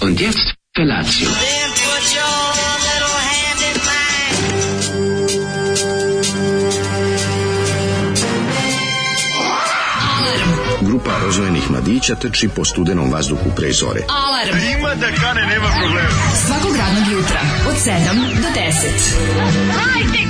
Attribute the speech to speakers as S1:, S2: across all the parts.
S1: Und jetzt Felatio.
S2: Then put your little hand in mine.
S3: Grupa rozvojenih mladića trči po studenom vazduhu pre zore.
S4: Alarm. Ima da kane, nema problema. Svakog radnog jutra, od 7 do 10.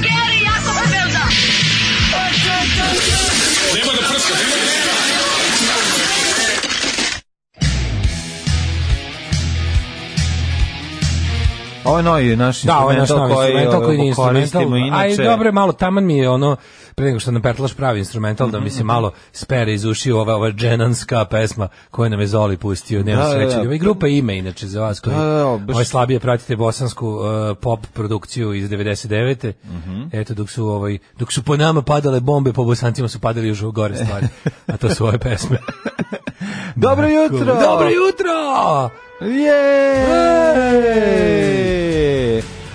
S5: Ovo je novi naš
S6: Da, ovo je naš novi
S5: koji, ono, ovaj,
S6: instrumental koji nije
S5: koristimo
S6: instrumental.
S5: inače.
S6: Aj, dobro, je malo taman mi je ono, pre nego što napetlaš pravi instrumental, da mi
S5: Mhm.
S6: se malo spere iz ušiju ova, ova dženanska pesma koju nam je Zoli pustio, nema
S5: Da, da,
S6: da, sreće.
S5: da.
S6: I grupa ime, inače, za vas koji
S5: Da, da, da,
S6: da,
S5: baš-
S6: slabije pratite bosansku uh, pop produkciju iz 99.
S5: Mhm.
S6: Eto, dok su, ovaj, dok su po nama padale bombe, po bosancima su padali još gore stvari. A to su ove pesme.
S5: Dobro jutro!
S6: Dobro jutro!
S5: Jej!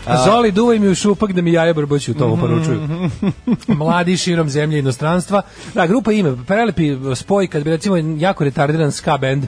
S6: A, Zoli, duvaj mi u šupak da mi jaja brboću, to mu poručuju. Mladi širom zemlje i inostranstva. Da, grupa ime, prelepi spoj kad bi recimo jako retardiran ska band,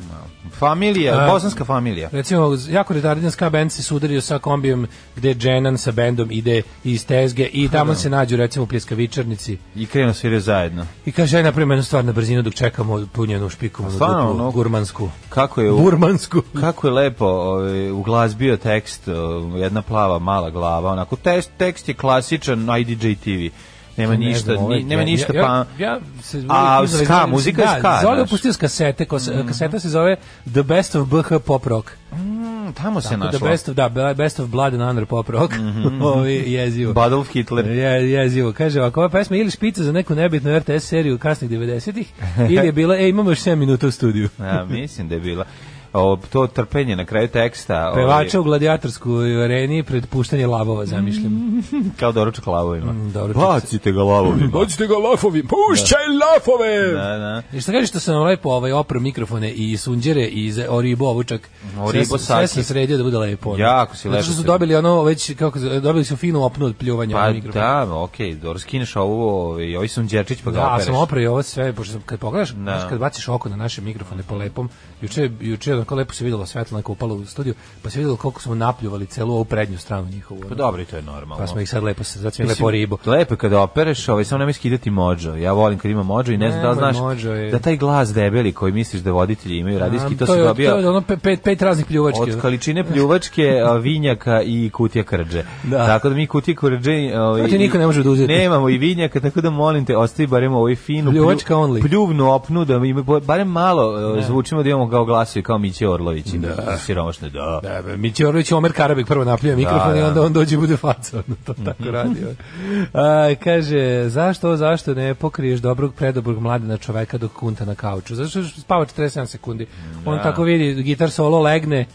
S5: Familija,
S6: A.
S5: bosanska familija.
S6: recimo jako retardiran ska band se sudario sa kombijem gde Dženan sa bendom ide iz Tezge i tamo se nađu recimo u pljeskavičarnici
S5: I krenu sviraju zajedno.
S6: i kaže, aj napravimo jednu stvar na brzinu dok čekamo punjenu špiku, onu
S5: stvarno,
S6: duplu,
S5: ono?
S6: gurmansku.
S5: Kako je u-
S6: Burmansku.
S5: Kako je lepo ovaj, uglazbio tekst, ovaj, jedna plava mala glava, onako, tekst, tekst je klasičan na IDJ TV. Nema
S6: Ne
S5: ništa,
S6: znam, ovaj,
S5: ni- nema
S6: ja-
S5: ništa,
S6: ja,
S5: pa...
S6: Ja, ja se uvijek
S5: A,
S6: izrazim-
S5: ska, muzika je
S6: da,
S5: ska,
S6: Zoli
S5: znaš. Mhm.
S6: opustio s kasete, kos- kaseta se zove The Best of BH Pop Rock.
S5: Mm, Tamo se
S6: Tako
S5: našlo.
S6: da best of, da, best of blood and honor pop rock.
S5: Mhm.
S6: Ovi jezivo.
S5: Badolf Hitler.
S6: Je, jezivo. Kaže ovako, ova pesma je ili špica za neku nebitnu RTS seriju kasnih 90-ih, ili je bila, e, imamo još 7 minuta u studiju.
S5: Ja, mislim da je bila. O, to trpenje na kraju teksta. ovaj,
S6: Pevača u gladijatorsku areni pred puštanje lavova,
S5: Mhm.
S6: zamišljam.
S5: ovaj, Kao doručak lavovima.
S6: doručak se-
S5: Bacite ga lavovima.
S6: Dođite ga lafovi, pušćaj lafove!
S5: Da, da.
S6: I šta kažeš što sam vam lepo ovaj opro mikrofone i sunđere i za oribo ovučak.
S5: Oribo
S6: Sve sam-
S5: saki.
S6: Sve sam sredio da bude lepo. ono.
S5: Jako si lepo
S6: Zato što su
S5: sredio.
S6: dobili ono već, kako, se- dobili su finu opnu od pljuvanja
S5: Pa
S6: ovaj mikrofon.
S5: da, okej, dobro, skineš ovo, ovaj, ovaj sunđerčić pa ga
S6: Da,
S5: opereš.
S6: sam oprao ovo sve, pošto sam, kad pogledaš,
S5: Da.
S6: znaš, kad baciš oko na naše mikrofone po lepom, juče, juče onako lepo se vidjelo svetlo, onako upalo u studiju, pa se vidjelo koliko smo napljuvali celu ovu prednju stranu njihovu. ono.
S5: Pa dobro, i to je normalno.
S6: Pa smo ih sad lepo, sad smo
S5: Mislim,
S6: lepo ribu.
S5: Lepo je kada opereš, ovaj, samo nemoj skidati mođo. Ja volim kad ima mođo i ne znam da li
S6: Nemoj,
S5: znaš
S6: mođo je-
S5: da taj glas debeli koji misliš da voditelji imaju radijski, to,
S6: Am,
S5: se
S6: je-
S5: dobija
S6: To je ono pe- pet, pet raznih pljuvački.
S5: od količine pljuvačke, a, vinjaka i kutija krđe.
S6: Da.
S5: Tako da mi kutije krđe... Ovaj,
S6: To ti niko ne može oduzeti.
S5: Nemamo i vinjaka, tako da molim te, ostavi barem ovaj finu plju-
S6: Pljuvačka only.
S5: pljuvnu opnu, da ima, barem malo e, zvučimo da imamo kao glasovi, kao Miće Orlović. Da. Siromašne, da.
S6: Da, be, Mićorović i Omer Karabek prvo napljuju mikrofon
S5: Da,
S6: i
S5: da. Mhm.
S6: onda on dođe i bude faca. Ono, to tako radi. on. A, kaže, zašto, zašto ne pokriješ dobrog, predobrog mladena čoveka dok kunta na kauču? Zato što spava 47 sekundi. On tako vidi, gitar solo legne,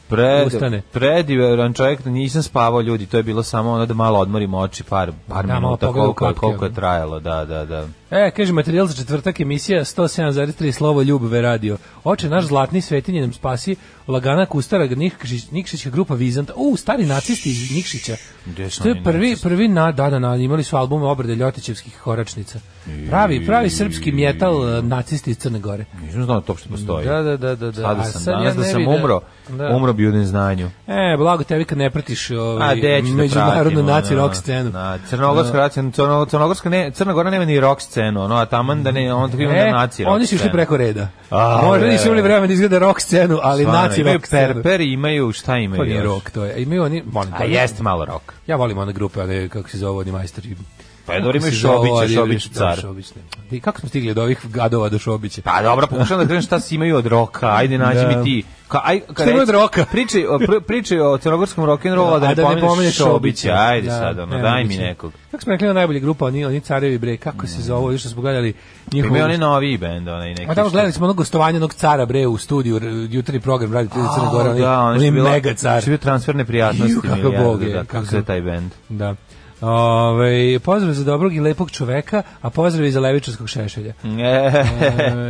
S6: ustane.
S5: Pred, predivan čovjek, nisam spavao ljudi, to je bilo samo ono da malo odmorimo oči par, par
S6: Da, malo
S5: minuta,
S6: pogleda u
S5: koliko, je-
S6: kratke,
S5: koliko je
S6: ono.
S5: trajalo, da, da, da.
S6: E, kaže, materijal za četvrtak emisija 107,3 slovo ljubove radio. Oče, naš zlatni svetinje nam spasi lagana kustara Nikšić, Nikšića grupa Vizanta. U, stari nacisti iz Nikšića.
S5: Gde su
S6: To je
S5: oni
S6: prvi,
S5: nacisti?
S6: prvi na, da, da, na, imali su albume obrade Ljotićevskih horačnica. Pravi, pravi srpski mjetal eh, nacisti iz Crne Gore.
S5: Nisam znao da to uopšte postoji.
S6: Da, da, da, da. da.
S5: Sada
S6: A
S5: sam
S6: sad
S5: danas
S6: ja
S5: da
S6: ne
S5: sam
S6: bi
S5: umro,
S6: da.
S5: umro bi u neznanju.
S6: E, blago tebi kad ne pratiš
S5: A
S6: ovaj,
S5: gde ću da
S6: međunarodnu
S5: pratim,
S6: naci
S5: ono,
S6: rock scenu.
S5: Na, crnogorska rock scenu, crno, crnogorska ne, Crna Gora nema ni rock scenu, ono, a taman da ne, on tako ima
S6: E,
S5: na naci rock
S6: oni su išli
S5: scenu.
S6: preko reda.
S5: A,
S6: Možda
S5: bre.
S6: nisu imali vremena da izgleda rock scenu, ali
S5: Stvarno,
S6: naci
S5: imaju
S6: rock scenu.
S5: perper, imaju šta imaju.
S6: To nije
S5: još?
S6: rock, to je. Imaju oni, molim,
S5: A
S6: to je-
S5: jest malo rock.
S6: Ja volim one grupe, one, kako se zove, oni majstori.
S5: Pa je dobro,
S6: Kako
S5: imaju
S6: se zove,
S5: Šobića,
S6: oni-
S5: Šobić
S6: da,
S5: car.
S6: Šobić, ne. I kako smo stigli od ovih gadova do Šobića?
S5: Pa dobro, pokušam da krenem šta si imaju od roka, ajde nađi
S6: Da.
S5: mi ti. Ka, aj, ka,
S6: Šta ima od roka?
S5: Priči, o, pri, priči o crnogorskom rock'n'rollu, a da
S6: A
S5: ne pomeneš Šobića. Ajde
S6: Da,
S5: sad, ono,
S6: ne,
S5: daj mi
S6: moguće.
S5: nekog. Mm.
S6: Kako smo rekli, ona najbolja grupa, oni, oni carevi, bre, kako se zove, ovi što smo gledali njihovu...
S5: Imaju oni novi bend, onaj neki.
S6: Ma tamo
S5: što-
S6: gledali smo ono gostovanje onog cara bre u studiju, r- jutarnji program radi Televizija Crne Gore, on je,
S5: da,
S6: on je
S5: što bila-
S6: mega car.
S5: Što je bio transfer neprijatnosti.
S6: Ju, kako
S5: milijardu,
S6: Bog je,
S5: da,
S6: kako
S5: kako se
S6: sam-
S5: taj bend.
S6: Da. Ove, pozdrav za dobrog i lepog čoveka, a pozdrav i za levičarskog šešelja. E,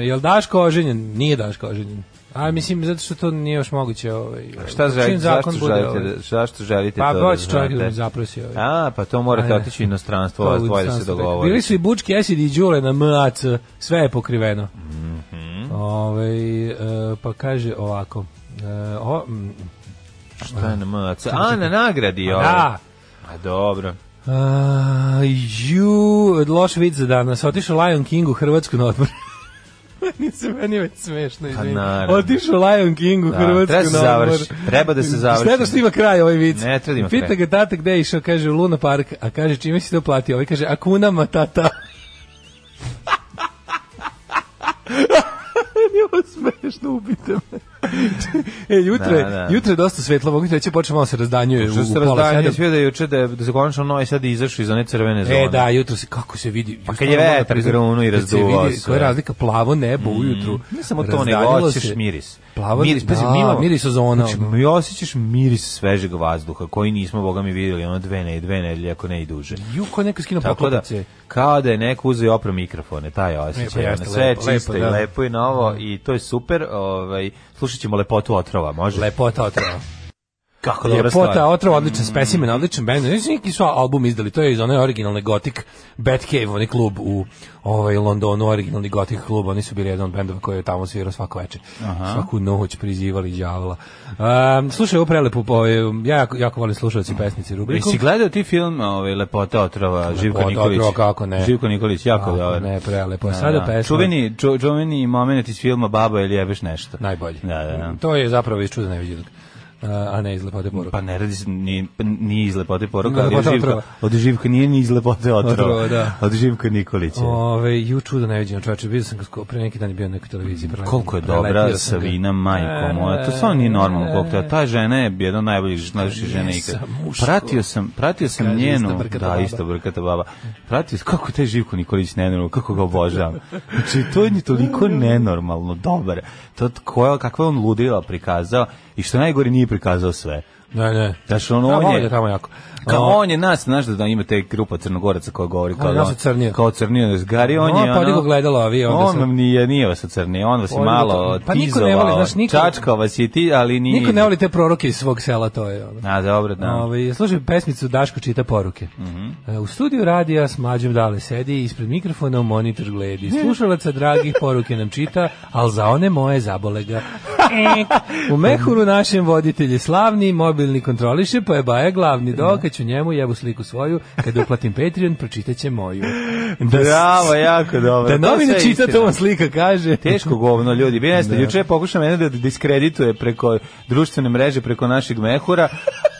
S6: jel Daško oženjen? Nije Daško oženjen. A mislim, zato što to nije još moguće. Ovaj,
S5: Šta
S6: čim
S5: želite, zašto
S6: zakon bude,
S5: želite,
S6: ovaj,
S5: da- zašto želite
S6: Pa
S5: to
S6: doći čovjek da
S5: znate?
S6: mi zaprosi. Ovaj.
S5: A, pa to morate
S6: Ajde.
S5: otići u inostranstvo,
S6: To
S5: vas
S6: u
S5: dvoje da se
S6: inostranstvu rekao. Bili
S5: dogovori.
S6: su i Bučki, Esidi i Đule na MAC, sve je pokriveno.
S5: Mhm.
S6: Ovaj, e, pa kaže ovako, e, o, mm,
S5: Šta je na MAC? A, na nagradi, ovo.
S6: Pa Da.
S5: A dobro.
S6: A, Uh, ju, loš vid za danas. Otišao Lion King u Hrvatsku na odmor. meni se meni je već smešno, izvini.
S5: Pa naravno.
S6: Otišao Lion King u
S5: Da,
S6: Hrvatsku
S5: treba se
S6: na odmor.
S5: završi, treba da se završi.
S6: Šteta što ima kraj ovaj vic.
S5: Ne treba da ima
S6: Pita
S5: kraj.
S6: ga tata gde je išao, kaže u Luna Park, a kaže čime si to platio? Ovaj kaže, akunama tata. Nije ovo smešno, ubite me. e, jutro, je-
S5: Da, da.
S6: jutro je dosta svetlo, mogu ti reći, počne malo se razdanjuje u,
S5: Što
S6: u
S5: se
S6: pola
S5: razdanje
S6: sedam.
S5: sve da je juče da je da se konačno Novi Sad izašao iz one crvene zone.
S6: E, da, jutro se, kako se vidi... Pa
S5: kad je vetar grunuo i razduvao sve. Mm,
S6: Koja je razlika, plavo nebo ujutru.
S5: Ne samo to, nego
S6: razdaljilo
S5: osjećaš
S6: se.
S5: miris.
S6: Plavo,
S5: miris, pazi,
S6: da,
S5: mi imamo-
S6: miris ozona. ono.
S5: Znači, mi osjećaš miris svežeg vazduha koji nismo, boga mi, vidjeli ono dve, ne, dve nedelje, ako ne i duže.
S6: Ju, ko je neko skinuo
S5: Tako da,
S6: poklopice.
S5: kao da je neko uzeo i opro mikrofone, taj
S6: E, pa
S5: osjećaj.
S6: jeste,
S5: ono, sve je
S6: lepo,
S5: čisto
S6: lepo, da.
S5: i lepo i novo i to je super. Ovaj, slušat ćemo lepotu otrova, može?
S6: Lepota otrova.
S5: Kako dobra stvar. Mm.
S6: Lepota otrova, odličan specimen, odličan band. Znači, neki su album izdali, to je iz one originalne gotik Batcave, onaj klub u ovaj, Londonu, originalni gotik klub. Oni su bili jedan od bendova koji je tamo svirao svako večer. Svaku noć prizivali đavola. Um, slušaj, ovo prelepo, po- ja jako, jako volim slušalci pesnici rubriku.
S5: Jesi gledao ti film ovaj, Lepota otrova, Živko Nikolić?
S6: otrova, kako ne.
S5: Živko Nikolić, jako
S6: Kako
S5: dobar.
S6: ne, prelepo. Sada pesma.
S5: Čuveni, ču, čuveni moment iz filma Baba ili jebeš nešto.
S6: Najbolji.
S5: Da, da, da.
S6: To je zapravo iz čuda neviđenog. Uh, a ne iz lepote poruka.
S5: Pa ne radi se, ni, pa nije iz Lepote poruka,
S6: Od
S5: ali od
S6: Lepote
S5: Živka,
S6: otrova.
S5: od Živka nije ni iz Lepote otrova.
S6: Otrova, da.
S5: Od Živka Nikolića.
S6: Pa, Ove, ju čudo neviđeno čoveče, vidio sam ga sko- pre neki dan je bio na nekoj televiziji. Preletio,
S5: Koliko je dobra
S6: preletio sam ga.
S5: Savina, majko
S6: E,
S5: moja. To stvarno nije normalno koliko je. Ta žena je jedna od najboljih žena najviše žena
S6: Jesam,
S5: ikad.
S6: muško.
S5: Pratio sam, pratio sam
S6: Kaže,
S5: njenu,
S6: ista brkata
S5: da,
S6: baba.
S5: isto brkata baba. Pratio sam kako taj Živko Nikolić nenormalno, kako ga obožavam. Znači, to je toliko nenormalno dobar. To koja kakva je on ludila prikazao i što najgore nije prikazao sve.
S6: Ne, ne.
S5: Znaš, on,
S6: Da,
S5: on
S6: voli
S5: je,
S6: ga tamo jako.
S5: Kao
S6: O,
S5: on je nas, znaš da, da ima te grupa crnogoraca koja govori kao
S6: On
S5: da
S6: nas ocrnio.
S5: Kao crnio, da zgari, on
S6: No,
S5: je ono-
S6: pa niko gledalo, a vi onda
S5: on
S6: sad-
S5: vam nije, nije vas ocrnio, on vas je
S6: On je
S5: malo
S6: pa niko ne
S5: tizovao,
S6: voli, znaš, niko-
S5: čačkao vas je ti, ali nije...
S6: Niko ne voli te proroke iz svog sela, to je ono.
S5: A, dobro, da.
S6: Ove, slušaj pesmicu Daško čita poruke. E, U studiju radija s mlađom dale sedi, ispred mikrofona u monitor gledi. Slušalaca dragih poruke nam čita, ali za one moje zabole ga. U mehuru našem voditelji slavni, mobilni kontroliše, pa je baja glavni. Dok kad ću njemu jebu sliku svoju, kada uplatim Patreon, pročitaće moju. Da,
S5: Bravo, jako dobro.
S6: da
S5: To je
S6: novine
S5: sve
S6: čita,
S5: istina.
S6: to vam slika kaže.
S5: Teško govno, ljudi. Vi ne znate, juče je pokušao mene da diskredituje preko društvene mreže, preko našeg mehura.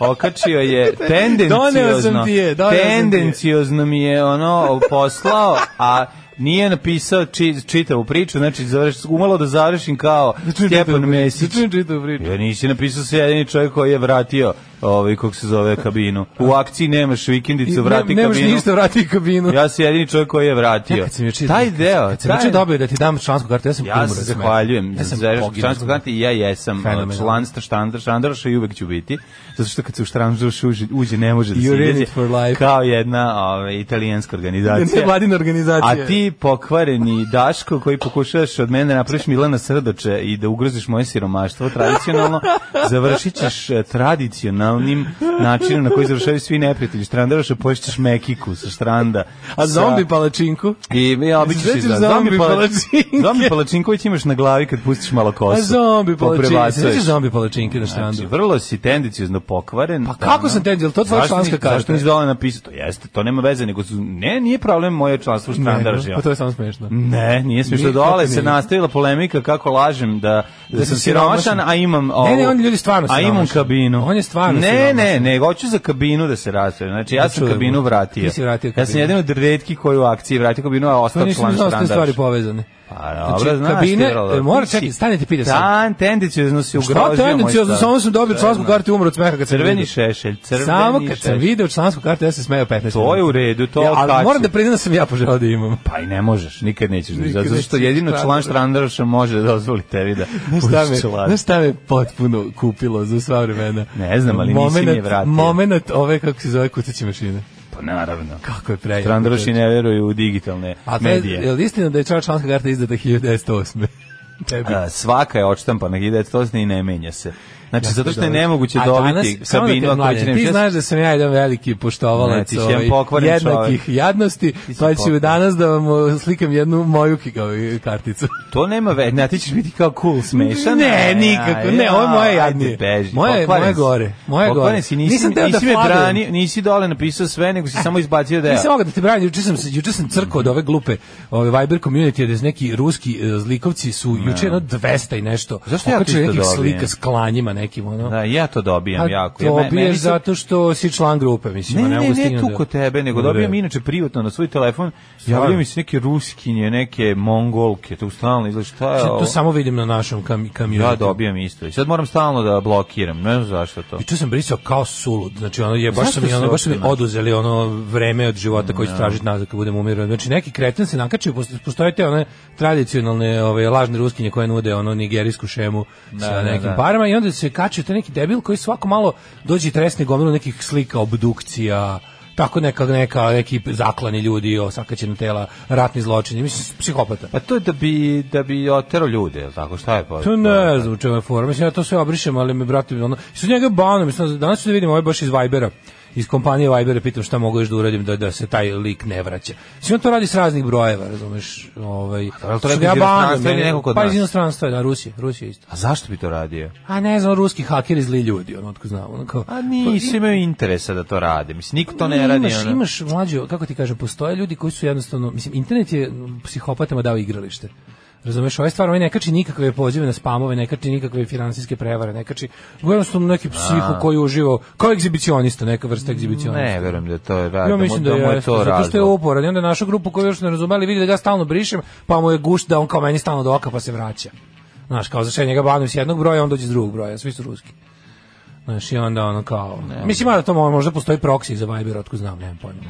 S5: Okačio je tendenciozno.
S6: Doneo sam ti je, doneo sam ti je.
S5: Tendenciozno mi je ono poslao, a nije napisao či, čitavu priču, znači završ, umalo da završim kao Stjepan Mesić.
S6: Čujem čitavu priču.
S5: Ja nisi napisao se jedini čovjek koji je vratio ovaj kako se zove kabinu. U akciji nemaš vikendicu, vrati
S6: ne, možeš
S5: kabinu.
S6: ništa vrati kabinu.
S5: Ja sam jedini čovjek koji je vratio.
S6: Ja kad sam juče-
S5: taj deo,
S6: Kad sam juče
S5: taj-
S6: dobio da ti dam člansku kartu, ja sam
S5: Ja
S6: umro
S5: se
S6: od smeha.
S5: zahvaljujem
S6: Ja
S5: za
S6: sam
S5: za
S6: poginuo.
S5: člansku kantu i ja jesam ono,
S6: Fenomenalno.
S5: član štandar, štandarša i uvek ću biti, zato što kad se u štandar uđe, uđe ne može da se
S6: You're in
S5: izađe,
S6: it for life.
S5: kao jedna ove, italijanska
S6: Ne
S5: organizacija.
S6: vladina organizacija.
S5: A ti pokvareni Daško koji pokušavaš od mene napraviš Milana Srdoče i da ugroziš moje siromaštvo tradicionalno, završit ćeš e, tradicionalnim načinom na koji završavaju svi neprijatelji štrandaroša, poješćeš mekiku sa štranda.
S6: A
S5: sa-
S6: zombi palačinku?
S5: i ja obično se
S6: Izlećeš
S5: izda.
S6: zombi
S5: pala-
S6: palačinke.
S5: Zombi palačinković imaš na glavi kad pustiš malo kosu.
S6: A zombi palačinke.
S5: Poprebacaš.
S6: Sveći zombi palačinke na
S5: Znači,
S6: štrandu.
S5: vrlo si tendencijozno pokvaren. Pa
S6: kako sam tendencijozno? To je tvoja članska karta.
S5: Zašto nisi dole napisao? To jeste, to nema veze, nego su, ne, nije problem moje članstvo u
S6: Ne,
S5: štandarži.
S6: Pa to je samo smešno.
S5: Ne, nije smiješno.
S6: Nije, kako
S5: Dole se
S6: nije?
S5: nastavila polemika kako lažem da, da, sam
S6: sam
S5: siromašan,
S6: siromašan.
S5: a imam ovu.
S6: Ne, ne, on je ljudi stvarno
S5: A imam
S6: siromašan.
S5: kabinu.
S6: On je stvarno
S5: ne, Ne,
S6: siromašan.
S5: ne, hoću za kabinu da se raspravim. Znači, ja
S6: Da
S5: sam
S6: čujemo.
S5: kabinu vratio.
S6: Ti si vratio
S5: Ja sam
S6: kabinu.
S5: jedan od redkih koji u akciji vratio kabinu, a
S6: To
S5: ostao član
S6: nisam ni
S5: štandarš.
S6: znao s te stvari povezane.
S5: Pa, dobro, znaš
S6: kabine,
S5: ti, vrlo.
S6: e, mora,
S5: Ti
S6: čekaj,
S5: si-
S6: stani ti pita sad.
S5: Dan, tendencijozno si ugrožio
S6: Šta
S5: moj stav.
S6: tendencijozno, samo sam dobio člansku kartu i umro od smeha kad sam
S5: Crveni
S6: vidio.
S5: šešelj, crveni
S6: Samo kad sam
S5: šešelj.
S6: video člansku kartu, ja sam smeo 15
S5: To je u redu, to
S6: ja,
S5: kači.
S6: Ali moram da priznam da sam ja poželao da imam.
S5: Pa i ne možeš, nikad nećeš da
S6: Nikad
S5: zato što
S6: nećeš
S5: jedino član
S6: štandarš.
S5: Štrandaroša može da dozvoli tebi da
S6: Znaš šta
S5: budiš
S6: me,
S5: član.
S6: znaš šta me potpuno kupilo za sva vremena?
S5: Ne znam, ali nisi mi je
S6: Momenat-
S5: vratio.
S6: Momenat ove, kako se zove, kucaće mašine.
S5: Pa naravno.
S6: Kako je prejako.
S5: Strandaroši ne veruju u digitalne
S6: A to je, je
S5: medije.
S6: li istina da je čar članska karta izdata 1908? Tebi.
S5: A, svaka je odštampana 1908 i ne menja se. Znači,
S6: Dakle,
S5: zato što je
S6: dobro.
S5: nemoguće
S6: A danas,
S5: dobiti
S6: samo da te
S5: Sabinu ako
S6: mlađe,
S5: hoće
S6: Ti
S5: nešto-
S6: znaš da sam ja jedan veliki
S5: Ne,
S6: poštovalac
S5: ti si jedan
S6: ovaj,
S5: pokvaren
S6: jednakih jadnosti,
S5: Ti si
S6: pa ću
S5: pokvaren.
S6: danas da vam uh, slikam jednu moju ki- ovaj, karticu.
S5: To nema veze, ne, ti ćeš biti kao cool smešan.
S6: Ne,
S5: Aj,
S6: nikako,
S5: aj,
S6: ne, ovo je moje
S5: ajde,
S6: jadnije.
S5: Beži,
S6: Moje-
S5: pokvaren
S6: moje
S5: si.
S6: gore, moje
S5: Pokvaren
S6: gore.
S5: Si, nisi,
S6: Nisam
S5: nisam
S6: teo da
S5: nisi me
S6: fladujem.
S5: branio, nisi dole napisao sve, nego si samo izbacio deo.
S6: Nisam mogao da te branim, juče sam, se- juče sam crkao od ove glupe ove Viber community, da su neki ruski e, zlikovci su juče jedno 200 i nešto.
S5: Zašto ja to
S6: okačili
S5: isto
S6: nekih
S5: dobijem?
S6: slika s klanjima nekim, ono.
S5: Da, ja to dobijam
S6: A
S5: jako. Ja, me-
S6: dobiješ
S5: meni su-
S6: zato što si član grupe, mislim.
S5: Ne,
S6: a
S5: ne,
S6: mogu
S5: ne, ne
S6: stignem
S5: tu
S6: da-
S5: kod tebe, nego
S6: Dobre.
S5: dobijem inače privatno na svoj telefon, javljaju mi se neke ruskinje, neke mongolke, tu stalno izgleda šta je
S6: Sad
S5: ovo?
S6: To samo vidim na našem kam, kamionu.
S5: Ja dobijam isto. I sad moram stalno da blokiram, ne znam zašto to.
S6: I tu sam brisao kao sulud. Znači ono je baš
S5: Zašto
S6: sam mi
S5: se
S6: ono baš su mi
S5: otimaš?
S6: oduzeli ono vreme od života koji ću tražiti nazad kad budem umiran. Znači neki kreten se nakačio, posto- postoje te one tradicionalne ove lažne ruskinje koje nude ono nigerijsku šemu sa
S5: da,
S6: nekim
S5: da.
S6: parama i onda se kačio te neki debil koji svako malo dođe i tresne gomilu nekih slika obdukcija tako neka, neka, neki zaklani ljudi, osakaćena tela, ratni zločini, mislim, psihopata.
S5: Pa to je da bi, da bi otero ljude, jel tako, šta je? Pa,
S6: To ne znam u čemu je fora. Mislim, ja to sve obrišem, ali me, brate, ono, su njega bano, mislim, danas ću da vidim, ovo je baš iz Vibera, iz kompanije Vibera, pitam šta mogu još da uradim da, da se taj lik ne vraća. Mislim, on to radi s raznih brojeva, razumeš, ovaj,
S5: ali to
S6: su
S5: radi
S6: ga
S5: iz
S6: banuju,
S5: inostranstva ili
S6: meni-
S5: nekog od
S6: Pa
S5: nas?
S6: iz inostranstva, da, Rusije, Rusije isto.
S5: A zašto bi to radio?
S6: A ne znam, ruski hakeri zli ljudi, ono, otko znam, ono kao...
S5: A nisu imaju Pa interesa da to rade. Mislim, niko to ne radi.
S6: Imaš,
S5: ono.
S6: imaš mlađo, kako ti kažem, postoje ljudi koji su jednostavno, mislim, internet je m, psihopatama dao igralište. Razumeš, ove stvari, ovaj ne kači nikakve pozive na spamove, ne kači nikakve finansijske prevare, ne kači, jednostavno neki psiho koji je uživao, kao egzibicionista, neka vrsta egzibicionista.
S5: Ne, verujem da to je
S6: Ja
S5: radio.
S6: mislim da,
S5: mu
S6: je,
S5: je to
S6: zato što je
S5: razlog.
S6: uporan. I onda je našao grupu koju još ne razumeli, vidi da ga ja stalno brišem, pa mu je gušt da on kao meni stalno do oka pa se vraća. Znaš, kao zašto ja njega banujem s jednog broja, on dođe s drugog broja, svi su ruski. Znaš, i onda ono kao... mislim, da to mo- možda postoji proksi za Viber, otko znam, nemam pojma.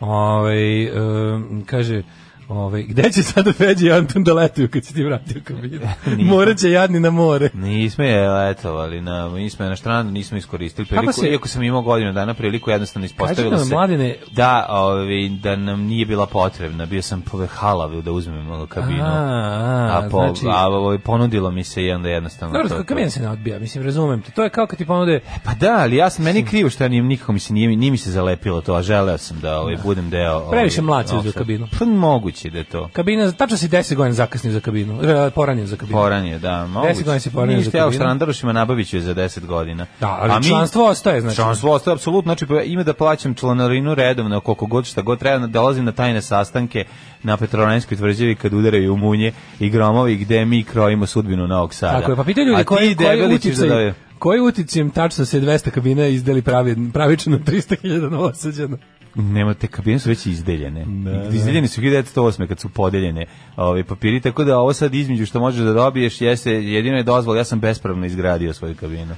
S6: Ovaj, em, kaže, ovaj, gde će sada Feđi i Anton da letuju kad si ti vratio kabinu? Morat će jadni na more.
S5: Nismo je letovali, na, nismo je na štrandu, nismo iskoristili priliku,
S6: se-
S5: iako sam imao godinu dana priliku, jednostavno ispostavilo
S6: Kažite nam,
S5: se
S6: mladine-
S5: da, ovi, da nam nije bila potrebna, bio sam povehalav da uzmem ono, kabinu, a,
S6: A,
S5: po,
S6: znači-
S5: a, ovaj, ponudilo mi se i onda jednostavno
S6: Dobro,
S5: to- to-
S6: kamen se ne odbija, mislim, razumem te. To je kao kad ti ponude,
S5: Pa da, ali ja sam, meni je krivo što ja nijem, nikako mi se nije, nije mi se zalepilo to, a želeo sam da ovaj, budem deo... Ovaj,
S6: Previše mlad si uzeo
S5: ovog-
S6: kabinu.
S5: Pa moguće da je to.
S6: Kabina, tačno si 10 godina zakasnio za kabinu, e, poranio za kabinu.
S5: Poranije, da, moguće.
S6: godina si poranio
S5: Ništa,
S6: za
S5: ja u
S6: kabinu.
S5: Štrandarošima nabavit ću je za 10 godina.
S6: Da, ali
S5: A mi-
S6: članstvo
S5: E,
S6: ostaje, znači.
S5: Članstvo ostaje apsolutno, znači pa ima da plaćam članarinu redovno koliko god šta god treba, dolazim na tajne sastanke na Petrovaranjskoj tvrđavi kad udaraju munje i gromovi gde mi krojimo sudbinu Novog Sada.
S6: Tako je, pa pitaj
S5: A
S6: ljudi
S5: ti
S6: koji, koji
S5: debeli ćeš da
S6: uticaj,
S5: dobe-
S6: koji uticajem tačno se 200 kabina izdeli pravi, pravično na 300.000 novosađana.
S5: Nema, te kabine su već izdeljene. izdeljene su 1908. kad su podeljene ovi papiri, tako da ovo sad između što možeš da dobiješ jeste, jedino je dozvol, ja sam bespravno izgradio svoju kabinu.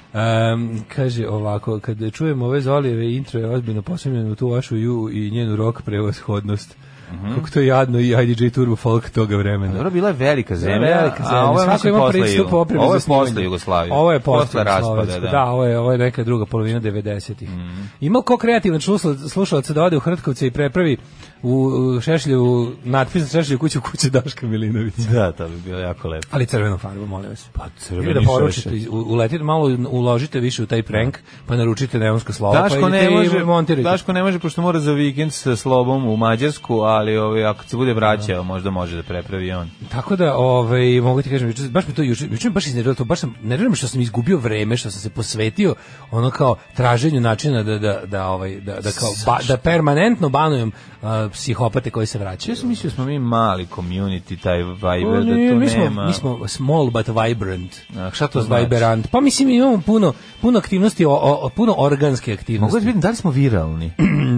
S6: Um, kaže ovako, kad čujem ove Zolijeve intro je ozbiljno posebljeno u tu vašu ju i njenu rok prevashodnost.
S5: Mhm.
S6: Kako to je jadno i IDJ Turbo Folk toga vremena.
S5: Dobro, bila je velika zemlja,
S6: velika zemlja.
S5: a ovo je
S6: Svako
S5: mislim,
S6: ima
S5: posle
S6: pristup
S5: Jugo-
S6: opremi
S5: Ovo
S6: za
S5: je posle
S6: snimanje.
S5: Jugoslavije.
S6: Ovo je posle,
S5: posle raspada, da. Mhm.
S6: ovo, je, ovo je neka druga polovina 90-ih. Ima li ko kreativan čusla- slušalac da ode u Hrtkovce i prepravi u, u Šešljevu, natpis na Šešljevu kuću kuće Daška Milinović.
S5: Da, to bi bilo jako lepo.
S6: Ali crvenom farbom, molim vas. Pa
S5: crveni
S6: da poručite,
S5: šešelj.
S6: u- uletite malo, uložite više u taj prank, pa naručite neonska slova,
S5: Daško
S6: pa idite
S5: ne može,
S6: i montirajte.
S5: Daško ne može pošto mora za vikend sa slobom u Mađarsku, ali ovaj ako se bude vraćao, možda može da prepravi on.
S6: Tako da, ovaj, mogu ti kažem, juče- baš mi to juče, juče mi baš iznervilo to, baš sam, nervira me što sam izgubio vreme, što sam se posvetio ono kao traženju načina da, da, da, ovaj, da, da, kao, ba- da permanentno banujem a, psihopate koji se vraćaju.
S5: Ja sam mislio smo mi mali community taj Viber
S6: Pa
S5: da
S6: ne,
S5: tu
S6: mi smo,
S5: nema.
S6: Mi smo small but vibrant.
S5: A, šta to znači?
S6: Vibrant. Pa mislim imamo puno, puno aktivnosti, o, o- o- puno organske aktivnosti.
S5: Mogu da vidim da li smo viralni.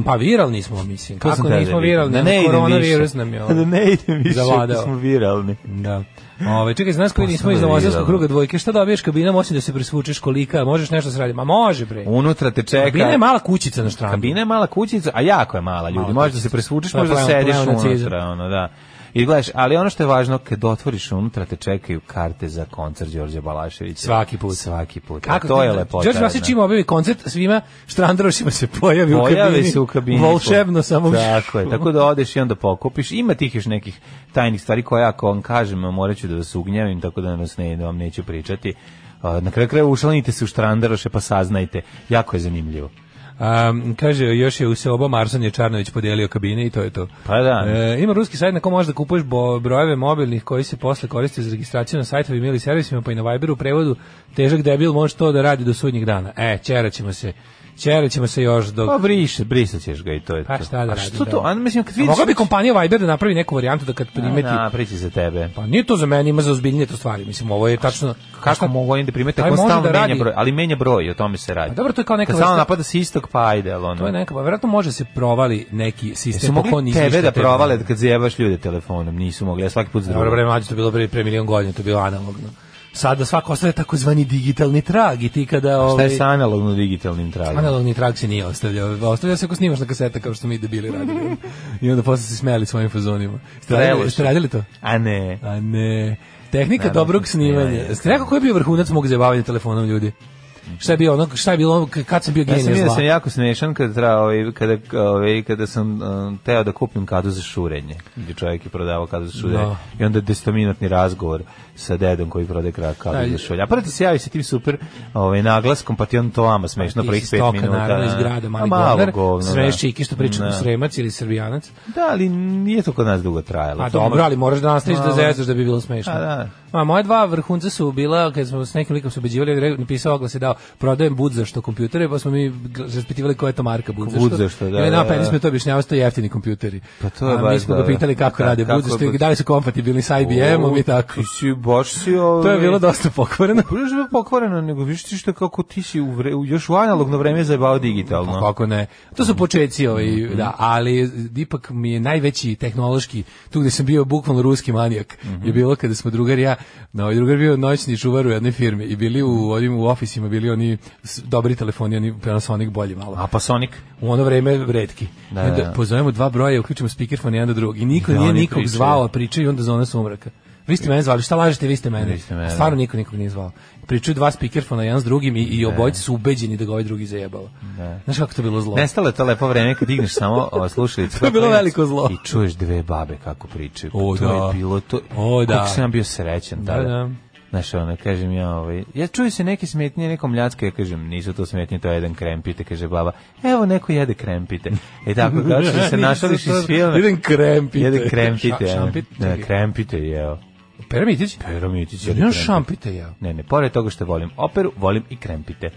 S6: Pa viralni smo, mislim.
S5: To sam
S6: Kako
S5: teo da
S6: nismo
S5: vidim.
S6: viralni? ono,
S5: Da ne idem
S6: Koronavirus
S5: više.
S6: nam je... ovaj,
S5: Da ne idem više,
S6: zavladao.
S5: da smo viralni.
S6: Da. Ove, čekaj, znaš koji
S5: Pa
S6: nismo
S5: sad
S6: iz
S5: da
S6: Novozarskog
S5: vidimo.
S6: kruga dvojke, šta dobiješ kabinom, osim da se presvučeš kolika, možeš nešto sraditi, ma može bre.
S5: Unutra te čeka.
S6: Kabina je mala kućica na štrandu.
S5: Kabina je mala kućica, a jako je mala, ljudi.
S6: Mala
S5: možda
S6: kućica.
S5: se presvučeš,
S6: To je
S5: možda
S6: pleo-
S5: sediš
S6: pleonacizam.
S5: unutra, ono, da. I gledaš, ali ono što je važno, kad otvoriš unutra, te čekaju karte za koncert Đorđe Balaševića.
S6: Svaki put.
S5: Svaki put. Kako Pa to je lepota.
S6: Đorđe Vasić
S5: znaš.
S6: ima objavi koncert, svima štrandarošima se pojavi, u
S5: Pojave
S6: kabini.
S5: se u kabini.
S6: Volšebno samo.
S5: Tako je, tako da odeš i onda pokupiš. Ima tih još nekih tajnih stvari koje ako vam kažem, morat ću da vas ugnjavim, tako da nas ne, da vam neću pričati. a, na kraju kraja ušlanite se u štrandaroše pa saznajte. Jako je zanimljivo.
S6: Um, kaže, još je u seoba Marsan je Čarnović podelio kabine i to je to.
S5: Pa da.
S6: E, ima ruski sajt na kom možeš da kupuješ bo, brojeve mobilnih koji se posle koriste za registraciju na sajtovima ili servisima, pa i na Viberu u prevodu težak debil može to da radi do sudnjeg dana. E, ćeraćemo se. Ćeraćemo se još dok...
S5: Pa briše, brisaćeš ga i to je
S6: Pa
S5: to.
S6: šta da
S5: A
S6: radim,
S5: što
S6: da.
S5: to? A, mislim, kad
S6: A
S5: vidiš...
S6: Mogla bi kompanija Viber da napravi neku varijantu da kad primeti...
S5: Da, priči za tebe.
S6: Pa nije to za mene, ima za ozbiljnije to stvari. Mislim, ovo je tačno...
S5: Kako mogu oni da primete
S6: Pa Taj
S5: ako on
S6: može
S5: stalno
S6: da
S5: menja
S6: radi.
S5: broj, ali menja broj, o tome se radi.
S6: A dobro, to je kao neka
S5: Kad stalno
S6: vrsta-
S5: napada s istog, pa ajde, ali ono.
S6: To je neka, pa verovatno može se provali neki
S5: Su
S6: sistem po kon
S5: mogli tebe da provale kad zajebaš ljude telefonom, nisu mogli, ja svaki put zdravim.
S6: Dobro, bre, mlađe, to je bilo pre, pre milion godina, to je bilo analogno. Sada svako ostaje takozvani digitalni trag i ti kada...
S5: Šta je
S6: ovaj,
S5: sa analogno digitalnim tragom?
S6: Analogni trag se nije ostavljao. Ostavlja se ako snimaš na kaseta kao što mi debili radili. I onda posle se smijali svojim fazonima. Ste radili,
S5: Preloše.
S6: ste radili to?
S5: A ne.
S6: A ne. Tehnika
S5: Naravno,
S6: dobrog snimanja.
S5: snimanje.
S6: Ste rekao koji je bio vrhunac mog zabavanja telefonom ljudi? Šta je bio ono, šta je bilo ono, k- kad sam bio
S5: Ja sam
S6: genije
S5: vidio da sam
S6: zla?
S5: jako smešan kada, tra, ovaj, kada, ovaj, kada sam um, teo da kupim kadu za šurenje. Gdje čovjek je prodavao kadu za šurenje.
S6: Da.
S5: I onda destominutni razgovor sa dedom koji prode kra- kadu
S6: Da, i-
S5: za šurenje. A prvo ti se javi sa tim super ovaj, naglaskom, pa ti on to vama smešno
S6: Ti
S5: prvih
S6: si
S5: pet
S6: stoka,
S5: minuta.
S6: naravno, iz
S5: da.
S6: grada,
S5: A,
S6: mali
S5: malo
S6: govnar,
S5: govno,
S6: sve
S5: da.
S6: ščiki što priča
S5: Da.
S6: sremac ili srbijanac.
S5: Da, ali nije to kod nas dugo trajalo.
S6: Pa
S5: To
S6: dobro,
S5: mo-
S6: ali moraš da nastaviš da
S5: Malo.
S6: zezaš da bi bilo smešno.
S5: A, da.
S6: Ma, moje dva vrhunca su bila, kad smo s nekim likom se ubeđivali, re- napisao oglas i dao, prodajem budzašto kompjutere, pa smo mi gl- raspitivali koja je to marka budzašto.
S5: Budzašto, da,
S6: I onda
S5: da,
S6: napeli
S5: da.
S6: pa smo to objašnjavao, to je jeftini kompjuteri.
S5: Pa to je
S6: A mi
S5: baš,
S6: smo
S5: da,
S6: ga pitali kako
S5: da.
S6: rade
S5: Kako je
S6: budzašto i
S5: budzašto?
S6: da li su kompatibilni sa IBM-om i tako.
S5: Ti si, baš si ovaj...
S6: To je bilo dosta pokvoreno.
S5: Pa Još je bilo pokvareno, nego viš ti što kako ti si u vre, u- još u analogno vreme zajebao
S6: Pa
S5: digitalno.
S6: Kako ne. To
S5: Mhm.
S6: su počeci, ovaj, da, ali ipak mi je najveći tehnološki, tu gde sam bio bukvalno ruski manijak,
S5: Mhm.
S6: je bilo kada smo drugar i ja, no, ovaj drugar bio noćni čuvar u jednoj firmi i bili
S5: Mhm.
S6: u, ovim, u ofisima, bili oni s- dobri telefoni, oni Panasonic bolji malo
S5: A pa Sonic?
S6: u ono vreme redki.
S5: Da,
S6: I onda
S5: da, da.
S6: Pozovemo dva broja, uključimo speakerfon jedan do drugog. I niko
S5: Da,
S6: nije
S5: oni
S6: nikog
S5: pričaju.
S6: zvao, a pričaju i onda zona sumraka. Vi ste mene zvali, šta lažete, vi ste mene.
S5: Vi ste mene,
S6: A Stvarno niko nikog nije zvao. Pričaju dva speakerfona jedan s drugim i, i obojice su ubeđeni da ga ovaj drugi zajebao. Znaš kako to je bilo zlo?
S5: Nestalo je to lepo vreme kad digneš samo ova slušalicu.
S6: To je bilo
S5: kako
S6: veliko zlo.
S5: I čuješ dve babe kako pričaju. Pa
S6: O,
S5: to
S6: da.
S5: je bilo to.
S6: O, da.
S5: Kako sam ja bio srećan tada.
S6: da.
S5: Znaš, ono, kažem ja, ovaj, ja čuju se neke smetnje, nekom ljacku, ja kažem, nisu to smetnje, to je jedan krempite, kaže baba, evo neko jede krempite. E tako, kao što se našališ iz filma,
S6: Jedan krempite.
S5: jede krempite,
S6: Ša-
S5: ja.
S6: Šampit.
S5: da, krempite, jeo.
S6: Peramitić?
S5: Peromitić
S6: Jel
S5: jede
S6: je on
S5: krempite.
S6: šampite, jel?
S5: Ne, ne, pored toga što volim operu, volim i krempite.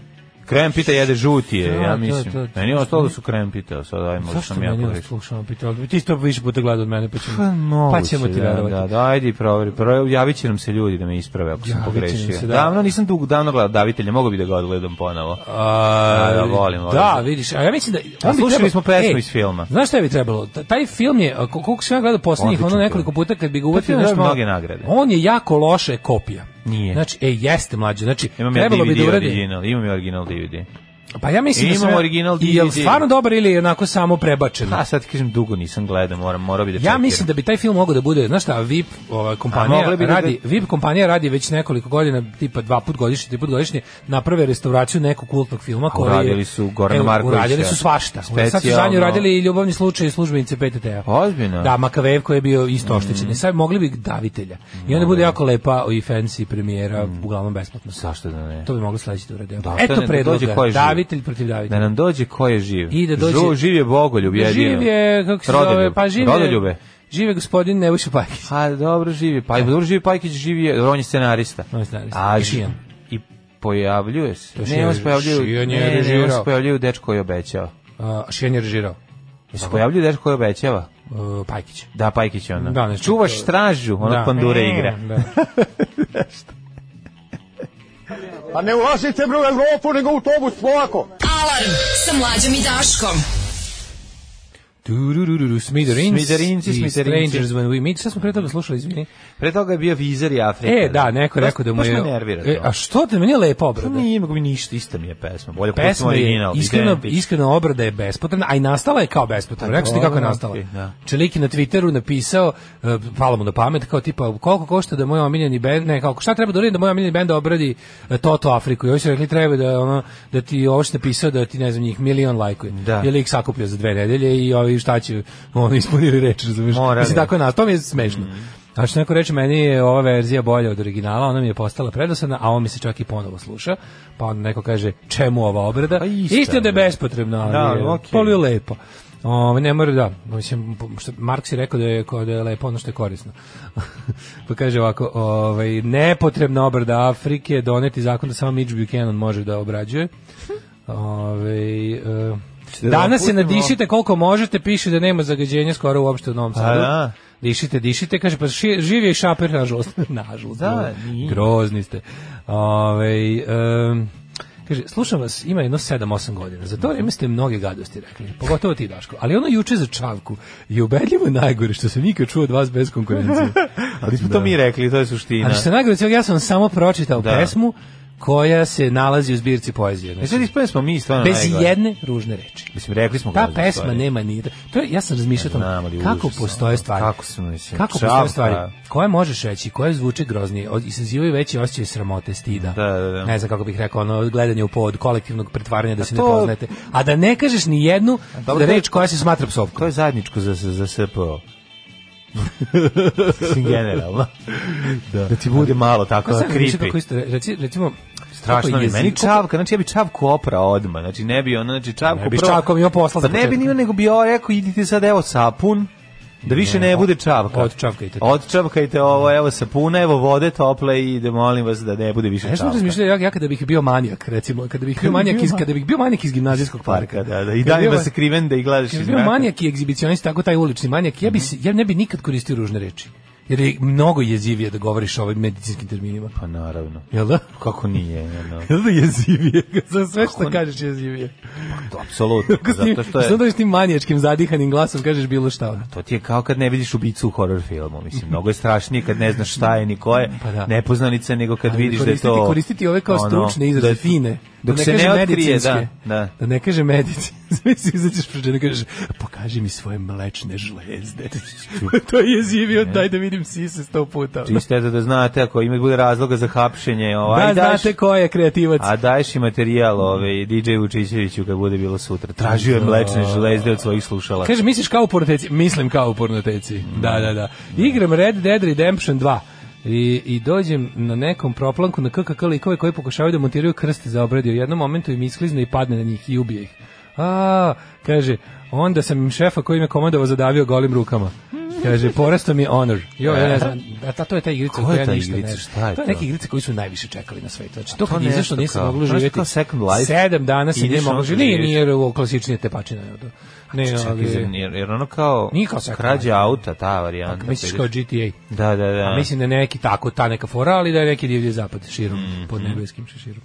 S5: Krempite jede žutije,
S6: Da,
S5: ja
S6: da,
S5: mislim.
S6: da, da.
S5: Meni je ostalo da su krempite, a sad ajmo što
S6: Zašto
S5: sam ja
S6: meni
S5: pogrešio.
S6: ostalo šampite? Ali Ti si to više puta gledao od mene, pa
S5: Pa,
S6: ćemo,
S5: moguće,
S6: pa ćemo ti
S5: da,
S6: verovati.
S5: Da, da, ajde i proveri. Pro, javit će nam se ljudi da me isprave ako sam
S6: Javit će nam
S5: pogrešio.
S6: se, da.
S5: Davno nisam dugo davno gledao Davitelja, mogu bi da ga odgledam ponovo.
S6: A,
S5: Pa, Da, da, volim, volim.
S6: Da, vidiš, a ja mislim da...
S5: A
S6: on bi
S5: slušali
S6: trebao-
S5: smo pesmu iz filma.
S6: Znaš šta bi trebalo? Ta- taj film je, a, ko- koliko sam ja gledao posljednjih,
S5: Odličan
S6: ono nekoliko
S5: film. Pa
S6: puta kad bi ga
S5: film
S6: uvatio
S5: je
S6: nešto...
S5: dobio
S6: malo-
S5: mnoge nagrade.
S6: On je jako loše kopija.
S5: Nije.
S6: Znači, e, jeste mlađe. Znači,
S5: Imam ja
S6: trebalo bi da
S5: DVD
S6: uradi...
S5: original, imam ja original DVD.
S6: Pa ja mislim da
S5: Imam
S6: sam ja-
S5: original
S6: I je li
S5: DVD.
S6: stvarno dobar ili je onako samo prebačeno?
S5: A sad ti kažem, dugo nisam gledao, moram, morao bi da
S6: Ja mislim da bi taj film mogao da bude, znaš šta, VIP ova
S5: A
S6: kompanija
S5: mogli bi da
S6: radi, VIP kompanija radi već nekoliko godina, tipa dva put godišnje, tri put godišnje, naprave restauraciju nekog kultnog filma koji je-
S5: uradili su Gorana
S6: Evo,
S5: Markovića.
S6: Uradili su svašta. Specijalno. Sad su
S5: Specijalno.
S6: zadnje uradili i ljubavni slučaj i službenice PTT-a.
S5: Ozbiljno? Mm.
S6: Da, Makavev koji je bio isto oštećen. I Sad mogli bi davitelja. I onda bude jako lepa i fancy premijera, uglavnom besplatno.
S5: Zašto da Mm. ne?
S6: To bi moglo sledeći da uradi.
S5: Da, to
S6: Eto
S5: ne- da
S6: predloga.
S5: dođe ko je živ.
S6: davitelj protiv davitelja.
S5: Da nam dođe ko je živ.
S6: I da dođe-
S5: Žu, živ je Bogoljub, jedino.
S6: Živ je, kako se zove,
S5: Rodoljub.
S6: pa živ je...
S5: Rodoljube.
S6: Živ je gospodin Nebojša Pajkić.
S5: Pa dobro živi, pa dobro živi Pajkić, živi je, dobro, on je scenarista.
S6: On je E. scenarista.
S5: A,
S6: I
S5: ži-
S6: Šijan.
S5: I pojavljuje se.
S6: To je
S5: Ne, on
S6: Šijan-
S5: se pojavljuje,
S6: Šijan je
S5: ne, ne, on se
S6: režirao.
S5: pojavljuje u dečko koji obećava.
S6: Uh, Šijan je režirao.
S5: Je se pojavljuje dečko koji obećava?
S6: Uh, Pajkić.
S5: Da, Pajkić je ono.
S6: Da, ne,
S5: Čuvaš stražu, ono da. pandure igra.
S6: Da. E.
S1: Pa ne ulazite bre u Evropu, nego u autobus, polako.
S4: Alarm sa mlađom i Daškom.
S6: Turururu, Smiderins,
S5: Smiderins i
S6: i
S5: Smiderinci.
S6: Strangers When We Meet. Šta smo pre toga slušali, izvini?
S5: Pre toga je bio Vizer i Afrika.
S6: E, da, neko je
S5: Baš-
S6: rekao da mu je...
S5: Baš me nervira to.
S6: E, a što te, meni je lepa obrada.
S5: Nije, nego mi ništa, ista mi je pesma. Bolje pesma
S6: Pesma je,
S5: original.
S6: iskreno,
S5: identična.
S6: iskreno obrada je bespotrebna, a i nastala je kao bespotrebna. Rekao sam ti kako je
S5: dobro,
S6: nastala.
S5: ok, da.
S6: Čelik je na Twitteru napisao, e, palo mu na pamet, kao tipa, koliko košta da moj omiljeni bend, ne, kako, šta treba da uradim da moj omiljeni bend obradi e, Toto Afriku? I ovi su rekli, treba da, ono, da ti ovo što je napisao, da ti, ne znam, njih milion lajkuje.
S5: Da.
S6: Jer ih sakupio za dve nedelje i ovi šta će, ono, ispunili reč, razumiješ?
S5: Morali. Mm.
S6: Mislim, tako je nastalo, to mi je smešno. Znači, neko reče, meni je ova verzija bolja od originala, ona mi je postala predosadna, a on mi se čak i ponovo sluša. Pa onda neko kaže, čemu ova obrada?
S5: Pa ista
S6: isto, je da je
S5: je.
S6: bespotrebna, ali
S5: Da,
S6: je
S5: okej.
S6: polio lepo. Ove, ne mora da, mislim, što Marks je rekao da je, kao da je lepo ono što je korisno. pa kaže ovako, ovaj, nepotrebna obrada Afrike, doneti zakon da samo Mitch Buchanan može da obrađuje. Ove, e, danas se nadišite koliko možete, piše da nema zagađenja skoro uopšte u Novom Sadu.
S5: Pa da.
S6: Dišite, dišite, kaže, pa ši- živ je i šaper, nažalost. nažalost.
S5: Da,
S6: ono,
S5: nije.
S6: Grozni ste. Ove, em, kaže, slušam vas, ima jedno 7-8 godina. Za to vreme ste mnoge gadosti rekli, pogotovo ti Daško. Ali ono juče za čavku je ubedljivo najgore što sam ikad čuo od vas bez konkurencije.
S5: Ali smo to mi rekli, to je suština.
S6: Ali što je najgore, od svega, ja sam vam samo pročitao
S5: Da.
S6: pesmu koja se nalazi u zbirci poezije. Znači,
S5: E sad ispredili smo mi stvarno
S6: Bez
S5: najgore.
S6: jedne ružne reči.
S5: Mislim, rekli smo
S6: Ta
S5: grozne
S6: pesma
S5: stvari.
S6: nema ni to je, ja sam razmišljao o
S5: Znam, ali
S6: tome kako
S5: užasno. ono,
S6: postoje stvari.
S5: Kako su, mislim,
S6: Kako
S5: čavka.
S6: postoje stvari koje možeš reći, koje zvuče groznije, od- izazivaju veći osjećaj sramote, stida.
S5: Da, da, da.
S6: Ne znam kako bih rekao, ono gledanje u pod kolektivnog pretvaranja da se
S5: to-
S6: ne poznajete, a da ne kažeš ni jednu
S5: dobro,
S6: da
S5: to je-
S6: reč koja se smatra psovkom.
S5: To je zajedničko za, za SPO. Mislim, generalno. da. da ti bude malo tako
S6: Kako sam razmišljao
S5: creepy.
S6: kako isto, re- reci- recimo,
S5: Strašno
S6: kako
S5: mi,
S6: jezik-
S5: meni čavka, znači ja bi čavku oprao odmah, znači ne bi ono, znači čavku
S6: Ne bi čavkom imao posla
S5: Pa
S6: za
S5: ne bi
S6: početak.
S5: nima, nego bi ovo rekao, idite sad evo sapun, da više ne, bude čavka.
S6: odčavkajte to.
S5: Odčavkajte ovo, evo sapuna, evo vode tople i da molim vas da ne bude više
S6: Ja sam
S5: čavka.
S6: razmišljao ja, ja kada bih bio manijak, recimo, kada bih bio manijak iz kada bih bio manijak iz gimnazijskog parka.
S5: Parka, Pa da, da, i
S6: Kada
S5: da
S6: bih
S5: ima
S6: bio-
S5: se kriven da ih gledaš
S6: Kad
S5: iz
S6: bi bio
S5: mraka.
S6: manijak i egzibicionista, tako taj ulični manijak, ja, bi se, ja ne bi nikad koristio ružne reči. Jer je mnogo jezivije da govoriš o ovim medicinskim terminima.
S5: Pa naravno.
S6: Jel da?
S5: Kako nije, ono,
S6: Jel da jezivije? Za sve što
S5: Kako ne?
S6: kažeš jezivije.
S5: to apsolutno, zato što je...
S6: Što da s tim manijačkim zadihanim glasom kažeš bilo šta. ono.
S5: To ti je kao kad ne vidiš ubicu u horror filmu, mislim, mnogo je strašnije kad ne znaš šta je ni ko je,
S6: Pa da.
S5: nepoznanica, nego kad
S6: Ali
S5: vidiš da je
S6: koristiti-
S5: to...
S6: Koristiti ove kao
S5: ono,
S6: stručne izraze,
S5: da-
S6: fine.
S5: Dok
S6: da
S5: se ne
S6: kaže
S5: otkrije, da,
S6: medicinske.
S5: da.
S6: Da ne kaže medicinske. Mislim, izađeš pred žene i kažeš, pokaži mi svoje mlečne žlezde. to je jezivio, daj da vidim sise sto puta.
S5: Čisto eto da znate, ako ima bude razloga za hapšenje, ovaj,
S6: Da,
S5: daš,
S6: znate ko je kreativac.
S5: a daješ i materijal ovaj, DJ Vučićeviću kad bude bilo sutra. Tražio je mlečne železde od svojih slušala.
S6: Kaže, misliš kao u pornoteci? Mislim kao u pornoteci.
S5: Mm.
S6: Da, da, da. Igram Red Dead Redemption 2. I, i dođem na nekom proplanku na KKK likove koji pokušavaju da montiraju krste za obrade. U jednom momentu im isklizne i padne na njih i ubije ih. A, kaže, onda sam im šefa koji me komandovao zadavio golim rukama. Kaže, porasto mi je honor. Jo, ja ne znam, a ta, to je ta igrica
S5: Koja
S6: koja
S5: je ta
S6: ništa
S5: igrica?
S6: ne znam.
S5: Šta je
S6: to je
S5: to?
S6: neke igrice koji su najviše čekali na svetu. Znači,
S5: to
S6: to kad je
S5: nešto
S6: izašlo nisam
S5: kao-
S6: moglo
S5: znaš,
S6: živjeti.
S5: kao Second Life?
S6: Sedam dana se
S5: Ideš
S6: nije moglo
S5: ono,
S6: živjeti. Nije,
S5: živiš.
S6: nije, ovo klasičnije tepačina. jel da? Ne, ali...
S5: Jer, jer ono kao,
S6: Nije kao Second
S5: krađa
S6: Life.
S5: auta, ta varijanta.
S6: Ako misliš
S5: pa
S6: kao
S5: ideš-
S6: GTA.
S5: Da, da, da.
S6: A mislim da je neki tako, ta neka fora, ali da je neki divlji zapad širom,
S5: Mhm.
S6: pod nebeskim šeširom.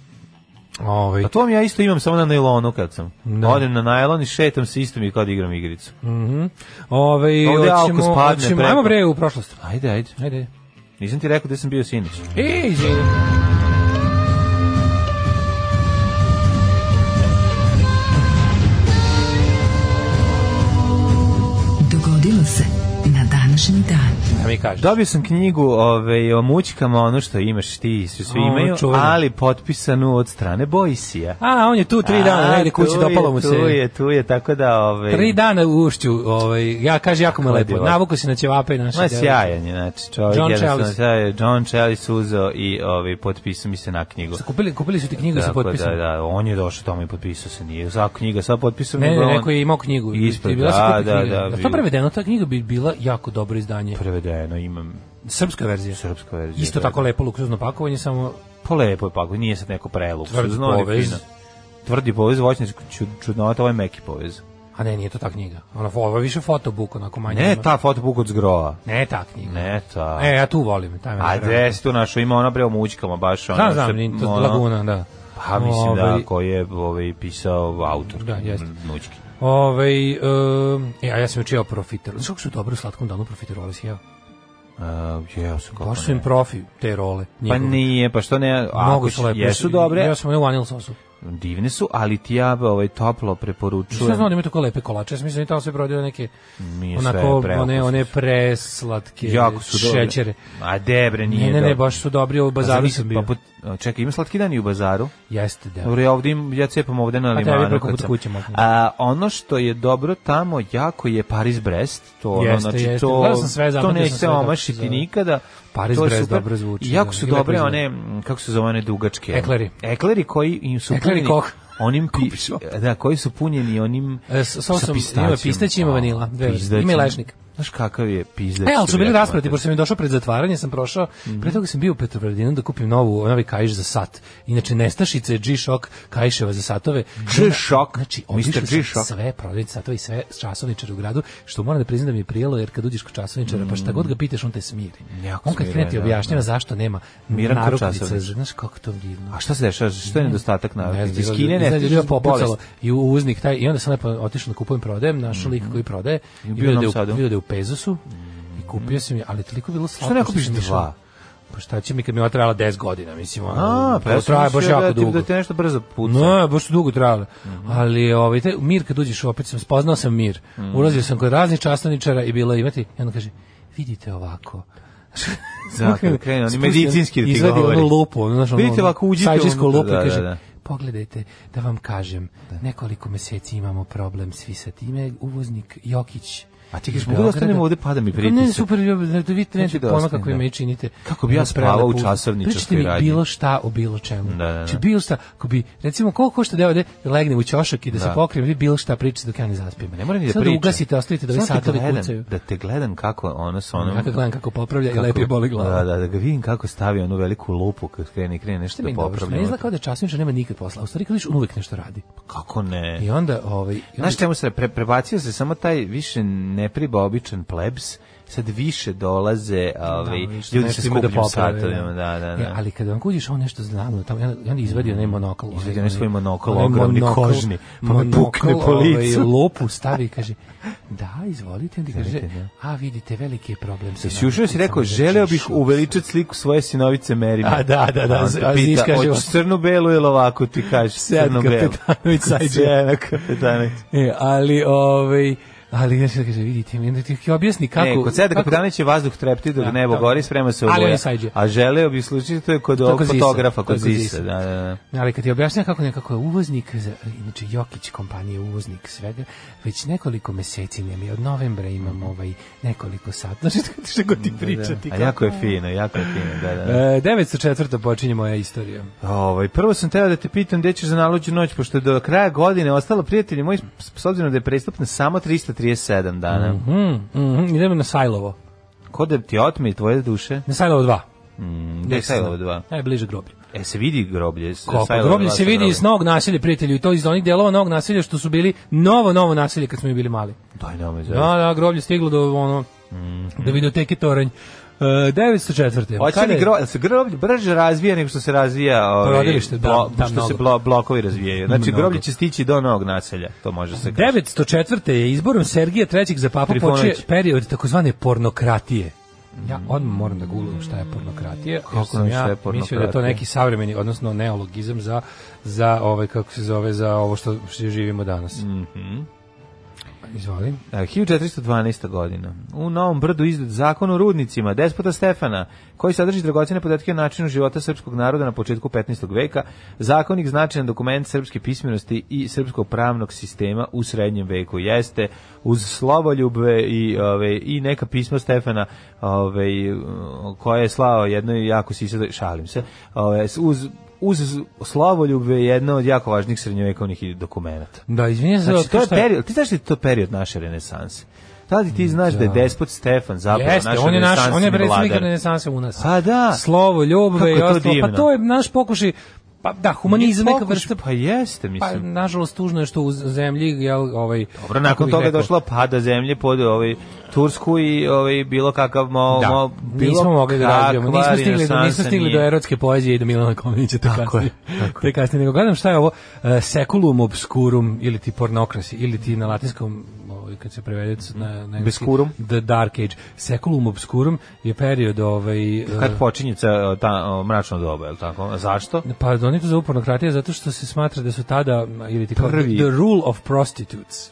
S6: Ovaj.
S5: A to vam ja isto imam samo na najlonu kad sam.
S6: Da.
S5: Odem na najlon i šetam se istom i kao da igram igricu.
S6: Ovaj,
S5: Ovde alko
S6: hoćemo-
S5: spadne
S6: hoćemo-
S5: preko.
S6: Ajmo bre u prošlost.
S5: Ajde, ajde.
S6: Ajde.
S5: Nisam ti rekao da sam bio sinoć.
S6: E, izvini.
S4: Dogodilo se na današnji dan.
S6: Da mi kažeš.
S5: Dobio sam knjigu ove, o mućkama, ono što imaš ti, svi svi
S6: O,
S5: imaju,
S6: čuveno.
S5: ali potpisanu od strane Bojsija.
S6: A, on je tu tri dana,
S5: A,
S6: negde kući,
S5: tu je,
S6: dopalo mu se.
S5: Tu je, tu je, tako da... ovaj, Ove,
S6: Tri dana u ušću, ovaj, ja kaže jako me
S5: Kako je
S6: lepo.
S5: bilo?
S6: Navuko se na ćevape i naše.
S5: Ma
S6: devojke.
S5: sjajan je, znači, čovjek
S6: John
S5: jednostavno
S6: Chalice.
S5: sjajan. John Chalice uzeo i ovaj, potpisao mi se na knjigu.
S6: Su Kupili, kupili su ti knjigu sa
S5: Tako
S6: potpisom.
S5: Da, da, on je došao tamo i potpisao se, nije za knjiga, sad potpisao
S6: Ne,
S5: nego
S6: ne,
S5: on-
S6: neko je imao knjigu.
S5: Ispred,
S6: I bila su
S5: da,
S6: kupi
S5: da,
S6: knjiga.
S5: da,
S6: Da
S5: bio.
S6: to prevedeno, ta knjiga bi bila jako dobro izdanje.
S5: prevedeno, imam
S6: Srpska verzija.
S5: srpska verzija.
S6: Isto tako lepo luksuzno pakovanje, samo
S5: Pa lepo je pakovanje, nije sad neko
S6: Tvrd
S5: preluksuzno. Tvrdi
S6: povez.
S5: povez. Tvrdi povez, voćni ču, čudnovata, ovo je meki povez.
S6: A ne, nije to ta knjiga. Ona ovo je više fotobuk, onako manje.
S5: Ne,
S6: ima-
S5: ta fotobuk od zgrova.
S6: Ne ta knjiga.
S5: Ne, ta.
S6: E, ja tu volim. Taj me
S5: A
S6: napravio.
S5: gde si tu našao? Ima ona bre o mućkama, baš ona.
S6: Znam, znam,
S5: se-
S6: nije to
S5: ono-
S6: Laguna, da.
S5: Pa mislim
S6: Ovaj,
S5: da, ko je ovaj, pisao autor.
S6: Da, jeste.
S5: Mućki.
S6: Ovaj, um, ja, ja sam učio profiterole. Znaš kako su dobro u slatkom danu profiterole sjeo?
S5: Uh, jeo sam kako
S6: Baš su im
S5: ne.
S6: profi te role.
S5: Pa
S6: njihove.
S5: nije, pa što ne,
S6: Mnogo
S5: ako
S6: su
S5: su
S6: lepe.
S5: jesu dobre,
S6: Ja sam one u vanil sosu.
S5: divne su, ali ti ja ovaj, toplo
S6: Što znam
S5: preporučujem.
S6: da imaju tako lepe kolače? Ja sam mislim da tamo sve prodaju neke
S5: Nije sve
S6: onako,
S5: preukusno.
S6: one, one preslatke
S5: jako su dobre.
S6: šećere.
S5: A debre, nije
S6: Ne, ne, ne,
S5: dobro.
S6: baš su dobri, ovo
S5: Pa
S6: bazaru
S5: zamisli,
S6: sam bio.
S5: Pa, pot- A, Čekaj, ima slatki dan i u bazaru.
S6: Jeste, da.
S5: Dobro, ja ovdje, im- ja cepam ovdje na
S6: tebi
S5: limanu.
S6: preko
S5: kad
S6: puta
S5: sam.
S6: kuće možda.
S5: A, ono što je dobro tamo jako je Paris Brest. To, ono,
S6: Jeste,
S5: znači,
S6: jeste.
S5: To,
S6: Gledao sam sve,
S5: to
S6: zapamtio sam sve
S5: neće
S6: kako se
S5: omašiti
S6: zove.
S5: nikada.
S6: Paris
S5: To je
S6: Brest
S5: super.
S6: dobro zvuči,
S5: I jako
S6: da.
S5: su
S6: I lepo
S5: dobre
S6: izgleda.
S5: one, m, kako se zove one dugačke.
S6: Ekleri.
S5: Ekleri koji im su
S6: Ekleri
S5: punjeni.
S6: Koch.
S5: onim pi, da, koji su punjeni onim
S6: E, s-
S5: sa
S6: sosom, ima
S5: pistacijom.
S6: pistać, ima
S5: A,
S6: vanila, dve vrste. Ima i
S5: pizdaćem.
S6: lešnik.
S5: Znaš kakav je pizdać?
S6: E, ali su
S5: što bi
S6: bili
S5: rekao
S6: rasprati,
S5: Matej.
S6: pošto sam mi došao pred zatvaranje, sam prošao,
S5: Mhm.
S6: pre toga sam bio u Petrovaradinu da kupim novu, novi kaiš za sat. Inače, nestašice G-Shock kaiševa za satove.
S5: G-Shock?
S6: Znači,
S5: Mr.
S6: obišao sam
S5: G-Shock?
S6: sve prodavnice satova i sve časovničare u gradu, što moram da priznam da mi je prijelo, jer kad uđeš kod časovničara, pa šta god ga pitaš, on te smiri.
S5: Mm, Jako
S6: On kad
S5: smiri,
S6: krene ti
S5: da,
S6: objašnjava zašto nema
S5: Miran kod
S6: narukvice,
S5: časovničara.
S6: znaš kako to divno.
S5: A šta se dešava? Što je nedostatak na
S6: Ne znam,
S5: iz Kine ne
S6: znači,
S5: stiže
S6: je popucalo
S5: bolest.
S6: i u uznik taj i onda sam lepo otišao da kupujem prodajem, našao lik koji prodaje i
S5: Mhm. bio u
S6: video da je
S5: Novom
S6: u-
S5: Sadu. Mhm.
S6: video da je u Pezusu i kupio sam je, ali toliko je bilo slatko.
S5: Što ne
S6: što
S5: kupiš
S6: sam išao-
S5: dva?
S6: Pa šta će mi kad mi je ovo trajala 10 godina, mislim. ono,
S5: A, pa ja
S6: to
S5: sam
S6: traje baš
S5: mislio
S6: jako
S5: da ti-
S6: dugo.
S5: Da te Mhm. nešto brzo puca.
S6: Ne, baš su dugo trajale. Ali ovaj taj mir kad uđeš opet sam spoznao sam mir.
S5: Mhm.
S6: Ulazio sam kod raznih časničara i bilo je imati i onda kaže vidite ovako.
S5: Zato, krenu, oni
S6: Spusti-
S5: medicinski da ti
S6: ono izvadi
S5: govori.
S6: onu lupu, ono, znaš, ono,
S5: Vidite ovako, uđite
S6: sajđisku
S5: unutra,
S6: lupu i
S5: da, da,
S6: kaže,
S5: da.
S6: pogledajte, da vam kažem, nekoliko meseci imamo problem svi sa time, uvoznik Jokić
S5: A ti kažeš,
S6: iz
S5: mogu da ostanem
S6: Beograda-
S5: ovde, pada mi
S6: Pa Ne,
S5: pritisak.
S6: super, ja- da da
S5: Neću
S6: vidite neću
S5: da
S6: ono
S5: ostanem,
S6: kako vi
S5: da.
S6: meni činite.
S5: Kako bi ja
S6: Ono,
S5: spavao u
S6: prelepo uz-
S5: časovničarskoj
S6: Pričajte mi
S5: radnji.
S6: bilo šta o bilo čemu.
S5: Da, da, da.
S6: Znači, bilo šta, ako bi, recimo, koliko košta da ja ovde legnem u ćošak i da, se
S5: Da.
S6: pokrijem, vi bilo šta pričate dok ja ne zaspijem.
S5: Ne moram ni da
S6: Sad
S5: pričam.
S6: ugasite, ostavite da vi
S5: Samo te
S6: satovi
S5: gledam,
S6: kucaju.
S5: Da te gledam kako ono sa onom...
S6: Ja kad gledam kako popravlja
S5: kako-
S6: i lepi boli glava.
S5: Da, da, da ga vidim kako stavi onu veliku lupu kad krene, krene nešto
S6: Što mi
S5: da
S6: je dobro, što
S5: popravlja.
S6: meni izgleda kao da časničar nema nikad posla. a U stvari, kad vidiš, on uvek nešto radi.
S5: Kako ne?
S6: I onda, ovaj... i onda-
S5: E. Znaš čemu se pre, prebacio se samo taj više nepriba običan plebs, sad više dolaze ovaj,
S6: Da, što
S5: ljudi
S6: nešto
S5: sa
S6: ima da
S5: skupljim
S6: poprave,
S5: satovima, da, da, da.
S6: E, ali kada vam kuđiš, on nešto znamo, tamo, i onda- i onda izvedi onaj monokl. onaj-
S5: Izvedi onaj svoj monokl,
S6: onaj
S5: ogromni
S6: monokl,
S5: kožni, pa me
S6: monokl,
S5: pukne po licu.
S6: Ovaj, lopu stavi i kaže, da, izvolite, onda kaže,
S5: Izvolite,
S6: a vidite, veliki je problem. sa
S5: Jesi
S6: nama,
S5: ušao i si
S6: kucamo
S5: rekao,
S6: za
S5: želeo bih
S6: čišu."
S5: uveličati sliku svoje sinovice Merima.
S6: A, da, da, da,
S5: A on
S6: z-
S5: te
S6: a Ziz
S5: pita,
S6: kaže,
S5: hoćeš crno-belu ili ovako ti kažeš
S6: Sad
S5: crno-belu.
S6: kapetanović sajđe.
S5: Sjena kapetanović.
S6: E, ali, ovaj, ali, znači, kaže, vidite, mi onda ti ti objasni kako...
S5: ne, E, kod Seda
S6: kako-
S5: Kapetanović je vazduh trepti dok
S6: Da,
S5: nebo
S6: da.
S5: gori, sprema se
S6: Ali on
S5: oboja.
S6: je sajđe.
S5: A želeo bih slučiti, to je kod ovog
S6: kod Zisa,
S5: fotografa, kod
S6: to je kod
S5: Zisa. Da, da, da.
S6: Ali kad ti objašnjam kako nekako je uvoznik, za- inače Jokić kompanija je uvoznik svega, već nekoliko meseci nema, i od novembra imam ovaj nekoliko sat. Znači, što god ti priča, ti
S5: Mhm. A
S6: kao...
S5: jako je fino, jako je fino, da, da. da.
S6: E, 904. počinje moja istorija.
S5: Ovaj prvo sam teo da te pitam gde ćeš za naluđu noć pošto je do kraja godine ostalo prijatelji moji s s obzirom da je prestupno samo 337 dana. Mm
S6: Mm, mm, idemo na Sajlovo.
S5: Ko da ti otme i tvoje duše?
S6: Na Sajlovo 2.
S5: Gde je Sajlova 2?
S6: Najbliže groblje.
S5: E se vidi groblje. s-
S6: Koliko
S5: Sajlova
S6: groblje
S5: dva
S6: se
S5: sa
S6: vidi
S5: grobljem.
S6: iz novog nasilja, prijatelju, i to iz onih delova novog nasilja što su bili novo, novo nasilje kad smo mi bili mali.
S5: Daj nama za.
S6: Da, da, groblje stiglo do ono, do videoteke Toranj. E, 904.
S5: Mhm. Hoće
S6: pa Kada
S5: li
S6: je-
S5: gro, jel se groblje brže razvija nego što se razvija ovaj,
S6: Porodilište, da,
S5: blo-
S6: da,
S5: što se
S6: mnogo.
S5: blo- blokovi razvijaju. Znači
S6: Mnogo.
S5: groblje će stići do novog naselja, to može se kaži.
S6: 904. je izborom Sergija III. za papu
S5: Trifunović.
S6: počeo period takozvane pornokratije. Ja odmah moram da googlam šta je pornokratija, jer
S5: Kako
S6: sam
S5: ne, šta
S6: ja
S5: je pornokratija?
S6: mislio da je to neki savremeni, odnosno neologizam za, za ovaj, kako se zove, za ovo što, što živimo danas. Mm
S5: Mhm.
S6: Izvoli.
S5: E, 1412. godina. U Novom Brdu izdat zakon o rudnicima despota Stefana, koji sadrži dragocene podatke o načinu života srpskog naroda na početku 15. veka, zakonik značajan dokument srpske pismenosti i srpskog pravnog sistema u srednjem veku. Jeste uz slovoljube i, ove, i neka pisma Stefana ove, koje je slao jednoj jako sisatoj, šalim se, ove, uz uz slavoljube je jedna od jako važnih srednjovekovnih dokumenata.
S6: Da, izvinjam se.
S5: Znači, to je
S6: šta je-
S5: period, ti znaš da je to period naše renesanse? Tada ti znaš da je despot Stefan zapravo
S6: Jeste,
S5: naš
S6: on je naš, on je predstavnik
S5: vladar.
S6: renesanse u nas.
S5: Pa da.
S6: Slovo,
S5: Kako
S6: ljubove
S5: je
S6: i
S5: to
S6: ostalo. Pa
S5: divno.
S6: to je naš pokušaj, pa da, humanizam,
S5: Nije
S6: neka
S5: pokuš-
S6: vrsta
S5: Pa jeste,
S6: Pa,
S5: mislim.
S6: nažalost, tužno je što u zemlji, jel, ovaj...
S5: Dobro, nakon toga je došla pada zemlje pod ovaj Tursku i ovaj bilo kakav mo,
S6: Da,
S5: mo bilo
S6: nismo mogli da
S5: kakva
S6: razbijemo, nismo stigli, do, nismo
S5: renesansa
S6: stigli do
S5: nije.
S6: erotske poezije i do Milana Kominića, te
S5: Tako
S6: kasnije. Tako te kasnije, nego gledam šta je ovo, e, seculum obscurum, ili ti pornokrasi, ili ti na latinskom, ovaj, kad se prevede na, na engleski,
S5: Bescurum.
S6: The Dark Age. Seculum obscurum je period, ovaj... e,
S5: Kad počinje ca, ta o, mračno doba, je li tako? Zašto?
S6: Pa oni to zovu pornokratija zato što se smatra da su tada, m, ili ti kao,
S5: Prvi.
S6: the rule of prostitutes.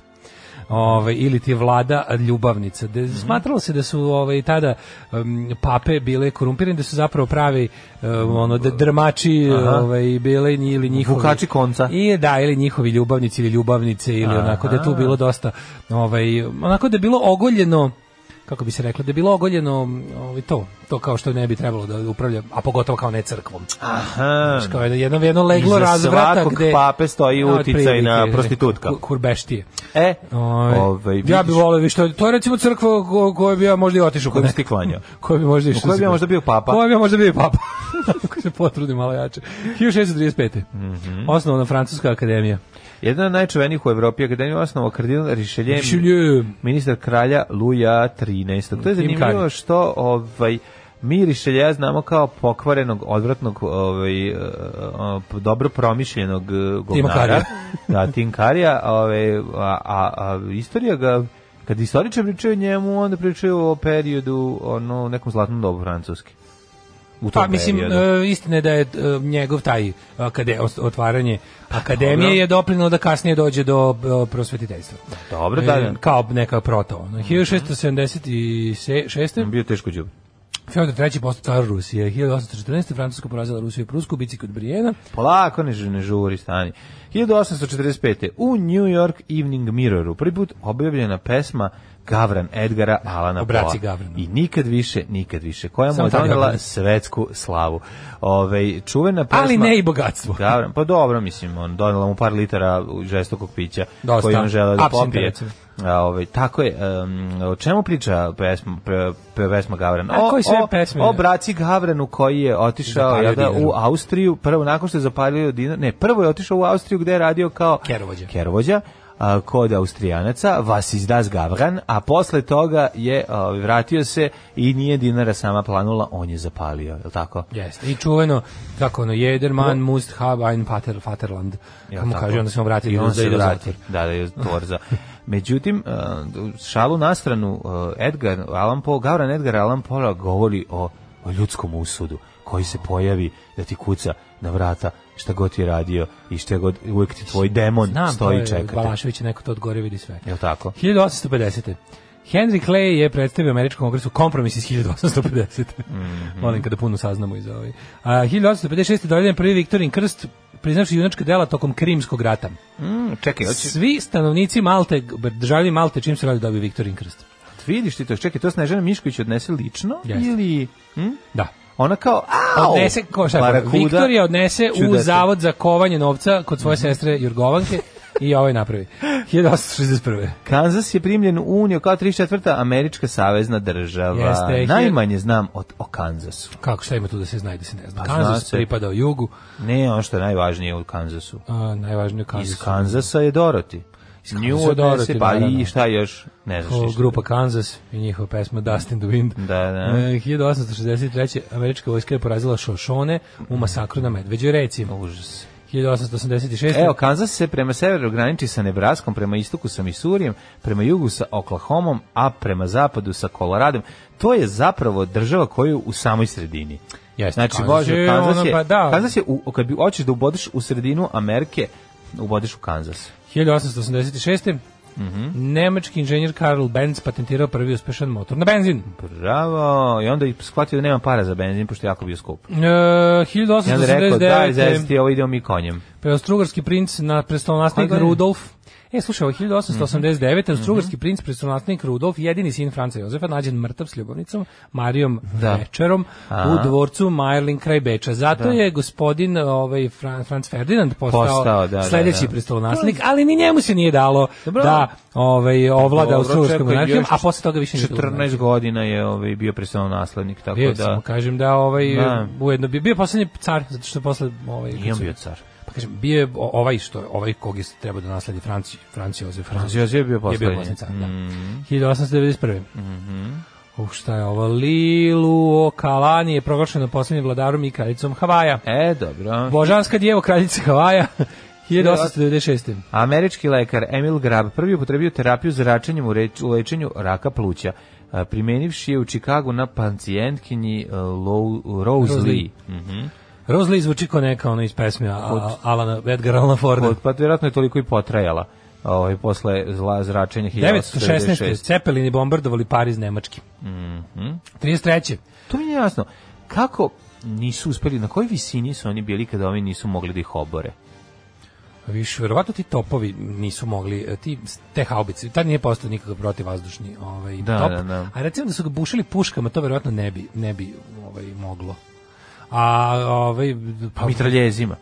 S6: ovaj ili ti vlada ljubavnica. Da,
S5: Mhm.
S6: Smatralo se da su ovaj tada em, pape bile korumpirane, da su zapravo pravi em, ono da drmači ovaj bile nji- ili njihovi
S5: Vukači konca.
S6: I da ili njihovi ljubavnici ili ljubavnice ili onako da je tu bilo dosta ovaj onako da je bilo ogoljeno kako bi se reklo, da je bilo ogoljeno ovaj, to, to kao što ne bi trebalo da upravlja, a pogotovo kao ne crkvom.
S5: Aha.
S6: Znaš, kao jedno, jedno, jedno leglo
S5: Iza
S6: razvrata
S5: svakog
S6: gde...
S5: pape stoji
S6: Da,
S5: uticaj
S6: otprilike,
S5: na
S6: neka
S5: prostitutka.
S6: ku- Kurbeštije.
S5: E,
S6: Ovaj,
S5: ovaj,
S6: ja
S5: vidiš,
S6: bih volio više, to- to je recimo crkva ko, koju bi ja možda i otišao.
S5: Koju
S6: kod
S5: bi ti
S6: nekog.
S5: klanjao.
S6: Koju bi možda išao.
S5: U kojoj bi ja možda bio papa.
S6: Koju bi ja možda bio i papa. Ako se potrudi malo jače. 1635.
S5: Mhm.
S6: Osnovna Francuska akademija.
S5: Jedan od najčuvenijih u Evropi, akademija osnova kardinal Richelieu,
S6: Richelieu.
S5: ministar kralja Luja 13. To je
S6: Kim
S5: zanimljivo
S6: Kari.
S5: što ovaj, mi Richelieu znamo kao pokvarenog, odvratnog, ovaj, eh, eh, dobro promišljenog eh, govnara.
S6: Karija.
S5: da, Tim Karija. Ovaj, a, a, a istorija ga Kad istoričar pričaju o njemu, onda pričaju o periodu, ono, u nekom zlatnom dobu francuski. U tom
S6: Pa mislim,
S5: periodu.
S6: e, istina je da je e, njegov taj akade, os- otvaranje akademije
S5: Pa, dobro.
S6: je doprinilo da kasnije dođe do e, prosvetiteljstva.
S5: Dobro, Mhm. da,
S6: E, Kao neka proto. ono. 1676.
S5: bio teško džubre.
S6: Fjodor III. postao car Rusije. 1814. Francuska porazila Rusiju i Prusku u bici kod Brijena.
S5: Polako, ne, žu- ne žuri, stani. 1845. U New York Evening Mirroru prvi put objavljena pesma Gavran Edgara Alana
S6: Obraci
S5: Poe.
S6: Gavranu.
S5: I nikad više, nikad više. Koja mu
S6: Samo
S5: je
S6: tad
S5: donela
S6: Gavran.
S5: svetsku slavu. Ove, čuvena pesma...
S6: Ali ne i bogatstvo.
S5: Gavran, pa dobro, mislim, on donela mu par litara žestokog pića
S6: Dosta.
S5: koji on želeo da
S6: Absinta,
S5: popije.
S6: recimo.
S5: A, ovaj, tako je, em, o čemu priča pesma, pe- pe- pesma Gavran?
S6: A koji sve pesme?
S5: O braci Gavranu koji je otišao
S6: Zapalio
S5: jel da,
S6: dinar.
S5: u Austriju, prvo nakon što je zapalio dinar, ne, prvo je otišao u Austriju gde je radio kao
S6: Kerovođa.
S5: Kerovođa a, kod Austrijanaca, vas izdas Gavran, a posle toga je a, vratio se i nije dinara sama planula, on je zapalio, je tako?
S6: Jeste. I čuveno, kako ono, jeder man must have ein pater, Vaterland.
S5: Jel
S6: Kako mu
S5: tako?
S6: kaže, onda se on vrati.
S5: I on se vrati.
S6: vrati.
S5: Da, da, je torza. Međutim, eh, šalu na stranu, eh, Edgar Allan Poe, Gavran Edgar Allan Poe govori o, o ljudskom usudu koji se pojavi da ti kuca na vrata šta god ti je radio i šta god, uvijek ti tvoj demon
S6: Znam,
S5: stoji i
S6: to je
S5: čeka te.
S6: Balašević je neko to odgore vidi sve.
S5: Jel tako?
S6: 1850. Henry Clay je predstavio američkom kongresu kompromis iz 1850.
S5: Mhm.
S6: Molim kada puno saznamo iz ovaj. A 1856. je dodeljen prvi Viktorin krst, priznaši junačka dela tokom Krimskog rata. Hmm,
S5: Mm, čekaj, hoće,
S6: Svi stanovnici Malte, državljani Malte, čim se radi dobio Viktorin krst.
S5: vidiš ti to, čekaj, to Snežana Mišković odnese lično
S6: Jeste.
S5: ili... Hm?
S6: Da.
S5: Ona kao, au!
S6: Odnese, ko šta je problem?
S5: barakuda,
S6: Viktorija odnese u
S5: čudače.
S6: zavod za kovanje novca kod
S5: Mhm.
S6: svoje sestre Jurgovanke i ovaj napravi. 1861.
S5: Kansas je primljen u Uniju kao 34. američka savezna država.
S6: Jeste, je-
S5: Najmanje znam od, o Kanzasu.
S6: Kako šta ima tu da se zna i da se ne zna?
S5: Pa zna
S6: Kansas
S5: se.
S6: pripadao jugu,
S5: Ne, ono što je najvažnije u Kanzasu.
S6: a, najvažnije Kansas.
S5: Iz Kanzasa je Dorothy. Iz
S6: Kanzasa
S5: Nju
S6: je
S5: odnese,
S6: Dorothy,
S5: pa
S6: naravno.
S5: i šta još? Ne znaš
S6: Kao
S5: ništa.
S6: Pa, grupa Kansas i njihova pesma Dust in the Wind.
S5: Da, da.
S6: E, 1863. američka vojska je porazila Šošone u masakru na Medveđoj reci.
S5: Užas.
S6: 1886.
S5: Evo, Kanzas se prema severu graniči sa Nebraskom, prema istoku sa Misurijem, prema jugu sa Oklahomom, a prema zapadu sa Koloradom. To je zapravo država koja je u samoj sredini.
S6: Jeste,
S5: znači,
S6: Kanzas
S5: Bože,
S6: je
S5: Kanzas
S6: ono,
S5: je,
S6: pa da.
S5: Kanzas je u, kad bi, hoćeš da ubodeš u sredinu Amerike, ubodeš u Kanzas.
S6: 1886.
S5: Mhm.
S6: Nemački inženjer Karl Benz patentirao prvi uspešan motor na benzin. E,
S5: Bravo. I onda je shvatio da nema para za benzin, pošto je jako bio skup.
S6: E,
S5: I onda je rekao, daj, zezati
S6: 1889.
S5: ti, ovo idemo mi konjem.
S6: Preostrugarski princ na prestolonasnik
S5: Koje godine?
S6: Rudolf. E, slušaj,
S5: Mhm.
S6: ovo je 1889. Austrugarski princ, prestolonasnik Rudolf, jedini sin Franca Jozefa, nađen mrtav s ljubavnicom, Marijom
S5: Da.
S6: Večerom,
S5: Aha.
S6: u dvorcu Majerlin kraj Beča. Zato je gospodin ovaj, Fran, Franz Ferdinand postao,
S5: Postao, da, da,
S6: sledeći
S5: da.
S6: prestolonasnik, ali ni njemu se nije dalo
S5: Dobro.
S6: da ovaj, ovlada
S5: Dobro,
S6: Austrugarskom
S5: čekaj,
S6: monarhijom,
S5: još
S6: a posle toga više nije bilo.
S5: 14 godina je ovaj, bio predstavno naslednik, tako
S6: Bio je,
S5: da...
S6: samo kažem da ovaj
S5: Da.
S6: ujedno bio, bio je poslednji car zato što je posle ovaj
S5: Nije on
S6: kad su-
S5: bio car.
S6: pa kažem, bio je o- ovaj što ovaj kog je trebao da nasledi Franci, Franci Jozef.
S5: Franz Josef je bio
S6: je bio
S5: poslednji.
S6: poslednji car, da.
S5: Mm.
S6: 1891. Mhm. Uh, šta je ovo? Lilu Okalani je proglašena poslednjim vladarom i kraljicom Havaja.
S5: E, dobro.
S6: Božanska djevo kraljica Havaja. 1896.
S5: Američki lekar Emil Grab prvi upotrebio terapiju za račenjem u, reč- u lečenju raka pluća, a, primenivši je u Čikagu na pacijentkinji e, Lou- Rose,
S6: Rose
S5: Lee.
S6: Lee.
S5: Mhm.
S6: Rose Lee zvuči kao neka ono iz pesme a, Alana Edgar Allan Forda.
S5: Pa vjerojatno je toliko i potrajala. ovaj, posle zla zračenja
S6: 916.
S5: 1896.
S6: Cepelini bombardovali Pariz Nemački. Mm
S5: Mhm.
S6: 33.
S5: To mi je jasno. Kako nisu uspeli, na kojoj visini su oni bili kada ovi nisu mogli da ih obore?
S6: Pa Više, verovatno ti topovi nisu mogli, e, ti, te haubice, tad nije postao nikakav protivvazdušni ovaj,
S5: Da,
S6: top.
S5: da, da.
S6: A recimo da su ga bušili puškama, to verovatno ne bi, ne bi ovaj, moglo. A, ovaj,
S5: Pa mitraljezima.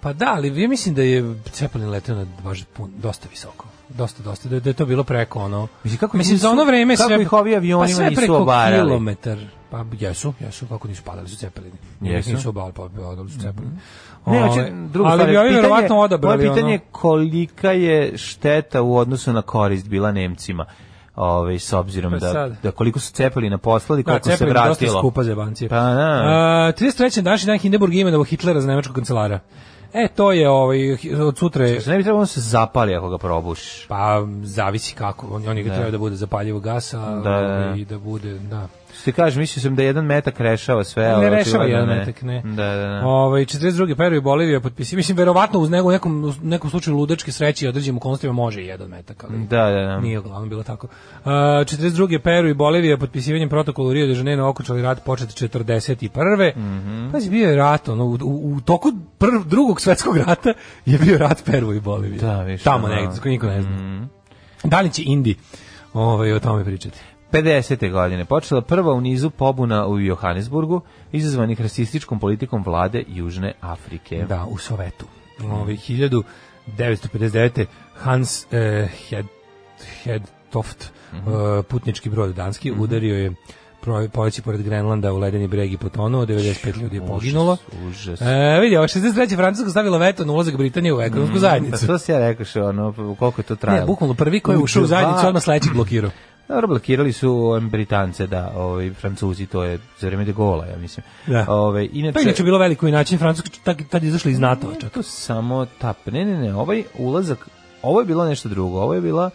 S6: Pa da, ali ja mislim da je Cepelin leteo na baš pun, dosta visoko. Dosta, dosta, da, da je to bilo preko ono...
S5: Mislim, kako ih
S6: mislim za
S5: nisu-
S6: ono vreme
S5: kako
S6: sve...
S5: ih ovi avioni
S6: pa sve
S5: nisu
S6: preko
S5: obarali?
S6: kilometar. Pa jesu, jesu, kako nisu padali su Cepelini.
S5: Jesu.
S6: Nisu obarali, pa padali su Cepelini.
S5: Ne,
S6: Ovaj,
S5: hoće drugo
S6: ali bi ovi verovatno odabrali
S5: Moje pitanje
S6: ono...
S5: je kolika je šteta u odnosu na korist bila Nemcima. Ovaj s obzirom
S6: Pa
S5: da,
S6: sad.
S5: da koliko su cepeli na poslali, koliko se
S6: Zeppelin je dosta
S5: vratilo.
S6: skupa za jebancije.
S5: Pa da.
S6: A, 33. današnji dan Hindenburg je imenovao Hitlera za nemačkog kancelara. E, to je ovaj, od sutra je...
S5: Znači, ne bi trebalo da se zapali ako ga probušiš.
S6: Pa, zavisi kako. On, on je da. treba da bude zapaljivo gasa
S5: Da, da, da.
S6: i da bude, da.
S5: Što ti kažem, mislio sam da jedan metak rešava sve, ali
S6: ne rešava
S5: očigledno
S6: jedan
S5: ne.
S6: metak, ne.
S5: Da, da, da.
S6: Ovaj 42. Peru i Bolivija potpisi. Mislim verovatno uz nego nekom nekom slučaju ludačke sreće i određenim okolnostima može i jedan metak, ali
S5: Da, da, da.
S6: Nije uglavnom bilo tako. Uh, 42. Peru i Bolivija potpisivanjem protokola u Rio de Janeiro okončali rat počet 41. Mm
S5: Mhm.
S6: -hmm. Pazi, bio je rat, ono, u, u, u toku prv, drugog svetskog rata je bio rat Peru i Bolivije.
S5: Da, više,
S6: Tamo
S5: da. Mhm.
S6: negdje, za koje niko ne zna. Da li će Indi ovaj, o tome pričati?
S5: 50. godine počela prva u nizu pobuna u Johannesburgu, izazvanih rasističkom politikom vlade Južne Afrike.
S6: Da, u Sovetu. Ovaj 1959. Hans eh, Hed, Hedtoft,
S5: Mhm.
S6: eh, putnički brod danski, udario je pro- poleći pored Grenlanda u ledeni breg i potonuo, 95 ljudi je poginulo.
S5: Užas.
S6: E, vidio, 63. Francuska stavila veto na ulazak Britanije u ekonomsku
S5: Pa
S6: zajednicu.
S5: što si ja rekaš, ono, koliko je to trajalo?
S6: Ne, bukvalno prvi koji je ušao u
S5: Dva-
S6: zajednicu, odmah sledećeg blokirao.
S5: Dobro, blokirali su em, Britance, da, ovaj, Francuzi, to je za vreme de Gola, ja mislim.
S6: Da.
S5: Ovaj, inače,
S6: To je Pa inače bilo veliko inače, Francuska tad, tad je izašla iz NATO-a
S5: Nije
S6: čak.
S5: to samo tap. Ne, ne, ne, ovaj ulazak, ovo je bilo nešto drugo, ovo je bila...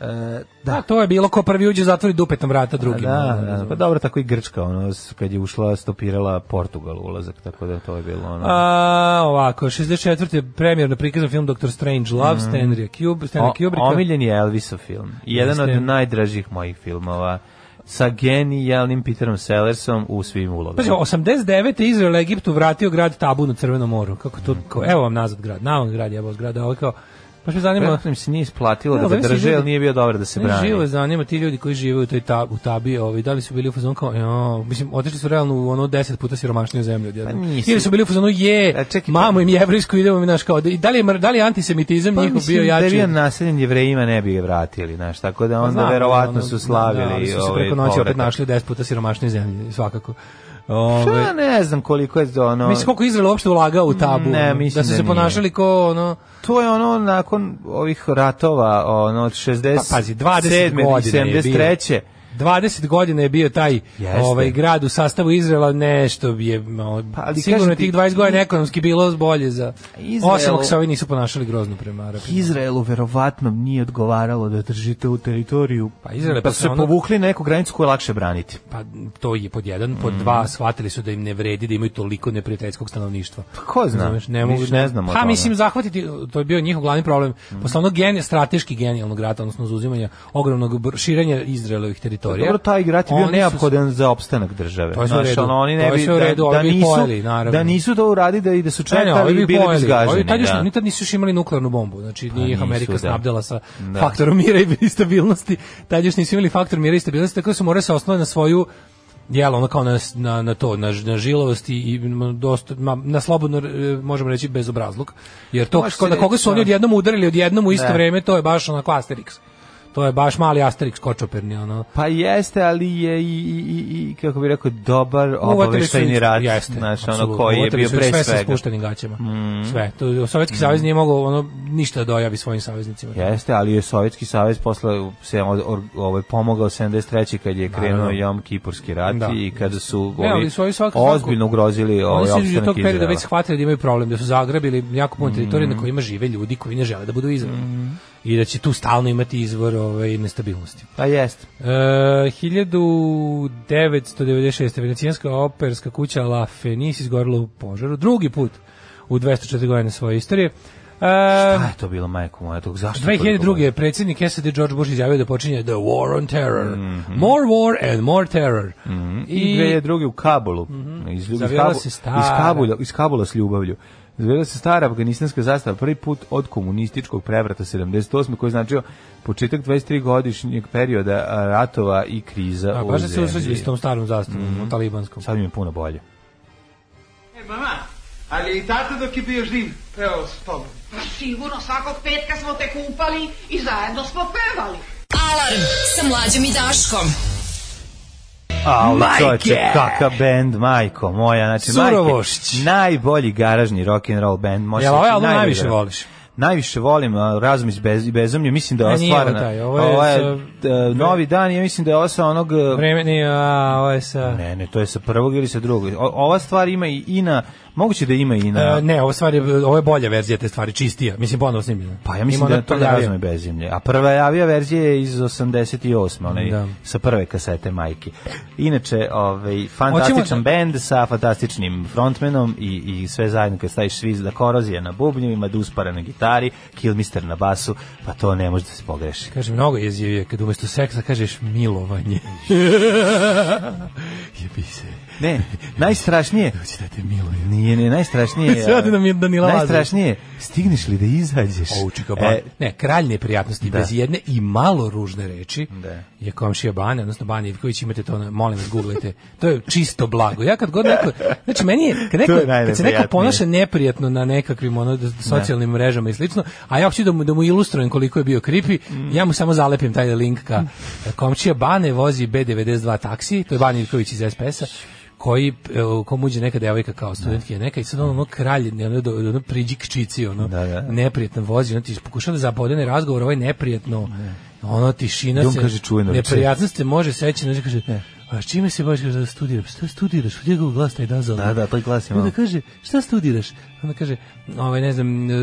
S5: e,
S6: Da,
S5: da,
S6: Pa to je bilo ko prvi uđe zatvori dupetom vrata drugim.
S5: da, da, pa dobro, tako i Grčka, ono, s- kad je ušla, stopirala Portugal ulazak, tako da to je bilo, ono...
S6: A, ovako, 64. premjerno prikazan film Dr. Strange Love, Stanley Cube, Stanley
S5: Mhm. O-
S6: Kubricka.
S5: omiljen je Elvisov film. Jedan od
S6: Jeste.
S5: najdražih mojih filmova sa genijalnim Peterom Sellersom u svim ulogama.
S6: Pazi, 89. Izrael Egiptu vratio grad Tabu na Crvenom moru. Kako
S5: Mhm.
S6: to, kao, evo vam nazad grad, na vam grad, jebo grad, a ovo je kao, baš me zanima,
S5: Vjerojatno im se nije isplatilo
S6: Ne,
S5: da ga
S6: ali mislim,
S5: drže,
S6: ljudi-
S5: jer nije bio dobar da se
S6: ne
S5: brani.
S6: živo je zanima ti ljudi koji žive u toj tab, u tabi, ovaj, da li su bili u fazonu kao, jo, mislim, otišli su realno u ono 10 puta siromašniju zemlju. odjednom.
S5: Pa nisu.
S6: Ili su bili u fazonu, je,
S5: A čekaj,
S6: mamo im jevrijsku, idemo mi naš kao, da- i da li je, mr- da li je antisemitizam
S5: Pa
S6: njihov
S5: mislim
S6: bio
S5: da je
S6: jači?
S5: bio naseljen jevrejima, ne bi ga vratili, znaš, tako da onda
S6: Znam,
S5: verovatno
S6: ono,
S5: su slavili
S6: da, ali su se
S5: ovaj
S6: preko noći opet
S5: povratak.
S6: našli u 10 puta siromašnoj zemlji, svakako.
S5: Šta, ono?
S6: Ove,
S5: ne znam koliko je ono...
S6: mislim, koliko Izrael uopšte ulagao u tabu? ono,
S5: Ne, mislim
S6: da su
S5: da
S6: se
S5: nije.
S6: ponašali ko, ono...
S5: To je ono nakon ovih ratova, ono od 67.
S6: Pa pazi, 20 godina je bio.
S5: 73.
S6: 20 godina je bio taj
S5: Jeste.
S6: ovaj grad u sastavu Izraela, nešto bi je malo,
S5: Pa, ali
S6: sigurno
S5: kažem
S6: je tih
S5: ti-
S6: 20 godina ekonomski bilo bolje za
S5: Izrael-
S6: osim ako se ovi nisu ponašali grozno prema Arapima.
S5: Izraelu verovatno nije odgovaralo da držite u teritoriju.
S6: Pa Izrael je
S5: pa
S6: posle
S5: su se
S6: ono-
S5: povukli na neku granicu koju je lakše braniti.
S6: Pa to je pod jedan, pod
S5: Mm.
S6: dva shvatili su da im ne vredi da imaju toliko neprijateljskog stanovništva.
S5: Ko zna?
S6: Razumeš, ne mogu
S5: Više ne znamo o
S6: Pa
S5: tome. Mm.
S6: mislim zahvatiti to je bio njihov glavni problem. Posle onog gen strateški genijalnog rata, odnosno zauzimanja ogromnog br- širenja Izraelovih teritorija.
S5: Dobro, taj igrač je bio
S6: Pa oni su-
S5: neophodan za opstanak države.
S6: To je sve u
S5: Znaš,
S6: redu.
S5: ono, oni ne
S6: To je
S5: bi,
S6: sve u redu,
S5: da,
S6: ovi
S5: da,
S6: bi ih
S5: nisu,
S6: pojeli, naravno.
S5: da nisu to uradili i da su
S6: Ne, ne, ovi
S5: čekali,
S6: bi
S5: bili bi
S6: pojeli.
S5: zgaženi.
S6: Ovi tad, još,
S5: da. Pa
S6: ni tad nisu još imali nuklearnu bombu, znači nije ih
S5: nisu,
S6: Amerika
S5: da.
S6: snabdela sa
S5: Da.
S6: faktorom mira i stabilnosti, tad još nisu imali faktor mira i stabilnosti, tako da su morali se osnovati na svoju jel, ono kao na, na, na to, na, ž- na žilovost i- i m, dosta, ma, na slobodno, e, možemo reći, bezobrazluk. Jer to,
S5: Može
S6: ko,
S5: se
S6: na koga su
S5: reći,
S6: oni
S5: da.
S6: odjednom udarili, odjednom u isto
S5: Da.
S6: vreme, to je baš onako Asterix. To je baš mali Asterix kočoperni, ono.
S5: Pa jeste, ali je i, i, i, i kako bi rekao, dobar obaveštajni
S6: Uvatili su-
S5: rat,
S6: jeste,
S5: Pa, znaš, ono
S6: apsolutno.
S5: koji je
S6: Uvatili
S5: bio
S6: su ih
S5: pre
S6: sve sa
S5: svega. Mm.
S6: spuštenim gaćama. Sve. To, Sovjetski savez nije mogao ono, ništa da dojavi svojim saveznicima.
S5: Jeste, ali je Sovjetski savez posle se od- or- ovaj pomogao 73 kad je krenuo Jom Kipurski rat
S6: Da.
S5: i kada su
S6: Ne,
S5: ovi
S6: ali su ovi svakako-
S5: ozbiljno ugrozili
S6: Oni
S5: ovaj
S6: su između
S5: opstanak
S6: tog perioda
S5: Izraela. Mm.
S6: već shvatili da imaju problem, da su zagrabili jako puno teritorije na kojima žive ljudi koji ne žele da budu u Izraelu. I da će tu stalno imati izvor ovaj, nestabilnosti.
S5: Pa jeste.
S6: E, 1996. Venecijanska operska kuća La Fenice izgorila u požaru drugi put u 204 godine svoje istorije. E,
S5: Šta Pa je to bilo, majko moja? Tog, zašto? je toliko
S6: 2002. je predsjednik SAD George Bush izjavio da počinje The War on Terror. More war and more terror.
S5: Mhm. i 2002. u Kabulu. iz, iz,
S6: Mhm. Zavijala
S5: Kabu-
S6: se stara.
S5: iz, Kabula, iz Kabula s ljubavlju. Zvela se stara afganistanska zastava prvi put od komunističkog prevrata 78. koji je značio početak 23 godišnjeg perioda a, ratova i kriza
S6: A,
S5: u
S6: baš da se
S5: zemlji.
S6: usređili s tom starom zastavom,
S5: Mhm.
S6: talibanskom.
S5: Sad mi je puno bolje.
S7: E, mama, ali i tata dok je bio živ, peo s tobom.
S8: Pa sigurno svakog petka smo te kupali i zajedno smo pevali.
S4: Alarm sa mlađom i Daškom.
S5: Au,
S6: Majke!
S5: čoveče, kaka bend, majko moja. Znači,
S6: Surovošć.
S5: Majke, najbolji garažni rock and roll bend. Može
S6: Jel
S5: reći,
S6: ovaj album
S5: najbolji
S6: najviše
S5: rock.
S6: voliš?
S5: Najviše volim a, Razum iz bez, i bezumlje, mislim da je
S6: A
S5: ova
S6: nije ovo
S5: stvarna.
S6: taj, ovo je
S5: d- novi dan, ja mislim da je ovo sa onog... e,
S6: Vremeni, a, ovo je sa...
S5: Ne, ne, to je sa prvog ili sa drugog. O- ova stvar ima i, i na, moguće da ima i na...
S6: E, ne, ovo, stvar je, ovo je bolja verzija te stvari, čistija. Mislim, ponovo snimljena.
S5: pa ja mislim
S6: Ima
S5: da
S6: ona
S5: je to da
S6: prljavija.
S5: razume bez zemlje. A prva javija verzija je iz 88. Onaj,
S6: Da.
S5: sa prve kasete majke. Inače, ovaj, fantastičan
S6: Hoćemo-
S5: bend sa fantastičnim frontmenom i, i sve zajedno kad staviš sviz da korozija na bubnjevima, da uspara na gitari, kilmister na basu, pa to ne može da se pogreši.
S6: Kaže, mnogo jezivije kad umesto seksa kažeš milovanje. Jebi se.
S5: Ne, najstrašnije...
S6: Hoće da te milujem.
S5: Nije, ne, najstrašnije... je-
S6: Sjedi nam je Danila Lazar.
S5: Najstrašnije, je, stigneš li da izađeš?
S6: Oučika
S5: E,
S6: ne, kralj neprijatnosti
S5: Da.
S6: bez jedne i malo ružne reči
S5: Da.
S6: je komšija Bane, odnosno Bane Ivković, imate to, na- molim vas, googlajte. To je čisto blago. Ja kad god neko, znači meni je, kad, neko,
S5: To je
S6: kad se neko
S5: najneprijatnije.
S6: ponaša neprijatno na nekakvim ono, d- socijalnim mrežama i slično, a ja hoću da mu, da mu ilustrujem koliko je bio kripi,
S5: Mm.
S6: ja mu samo zalepim taj link ka komšija Bane vozi B92 taksi, to je Bane Ivković iz SPS-a, koji e, u kom uđe neka devojka kao studentkinja neka i sad ono, ono kralj ne, ono, do- ono priđi kčici ono
S5: Da, da.
S6: neprijatno vozi, ono ti pokušava da zabodene razgovor, ovaj neprijatno, ono tišina
S5: I on
S6: se,
S5: kaže čuvenu rečenicu.
S6: neprijatnost se može seći, znači kaže, a čime se baš kaže, studiraš, šta studiraš, od njegov glas taj da za
S5: Da, da, taj glas je
S6: Onda
S5: malo.
S6: kaže, šta studiraš? Onda kaže, ovaj, ne znam, e,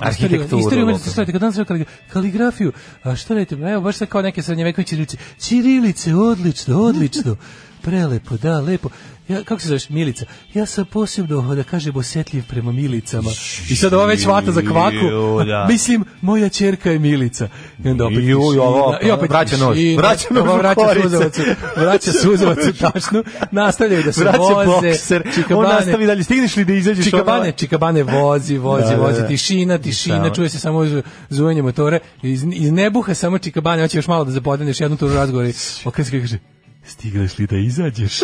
S5: Arhitekturu,
S6: istoriju- Istoriju
S5: lokalno.
S6: umetnosti sveta, kad danas rekao kaligrafiju, a šta radite? Evo, baš sad kao neke srednjevekovne ćirilice. Ćirilice, odlično, odlično. Prelepo, da, lepo. Ja, kako se zoveš, Milica? Ja sam posebno, da kažem, osjetljiv prema Milicama. I sad ova već vata za kvaku.
S5: Ju, da.
S6: Mislim, moja čerka je Milica. I onda opet
S5: Ju,
S6: tišina,
S5: ovo,
S6: i opet
S5: vraća nož,
S6: tišina,
S5: vraća nož
S6: ova
S5: u
S6: vraća
S5: korice.
S6: suzavac, u- vraća suzavac u tašnu, nastavljaju da se
S5: Vraća
S6: voze,
S5: bokser, on
S6: čikabane,
S5: nastavi dalje, stigneš li da izađeš?
S6: Čikabane,
S5: Ono-
S6: čikabane vozi, vozi,
S5: Da, da,
S6: vozi,
S5: da.
S6: tišina, tišina,
S5: Samo.
S6: čuje se samo zu- zujanje motora, iz, iz nebuha samo čikabane, hoće još malo da zapodeneš jednu turu razgovora i okrenu se i kaže, stigneš li da izađeš?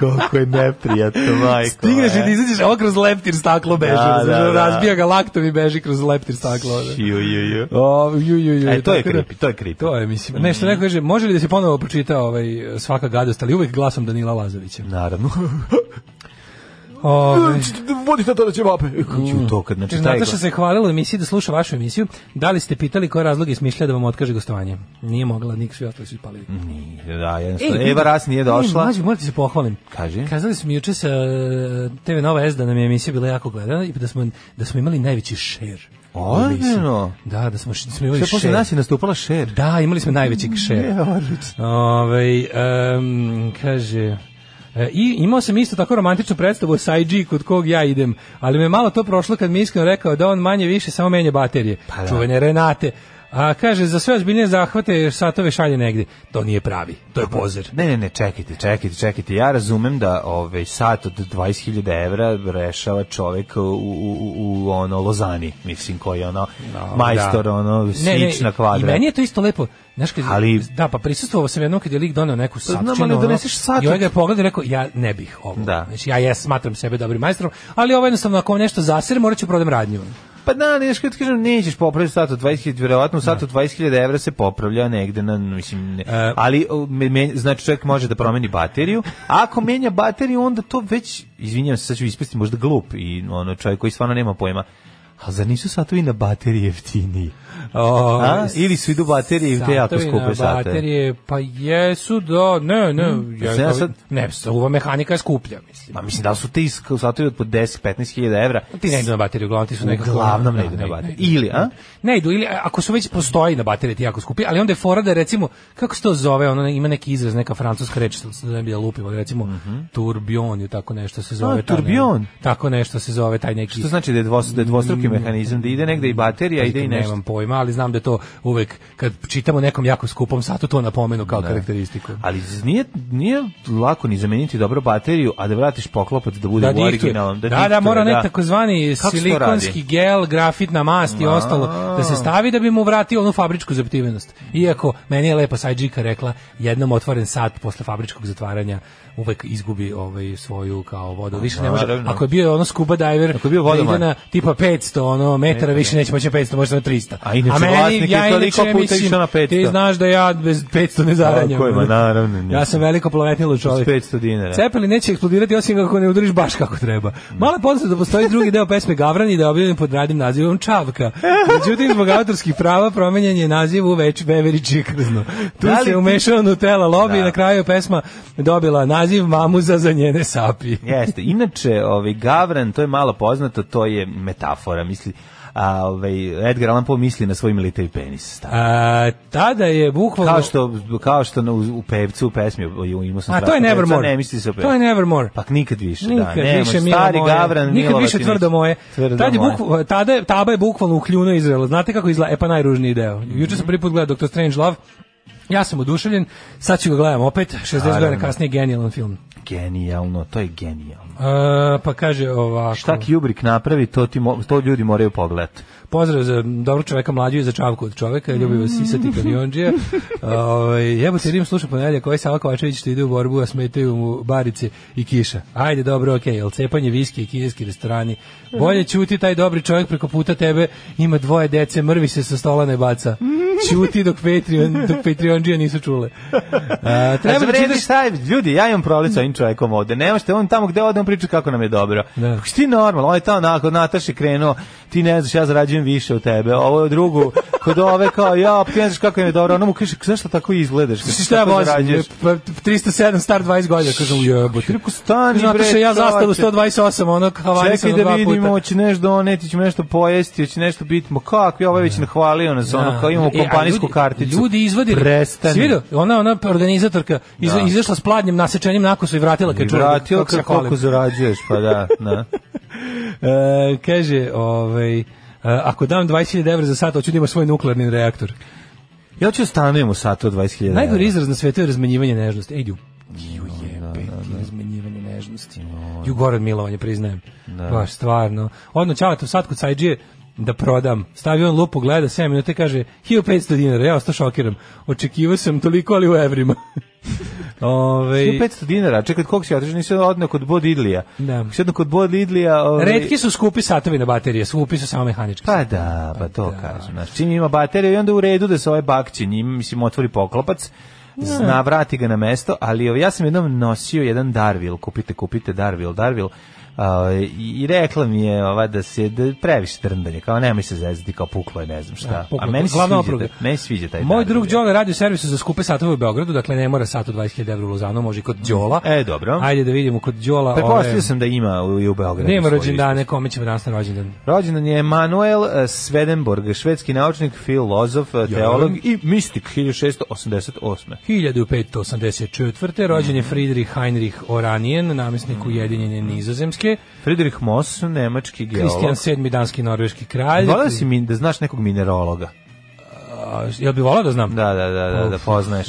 S5: Koliko je neprijatno, majko.
S6: Stigneš li
S5: e.
S6: da izađeš, a ovo kroz leptir staklo beže,
S5: Da,
S6: razumeš,
S5: da, da.
S6: razbija ga laktom i beži kroz leptir staklo. Da.
S5: Ju, ju, ju.
S6: O, ju, ju, ju,
S5: E, to je
S6: tako da-
S5: creepy, to je creepy.
S6: To je, mislim. Nešto neko kaže, može li da se ponovo pročita ovaj, svaka gadost, ali uvek glasom Danila Lazovića.
S5: Naravno.
S6: Ovaj.
S5: Vodite tada ćevape. Ću to kad, znači, taj
S6: Nataša se hvalila u emisiji da sluša vašu emisiju. Da li ste pitali koje razloge smišlja da vam otkaže gostovanje? Nije mogla, nik svi ostali su ispalili.
S5: Da, jednostavno. Mm, Eva Ras nije
S6: E,
S5: došla.
S6: mlađi, morate se pohvalim.
S5: Kaži.
S6: Kazali smo juče sa e, TV Nova S da nam je emisija bila jako gledana i da smo, da smo imali najveći share. u emisiji.
S5: Odlično.
S6: Da, da smo, da smo imali
S5: Sve posle
S6: share.
S5: nas je nastupala šer.
S6: Da, imali smo najvećeg share. Ovaj em, kaže... e, I imao sam isto tako romantičnu predstavu o Saiji kod kog ja idem, ali me malo to prošlo kad mi je iskreno rekao da on manje više samo menja baterije,
S5: da.
S6: čuvene Renate. A kaže, za sve ozbiljnije zahvate satove šalje negdje. To nije pravi, to je pozer.
S5: Ne, ne, ne, čekajte, čekajte, čekajte. Ja razumem da ovaj sat od 20.000 evra rešava čovek u, u, u, u ono Lozani, mislim, koji je ono majstor,
S6: Da.
S5: ono,
S6: Ne, ne,
S5: svić na kvadrat.
S6: I meni je to isto lepo. Znaš, kad,
S5: Ali- Pa
S6: da, pa prisustvovao sam jednom kad je lik donao neku
S5: znam,
S6: sapčinu.
S5: ali
S6: ono,
S5: doneseš sat
S6: I ovaj
S5: od-
S6: ga je pogledao i rekao, ja ne bih ovo.
S5: Da.
S6: Znači, ja, ja smatram sebe dobrim majstrom, ali ovo jednostavno, ako ovo nešto zasere, morat ću prodam radnju.
S5: Pa da, ne, znaš, kad ti kažem, nećeš popraviti sat od 20.000, verovatno sat od 20.000 evra se popravlja negde na, mislim, ne,
S6: E,
S5: ali o, me, me, znači čovjek može da promeni bateriju, a ako menja bateriju, onda to već, izvinjam se, sad ću ispasti možda glup i ono, čovjek koji stvarno nema pojma, A zar nisu satovi na baterije jeftiniji?
S6: O,
S5: A? Ili su idu baterije i te jako
S6: satovi
S5: skupe
S6: na
S5: sate? Hmm.
S6: Baterije, pa jesu, da, ne, ne, ja,
S5: ja
S6: ja
S5: sad-
S6: ne, ova mehanika je skuplja, mislim.
S5: Ma mislim, da li su ti sk- satovi od po 10-15 hiljada evra?
S6: Ti ne idu na bateriju, uglavnom ti su nekako...
S5: Uglavnom ne
S6: Da,
S5: idu na baterije.
S6: idu.
S5: Ili, a?
S6: Ne idu, ili a, ako su već postoji na baterije ti jako skupi, ali onda je fora da je, recimo, kako se to zove, ono ima neki izraz, neka francuska reč, što se da ne bi da lupimo, ali recimo turbion ili tako nešto se
S5: Mhm.
S6: zove.
S5: A,
S6: taj, ne,
S5: turbion.
S6: tako nešto se zove taj neki...
S5: Što znači da je, dvos, da je dvostruki mehanizam, da ide negde i baterija, ide i nešto.
S6: Nemam pojma, ali znam da je to uvek, kad čitamo nekom jako skupom satu, to napomenu kao karakteristiku.
S5: Ali z- nije, nije lako ni zameniti dobro bateriju, a da vratiš poklopac da bude u
S6: diktuje.
S5: originalnom.
S6: Da, da,
S5: diktuje,
S6: mora nek takozvani
S5: Kako se to
S6: silikonski
S5: radi?
S6: gel, grafitna mast i ostalo da se stavi da bi mu vratio onu fabričku zaptivenost. Iako meni je lepa sajđika rekla, jednom otvoren sat posle fabričkog zatvaranja uvek izgubi ovaj svoju kao vodu. Više ne može.
S5: naravno.
S6: Ako je bio ono scuba diver,
S5: Ako je bio
S6: da ide
S5: vodoman.
S6: na tipa 500 ono metara, više neće moći na 500, možda na 300.
S5: A inače
S6: meni-
S5: vlasnik je toliko
S6: inače
S5: puta išao na 500.
S6: Ti znaš da ja bez 500 ne zaranjam.
S5: Tako je, ma naravno, ne.
S6: Ja sam veliko plavetnilo čovjek.
S5: 500 dinara.
S6: Cepeli neće eksplodirati osim ako ne udariš baš kako treba. Mala poznata da postoji drugi deo pesme Gavrani da je objavljen pod radnim nazivom Čavka. Međutim, zbog autorskih prava promenjen je naziv u već Beveri Čikrzno. Tu
S5: Da li ti-
S6: se umešao Nutella lobby
S5: Da.
S6: i na kraju je pesma dobila naziv Mamuza za njene sapi.
S5: Jeste. Inače, ovaj Gavran, to je malo poznato, to je metafora, misli. A ovaj Edgar Allan Poe misli na svoj militav penis. Stavno.
S6: A, tada je bukvalno...
S5: Kao što kao što na, u pevcu u pesmi o, imao sam
S6: A to je
S5: strašno pevca,
S6: Nevermore.
S5: Ne misli se o pevcu.
S6: To je Nevermore.
S5: Pa nikad više,
S6: Nikad
S5: da. nemoj,
S6: više milo
S5: stari
S6: moje.
S5: Gavran,
S6: Nikad
S5: Milo
S6: više
S5: Latinić.
S6: tvrdo moje.
S5: Tvrdo
S6: Tad je
S5: moje.
S6: bukva, tada je, taba je bukvalno uhljuno Izraela. Znate kako izgleda? E pa najružniji deo. Juče sam prvi put gledao Dr. Strange Love. Ja sam oduševljen. Sad ću ga gledam opet. 60
S5: Naravno.
S6: godina kasnije genijalan film.
S5: Genijalno, to je genijalno.
S6: E, pa kaže ovako.
S5: Šta Kubrick napravi, to, ti mo, to ljudi moraju pogledati.
S6: Pozdrav za dobrog čoveka mlađu i za čavku od čoveka, ljubi vas sisati kamionđija. Ovaj jebote Rim sluša ponedeljak, ovaj Sava Kovačević što ide u borbu, a smetaju mu barice i kiša. Ajde, dobro, okej, okay, cepanje viski i kineski restorani. Bolje ćuti taj dobri čovjek preko puta tebe, ima dvoje dece, mrvi se sa stola ne baca. Ćuti dok Patreon, dok Patreonđija nisu čule. A, treba da čitaš
S5: šta je, ljudi, ja imam problem sa ovim čovjekom ovde. Ne možete, on tamo gde ode, on priča kako nam je dobro.
S6: Da.
S5: Kako si ti normalno, on je tamo onako, Nataši krenuo, ti ne znaš, ja zarađujem više od tebe, ovo je drugu, kod ove kao, ja, pa ti ne znaš kako nam je dobro, ono mu kaže, zašto tako izgledaš?
S6: Šta šta ja
S5: Kako
S6: vozim?
S5: zarađuješ?"
S6: Pa, 307 star 20 godina, kažem, jebote.
S5: Kako stani,
S6: Zato
S5: bre,
S6: što ja zastavu
S5: čoveče.
S6: 128, ono kavanisam
S5: Čekaj da
S6: dva puta.
S5: vidimo, hoće nešto doneti, hoće nešto pojesti, hoće nešto biti, ma kako, ja ovaj već nahvalio nas, ono, kao imamo
S6: E, a
S5: kompanijsku
S6: ljudi-
S5: karticu.
S6: Ljudi izvadili.
S5: Prestani.
S6: Si vidio? Ona, ona organizatorka iz, izašla s pladnjem nasečenjem nakosu i vratila kad
S5: I
S6: čula.
S5: vratio
S6: E, se
S5: kako,
S6: hvalim.
S5: koliko zarađuješ, pa da, da.
S6: E, kaže, ovaj, e, ako dam 20.000 evra za sat, hoću da ima svoj nuklearni reaktor.
S5: Ja ću stanujem u satu od 20.000.
S6: Najgori izraz na svetu je razmenjivanje nežnosti. Ej, ju. Ju jebe, ti razmenjivanje nežnosti. Ju gore od milovanja, priznajem. Baš, stvarno. Odno, čavatom sad kod Sajđije da prodam. Stavi on lupu, gleda 7 minuta i kaže 1500 dinara, ja osto šokiram. Očekivao sam toliko, ali u evrima. Ove,
S5: 500 dinara, čekaj, koliko si otišao, nisi odneo kod Bod Idlija.
S6: Da.
S5: Nisi odneo kod Bod Idlija... Ovaj...
S6: Redki su skupi satovi na baterije, skupi su samo mehanički.
S5: Pa da, pa to kažem. Znači, čim ima bateriju i onda u redu da se ovaj bakće njim, mislim, otvori poklopac, zna, vrati ga na mesto, ali ovaj, ja sam jednom nosio jedan Darvil, kupite, kupite Darvil, Darvil, a, i, i rekla mi je ova da se da je previše trndanje, kao nemoj se zezati, kao puklo je, ne znam šta.
S6: Da, puklo,
S5: A meni se
S6: glavna
S5: sviđa,
S6: opruga.
S5: taj- meni se sviđa taj
S6: Moj
S5: Darvil,
S6: drug
S5: ja.
S6: Đola radi u servisu za skupe satove u Beogradu, dakle ne mora sat od 20.000 evra u Lozanu, može i kod Đola.
S5: E, dobro.
S6: Ajde da vidimo kod Đola. ove-
S5: Pretpostavio sam da ima u, i u Beogradu.
S6: Nema
S5: svoju
S6: rođendane, kome ćemo danas na rođendan?
S5: Rođen je Manuel eh, Swedenborg, švedski naučnik, filozof, eh, teolog i mistik 1688.
S6: 1584. rođen je Friedrich Heinrich Oranijen,
S5: Mm.
S6: namjesnik Ujedinjene Nizozemske,
S5: Friedrich Moss, nemački geolog.
S6: Kristijan VII. danski i norveški kralj.
S5: Volao si mi da znaš nekog minerologa.
S6: A, Jel bi volao da znam?
S5: Da, da, da, da, da
S6: Uf,
S5: poznaješ.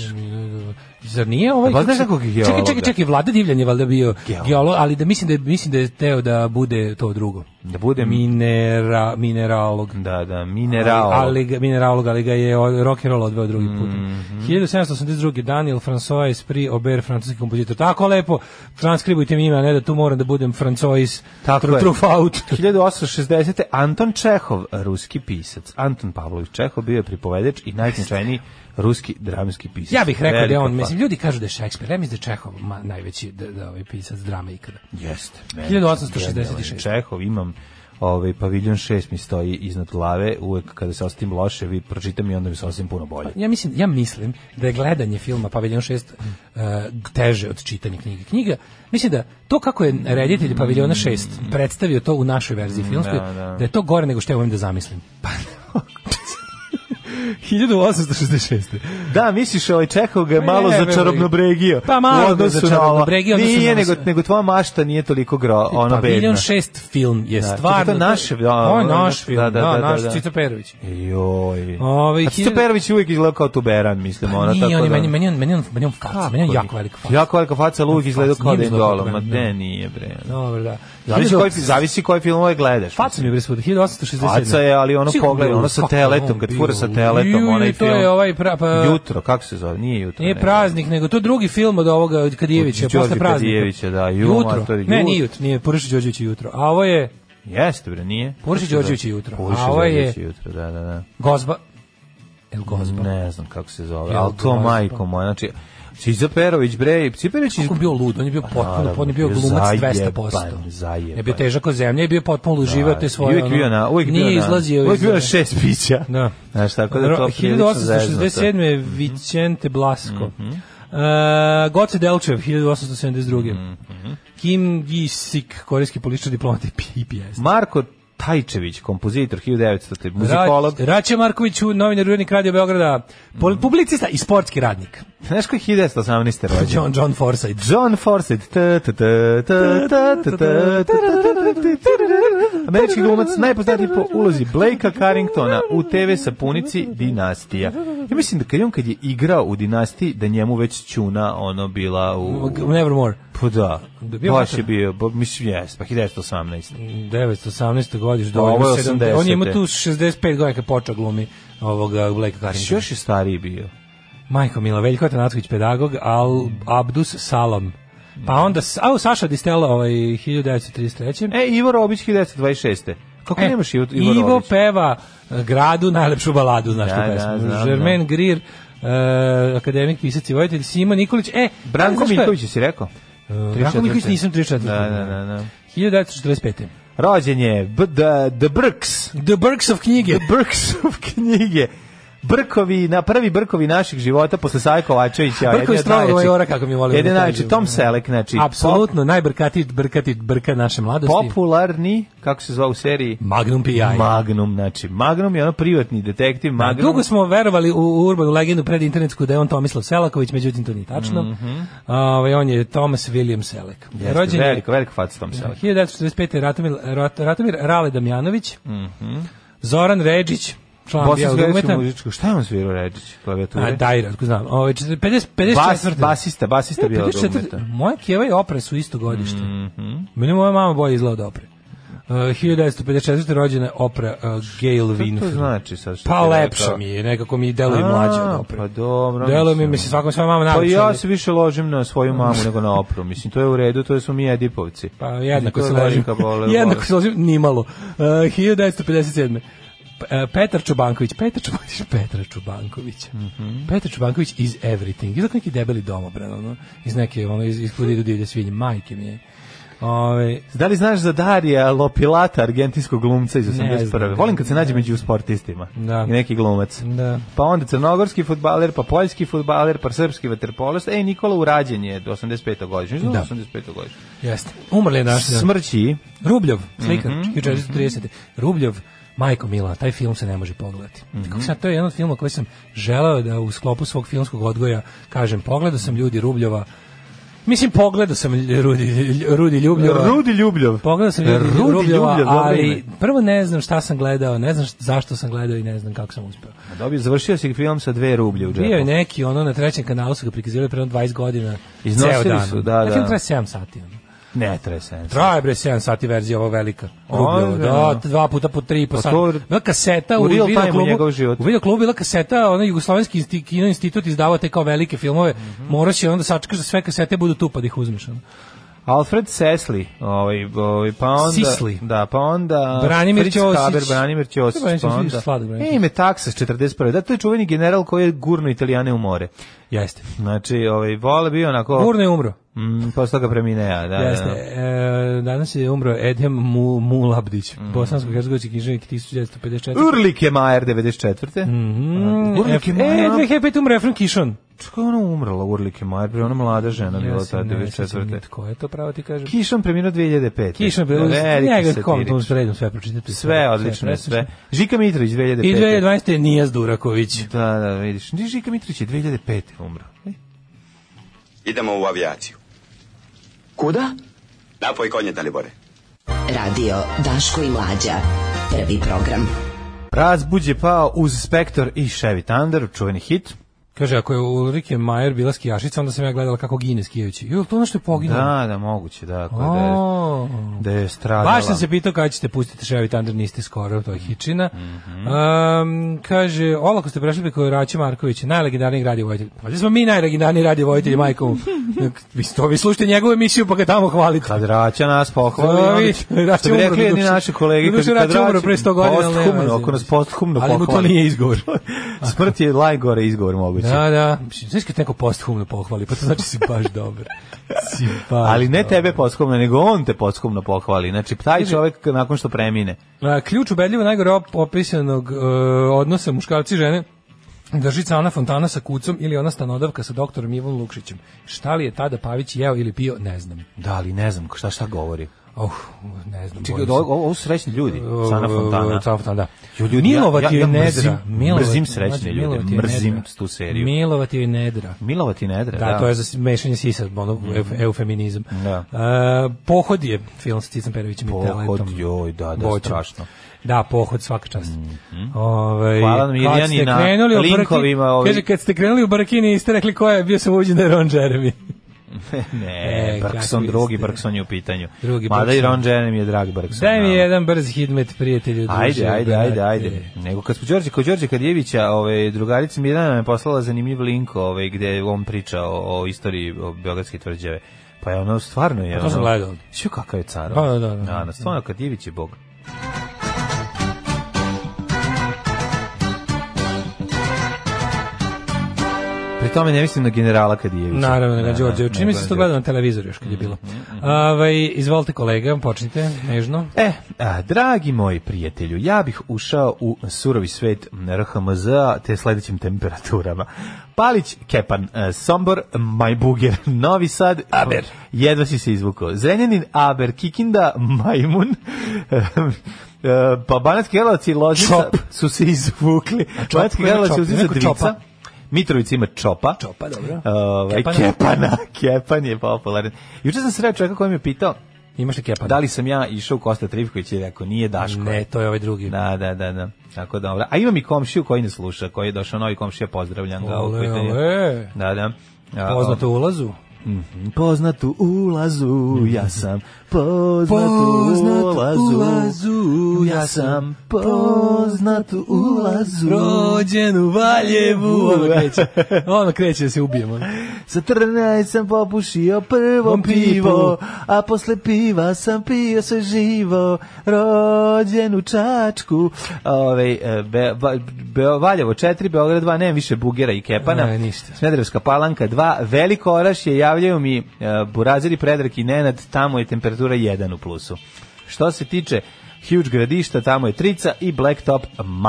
S6: Zar nije ovaj...
S5: A poznaš
S6: kako se-
S5: nekog geologa?
S6: Čekaj, čekaj, čekaj, Vlada Divljan je valjda bio
S5: Geolog.
S6: geolog, ali da mislim da je, mislim da je teo da bude to drugo.
S5: Da budem...
S6: Minera, mineralog.
S5: Da, da, mineralog.
S6: Ali, ali ga, mineralog, ali ga je o- rock and roll odveo drugi put.
S5: Mhm.
S6: 1782. Daniel François Esprit Aubert, francuski kompozitor. Tako lepo, transkribujte mi ime, a ne da tu moram da budem Francois
S5: Tako je.
S6: Truffaut.
S5: 1860. Anton Čehov, ruski pisac. Anton Pavlović Čehov bio je pripovedač i najznačajniji ruski dramski pisac.
S6: Ja bih rekao da je
S5: Velika pa.
S6: on,
S5: fa-
S6: mislim, ljudi kažu da je Šekspir, ja mislim da je Čehov ma, najveći da, da ovaj pisac drame ikada.
S5: Jeste. meni-
S6: 1866.
S5: Čehov imam ovaj paviljon 6 mi stoji iznad glave, uvek kada se osetim loše, vi pročitam i onda mi se osetim puno bolje.
S6: Ja mislim, ja mislim da je gledanje filma Paviljon 6 uh, teže od čitanja knjige. Knjiga, mislim da to kako je reditelj Paviljona 6 predstavio to u našoj
S5: Mm,
S6: verziji filmskoj, da, je to gore nego što ja umem da zamislim. Pa, 1866.
S5: Da, misliš, ovaj čekao ga je malo
S6: Pa Ne,
S5: za
S6: veruj.
S5: čarobno bregio.
S6: Pa malo ga za čarobnobregio, odnosno
S5: Nije,
S6: na- Pa
S5: nego, nego tvoja mašta nije toliko gro, ono bedna.
S6: Paviljon 6 film je
S5: Da,
S6: stvarno...
S5: to je naš, da,
S6: to je
S5: da,
S6: naš
S5: da,
S6: film, da, da, da, naš
S5: da.
S6: Cito Perović.
S5: Joj.
S6: Ovaj, Pa
S5: A Cito Perović je uvijek izgledao kao tuberan, mislim, ona
S6: Nije,
S5: tako
S6: on je
S5: da...
S6: meni, meni, on- meni, on- meni on faca, meni on jako velika faca.
S5: Jako velika faca, ali uvijek izgledao
S6: Faca,
S5: kao
S6: nije
S5: da je
S6: izgledao
S5: golem. Ma
S6: tuberan,
S5: ne, nije, bre.
S6: Dobro, da.
S5: Zavisi koji, zavisi koji filmove gledaš.
S6: Faca mi je bre svuda, 1867.
S5: Faca je, ali ono
S6: Sigurno
S5: pogled,
S6: bilo,
S5: ono sa
S6: kako
S5: teletom,
S6: on
S5: kad
S6: bio.
S5: fura sa teletom,
S6: Ju,
S5: onaj
S6: to
S5: film.
S6: je ovaj pra, pa,
S5: Jutro, kako se zove? Nije jutro.
S6: Nije
S5: nego.
S6: praznik, nego to je drugi film od ovoga od Kadijevića,
S5: Od
S6: posle
S5: Đorđe
S6: praznika.
S5: Kadijevića, da, ju,
S6: jutro.
S5: mater,
S6: Ne,
S5: jut-
S6: nije jutro, nije Puršić Đorđević je jutro. A ovo je
S5: Jeste, bre, nije.
S6: Puršić Đorđević je jutro.
S5: Puršić
S6: A ovo je-
S5: Đorđević je jutro, da, da, da.
S6: Gozba. El Gozba.
S5: Ne znam kako se zove,
S6: Jel
S5: ali to
S6: Gozba?
S5: majko moja, znači, Ciza Perović, bre, Ciza Perović... iz-
S6: Kako je bio lud, on je bio potpuno,
S5: Pa Naravno,
S6: on je bio glumac 200%.
S5: Zajeban, zajeban.
S6: Je bio težak od zemlje, je bio potpuno uživao te svoje. ono,
S5: Uvijek bio na, uvijek bio
S6: nije
S5: na,
S6: izlazio
S5: uvijek
S6: iz-
S5: bio na šest pića.
S6: Da.
S5: Znaš, tako da je to prilično zeznuto.
S6: 1867. je Vicente Blasco.
S5: Mhm,
S6: Mm -hmm. uh, Goce Delčev, 1872.
S5: Mhm,
S6: Kim Gi-sik, korejski politički diplomat i pi- pijanist.
S5: Marko Tajčević, kompozitor 1900.
S6: Ra-
S5: muzikolog.
S6: Rače Marković, novinar Urednik Radio Beograda, pol- publicista i sportski radnik.
S5: Znaš koji je 1918. rođen?
S6: John, John Forsythe.
S5: John Forsythe. Ta, ta, ta, ta, ta, ta, ta, ta, ta, ta, ta, ta, ta. Američki glumac najpoznatiji po ulozi Blakea Carringtona u TV sapunici Dinastija. Ja mislim da kad je on kad je igrao u Dinastiji da njemu već čuna ono bila u
S6: Nevermore.
S5: Pa da,
S6: Da bio
S5: baš je
S6: mater.
S5: bio, ba, mislim jes, pa 1918.
S6: 918. godiš,
S5: Da, Pa ovo je
S6: 70. On je imao
S5: 80-te.
S6: tu 65 godina kad počeo glumi ovoga Blake Carrington.
S5: Još je stariji bio.
S6: Majko Mila, Veljko Tanatović, pedagog, Al, Abdus Salam. Pa onda, s- a u Saša Distela, ovaj, 1933.
S5: E, Ivo Robić 1926. Kako
S6: E,
S5: nemaš Ivo, Ivo,
S6: Ivo
S5: Robić?
S6: peva e, gradu najlepšu baladu, znaš
S5: Da,
S6: tu
S5: da,
S6: pesmu.
S5: znam,
S6: Germain Greer, e, akademik, pisac i vojitelj, Simo Nikolić. E,
S5: Branko
S6: znaš šta je?
S5: Miljković, si rekao?
S6: E, Branko Miljković nisam 34.
S5: Da, da, da, da.
S6: 1945.
S5: Rođen je B, the, the Brks.
S6: The Burks of knjige.
S5: The Brksov knjige. Brkovi, na prvi brkovi naših života posle Saje Kovačevića.
S6: Brkovi
S5: jedni od
S6: strogo
S5: najjačih-
S6: vojora, kako mi volimo
S5: Jedan
S6: da
S5: najjači,
S6: kažemo.
S5: Tom Selleck, znači
S6: Apsolutno, najbrkati, brkati, brka naše mladosti.
S5: pop- popularni, kako se zva u seriji?
S6: Magnum P.I.
S5: Magnum, znači Magnum je ono privatni detektiv,
S6: A
S5: Magnum.
S6: Dugo smo verovali u u urbanu legendu pred internetsku da je on Tomislav Selaković, međutim to nije tačno. Mm on je Thomas William Selek.
S5: Mhm. Jeste,
S6: Rođen je
S5: velika, velika faca Tom Selleck.
S6: 1945. Ratomir, Rat- Ratomir Rale Damjanović,
S5: Mhm.
S6: Zoran Ređić, član Bijelog
S5: Bosansko
S6: dugmeta,
S5: muzičku, šta je on svirao Ređić klavijature?
S6: a Dajra, otko znam. Ovaj, Ove, 50, 54.
S5: Bas, basista,
S6: E,
S5: basista bio
S6: 54. Moja kjeva i opre su isto godište.
S5: Mhm.
S6: Meni moja mama bolje izgleda od opre. Uh, 1954. rođena je opra uh, Gail Winfield.
S5: to znači sad što
S6: Pa
S5: ti
S6: lepša
S5: rekao?
S6: mi je, nekako mi deluje mlađa od opre.
S5: Pa dobro.
S6: Deluje mi,
S5: mislim.
S6: mislim, svakom svoja mama
S5: Pa
S6: najlepša.
S5: ja
S6: ali-
S5: se više ložim na svoju mamu nego na opru. Mislim, to je u redu, to smo mi Edipovci.
S6: Pa jednako
S5: To
S6: se
S5: je
S6: ložim.
S5: velika bole-
S6: jednako se ložim, nimalo. Uh, 1957. P- e, Petar Čobanković, Petar Čobanković, Petar Čobanković.
S5: Mhm.
S6: Petar Čobanković iz Everything. Izgleda kao neki debeli domobran, ono, iz neke, ono, iz, iz kuda idu divlje svinje, majke mi je. Ove,
S5: Da li znaš za Darija Lopilata, argentinskog glumca iz
S6: Ne
S5: 81.
S6: znam.
S5: Volim kad se nađe među sportistima.
S6: Da.
S5: I neki glumac.
S6: Da.
S5: Pa onda crnogorski futbaler, pa poljski futbaler, pa srpski vaterpolist. Ej, Nikola Urađen je 85. godišnje.
S6: Da.
S5: Da. 85. godišnje.
S6: jeste. Umrli je naš. dan.
S5: Smrći.
S6: Rubljov, slika,
S5: Mhm,
S6: 1430. Rubljov, Majko Mila, taj film se ne može pogledati.
S5: Mhm.
S6: Kako sam, to je jedan od filma koji sam želeo da u sklopu svog filmskog odgoja kažem, pogledao sam ljudi Rubljova, mislim pogledao sam lj- Rudi, lj- Rudi Ljubljova,
S5: Rudi Ljubljov.
S6: pogledao sam ljudi
S5: Rudi
S6: Rubljova,
S5: Ljubljov, dobro ime.
S6: ali prvo ne znam šta sam gledao, ne znam št- zašto sam gledao i ne znam kako sam uspeo.
S5: Dobio, završio si film sa dve rublje u džepu.
S6: Bio je neki, ono, na trećem kanalu su ga prikazivali pre jedno 20 godina,
S5: Iznosili
S6: ceo dan.
S5: su, da,
S6: Film
S5: da.
S6: traje 7 sati. ono.
S5: Ne, tresen.
S6: Traje bre 7 sati verzija ova velika. Rubljevo,
S5: Ozbiljno?
S6: da, dva puta po 3 po
S5: Pa
S6: sat.
S5: to-
S6: Bila kaseta u,
S5: u real
S6: video
S5: time-u njegov
S6: klubu.
S5: život.
S6: U video klubu bila kaseta, onaj jugoslovenski insti, kino
S5: Mhm.
S6: institut izdavao te kao velike filmove. Moraš je onda sačekaš da sve kasete budu tu pa da ih uzmeš. ono.
S5: Alfred Sesli, ovaj, ovaj pa onda
S6: Sisli.
S5: da, pa onda
S6: Branimir
S5: Fritz
S6: Ćosić.
S5: Haber, Branimir Ćosić,
S6: Branimir
S5: pa
S6: Ćosić,
S5: onda.
S6: sladak Branimir
S5: E, ime Taksas 41. Da, to je čuveni general koji je gurno Italijane u more.
S6: Jeste.
S5: Znači, ovaj Vole bio onako
S6: Burno je umro.
S5: Mm, posle toga premineja, da.
S6: Jeste.
S5: da.
S6: E, danas je umro Edhem Mu, Mulabdić,
S5: Mhm.
S6: bosansko-hercegovički književnik 1954.
S5: Urlike Majer 94.
S6: Mm.
S5: Mhm.
S6: F- E, 2005 umro Efren Kishon.
S5: Kako je ona umrla, Urlike Majer, bre, ona mlada žena bila
S6: Ja se
S5: ta
S6: ne sjećam ni
S5: 94.
S6: Tko je to pravo ti kažem?
S5: Kišon preminuo 2005.
S6: Kishon bilo
S5: Veliki
S6: njega
S5: satiričar.
S6: kom tu sredom sve pročitati.
S5: Sve odlično, sve. Žika Mitrović 2005.
S6: I 2012 je Nijas Duraković.
S5: Da, da, vidiš. Ni Žika Mitrović je 2005. umro. E,
S9: Idemo u avijaciju.
S4: Kuda?
S9: Napoj konje, Dalibore.
S4: Radio Daško i Mlađa. Prvi program.
S5: Razbuđ je pao uz Spektor i Chevy Thunder, čuveni hit.
S6: Kaže, ako je Ulrike Majer bila skijašica, onda sam ja gledala kako gine skijajući. Jo, to ono što je poginulo.
S5: Da, da, moguće, da, ako da je,
S6: O.
S5: da je stradala.
S6: Baš sam se pitao kada ćete pustiti Ševi Thunder, niste skoro, to je Hičina.
S5: Mhm.
S6: um, kaže, olako ste prešli preko Raće Markovića, najlegendarniji radio vojitelj. Pa da smo mi najlegendarniji radio vojitelji, majkom. vi, to, vi slušajte njegovu emisiju pa ga tamo hvalite.
S5: Kad Raća nas pohvali,
S6: To
S5: onda
S6: vi-
S5: će-
S6: Raća
S5: što bi
S6: umro
S5: rekli jedni
S6: doduše.
S5: naši kolege,
S6: Doduše,
S5: kaže, kad
S6: Raća umro pre 100 godina, ali
S5: posthumno,
S6: nema veze.
S5: ako nas posthumno
S6: Ali mu to
S5: pohvali.
S6: nije izgovor.
S5: Smrt je lajgore izgovor moguće.
S6: Da, da. Mislim, Znaš kad neko posthumno pohvali, pa to znači si baš dobar. Si baš
S5: Ali ne
S6: dobar.
S5: tebe posthumno, nego on te posthumno pohvali. Znači, taj čovek nakon što premine.
S6: A, ključ ubedljivo najgore op- opisanog e, odnosa muškarci i žene držica Ana Fontana sa kucom ili ona stanodavka sa doktorom Ivom Lukšićem. Šta li je tada Pavić jeo ili pio, ne znam.
S5: Da, ali ne znam šta šta govori.
S6: Oh, ne znam.
S5: Čekaj,
S6: bojim se.
S5: ovo, ovo ovo su srećni ljudi.
S6: E,
S5: Sana Fontana.
S6: Sana Fontana, da.
S5: Jo, ljudi,
S6: Milova
S5: ja-
S6: ti
S5: ja-
S6: je
S5: ja
S6: nedra.
S5: mrzim-
S6: Milova ti-
S5: mrzim srećne
S6: mlađe,
S5: ljude,
S6: Milova ti je
S5: mrzim
S6: nedra.
S5: tu seriju.
S6: Milova ti je nedra.
S5: Milova ti nedre, da. Mhm.
S6: Da, to je za mešanje sisa, ono, eu- eufeminizam.
S5: Da.
S6: E, pohod je film sa Cicom Perovićem i
S5: Pohod,
S6: Teletom.
S5: joj, da, da,
S6: Voćem.
S5: strašno. Mhm.
S6: Da, pohod, svaka čast. Ovaj,
S5: Hvala nam,
S6: kad
S5: Irjani,
S6: ste
S5: na
S6: krenuli u Brki-
S5: linkovima, ovi-
S6: Kaže, kad ste krenuli u Barkini, niste rekli ko je, bio sam uđen da je Ron Jeremy.
S5: ne,
S6: E,
S5: Bergson,
S6: kakvi
S5: drugi
S6: ste.
S5: Bergson je u pitanju.
S6: Drugi
S5: Mada i
S6: Bergson.
S5: Ron Jeremy je drag Bergson.
S6: Daj mi
S5: da.
S6: jedan brz hitmet, prijatelju. druže,
S5: Ajde, ajde, ajde, ajde.
S6: brate.
S5: Nego kad smo Đorđe, kod Đorđe Kadjevića, ovaj, drugarica Mirjana nam je poslala zanimljiv link ovaj, gde on priča o, o istoriji o Beogradske tvrđave. Pa je ono stvarno je...
S6: to sam
S5: ono-
S6: gledao.
S5: Ću kakav je car.
S6: Pa, Da,
S5: ono.
S6: da, da, da.
S5: na, stvarno Kadjević je bog. Pri tome ne mislim na generala Kadjevića.
S6: Naravno,
S5: Da,
S6: na
S5: da, Mhm,
S6: Đorđe. Čini mi
S5: nego
S6: se
S5: na
S6: to gledao na televizoru još kad je bilo. Ovaj, izvolite kolega, počnite, nežno.
S5: E, a, dragi moji prijatelju, ja bih ušao u surovi svet RHMZ te sledećim temperaturama. Palić, Kepan, e, Sombor, Majbuger, Novi Sad, Aber, jedva si se izvukao, Zrenjanin, Aber, Kikinda, Majmun, e, e, pa Banatski Karlovac i Loznica
S6: Čop.
S5: su se izvukli.
S6: čop,
S5: Banatski
S6: ko ima
S5: Karlovac i
S6: čop?
S5: Loznica
S6: Neko čopa?
S5: Dvica, Mitrovica ima čopa.
S6: Čopa, dobro.
S5: Ovaj,
S6: Kepana.
S5: Kepana, Kepan je popularan. Juče sam sreo čovjeka koji me pitao,
S6: Imaš li kepa?
S5: Pa da li sam ja išao u Kosta Trivković i rekao nije Daško.
S6: Ne, to je ovaj drugi.
S5: Da, da, da, da. Tako dobro. A imam i komšiju koji ne sluša, koji je došao novi komšija, pozdravljam ga.
S6: Ole,
S5: opet je-
S6: ole.
S5: Da, da. A,
S6: Poznato u ulazu.
S5: o, poznatu ulazu, ja sam poznatu
S6: Poznat
S5: ulazu,
S6: ulazu,
S5: ja sam poznatu ulazu.
S6: Rođen u Valjevu. Ono kreće. Ono kreće da se ubijemo.
S5: Sa 14 sam popušio prvo
S6: Vom
S5: pivo,
S6: pivu.
S5: a posle piva sam pio sve živo, rođen u Čačku. Ove, e, be, Ba- Be- Valjevo 4, Beograd 2, nemam više Bugera i Kepana.
S6: Ne, ništa.
S5: Smederevska palanka 2, Veliko Oraš je, javljaju mi e, Buraziri, Predrag i Nenad, tamo je temperatura 1 u plusu. Što se tiče Huge gradišta, tamo je trica i Blacktop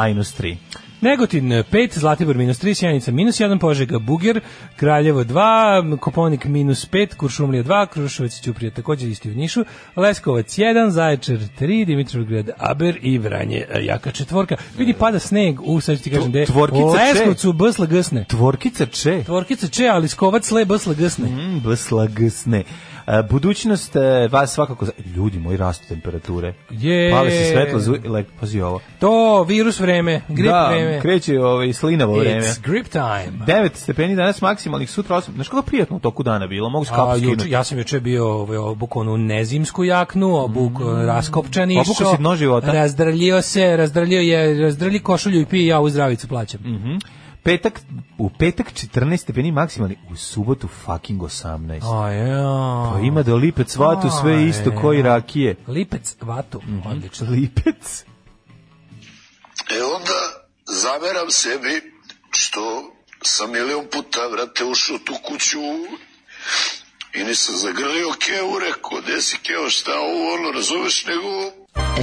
S5: minus 3.
S6: Negotin 5, Zlatibor minus 3, Sjenica minus 1, Požega Buger, Kraljevo 2, Koponik minus 5, Kuršumlija 2, Kruševac i Ćuprija također isti u Nišu, Leskovac 1, Zaječar 3, Dimitrovgrad Aber i Vranje e, jaka četvorka. Vidi, pada sneg u, sad ću ti kažem, gde,
S5: Tvorkica
S6: u
S5: Če.
S6: Leskovcu BSL gsne.
S5: Tvorkica Če.
S6: E. Tvorkica če, ali skovac le BSL gsne.
S5: Mm, Blaslagsne. E, Budućnost e, vas svakako... za- Ljudi moji, rastu temperature.
S6: Je.
S5: Pale se svetlo, zu... le, pazi ovo.
S6: To, virus vreme, grip
S5: da,
S6: vreme.
S5: kreće ovaj, slinavo vreme.
S6: It's grip time.
S5: 9 stepeni danas maksimalnih, sutra 8. Znaš kako prijatno u toku dana bilo? Mogu skapu
S6: A, juče,
S5: skinuti.
S6: ja sam juče bio ovaj, obuku onu nezimsku jaknu, obuk mm. raskopčan išao.
S5: Obukao si dno života.
S6: Razdraljio se, razdraljio je, razdralji košulju i pije, ja u zdravicu plaćam. Mm
S5: Mhm. petak, u petak 14 stepeni maksimalni, u subotu fucking 18.
S6: A, e. ja.
S5: Pa ima do lipec vatu sve isto koji rakije.
S6: Lipec, vatu,
S5: Mhm.
S6: odlično.
S5: Lipec.
S10: E onda zameram sebi što sam milion puta vrate ušao u tu kuću i nisam zagrlio Keu, rekao, gde si Keo, šta ovo, ono, razumeš, nego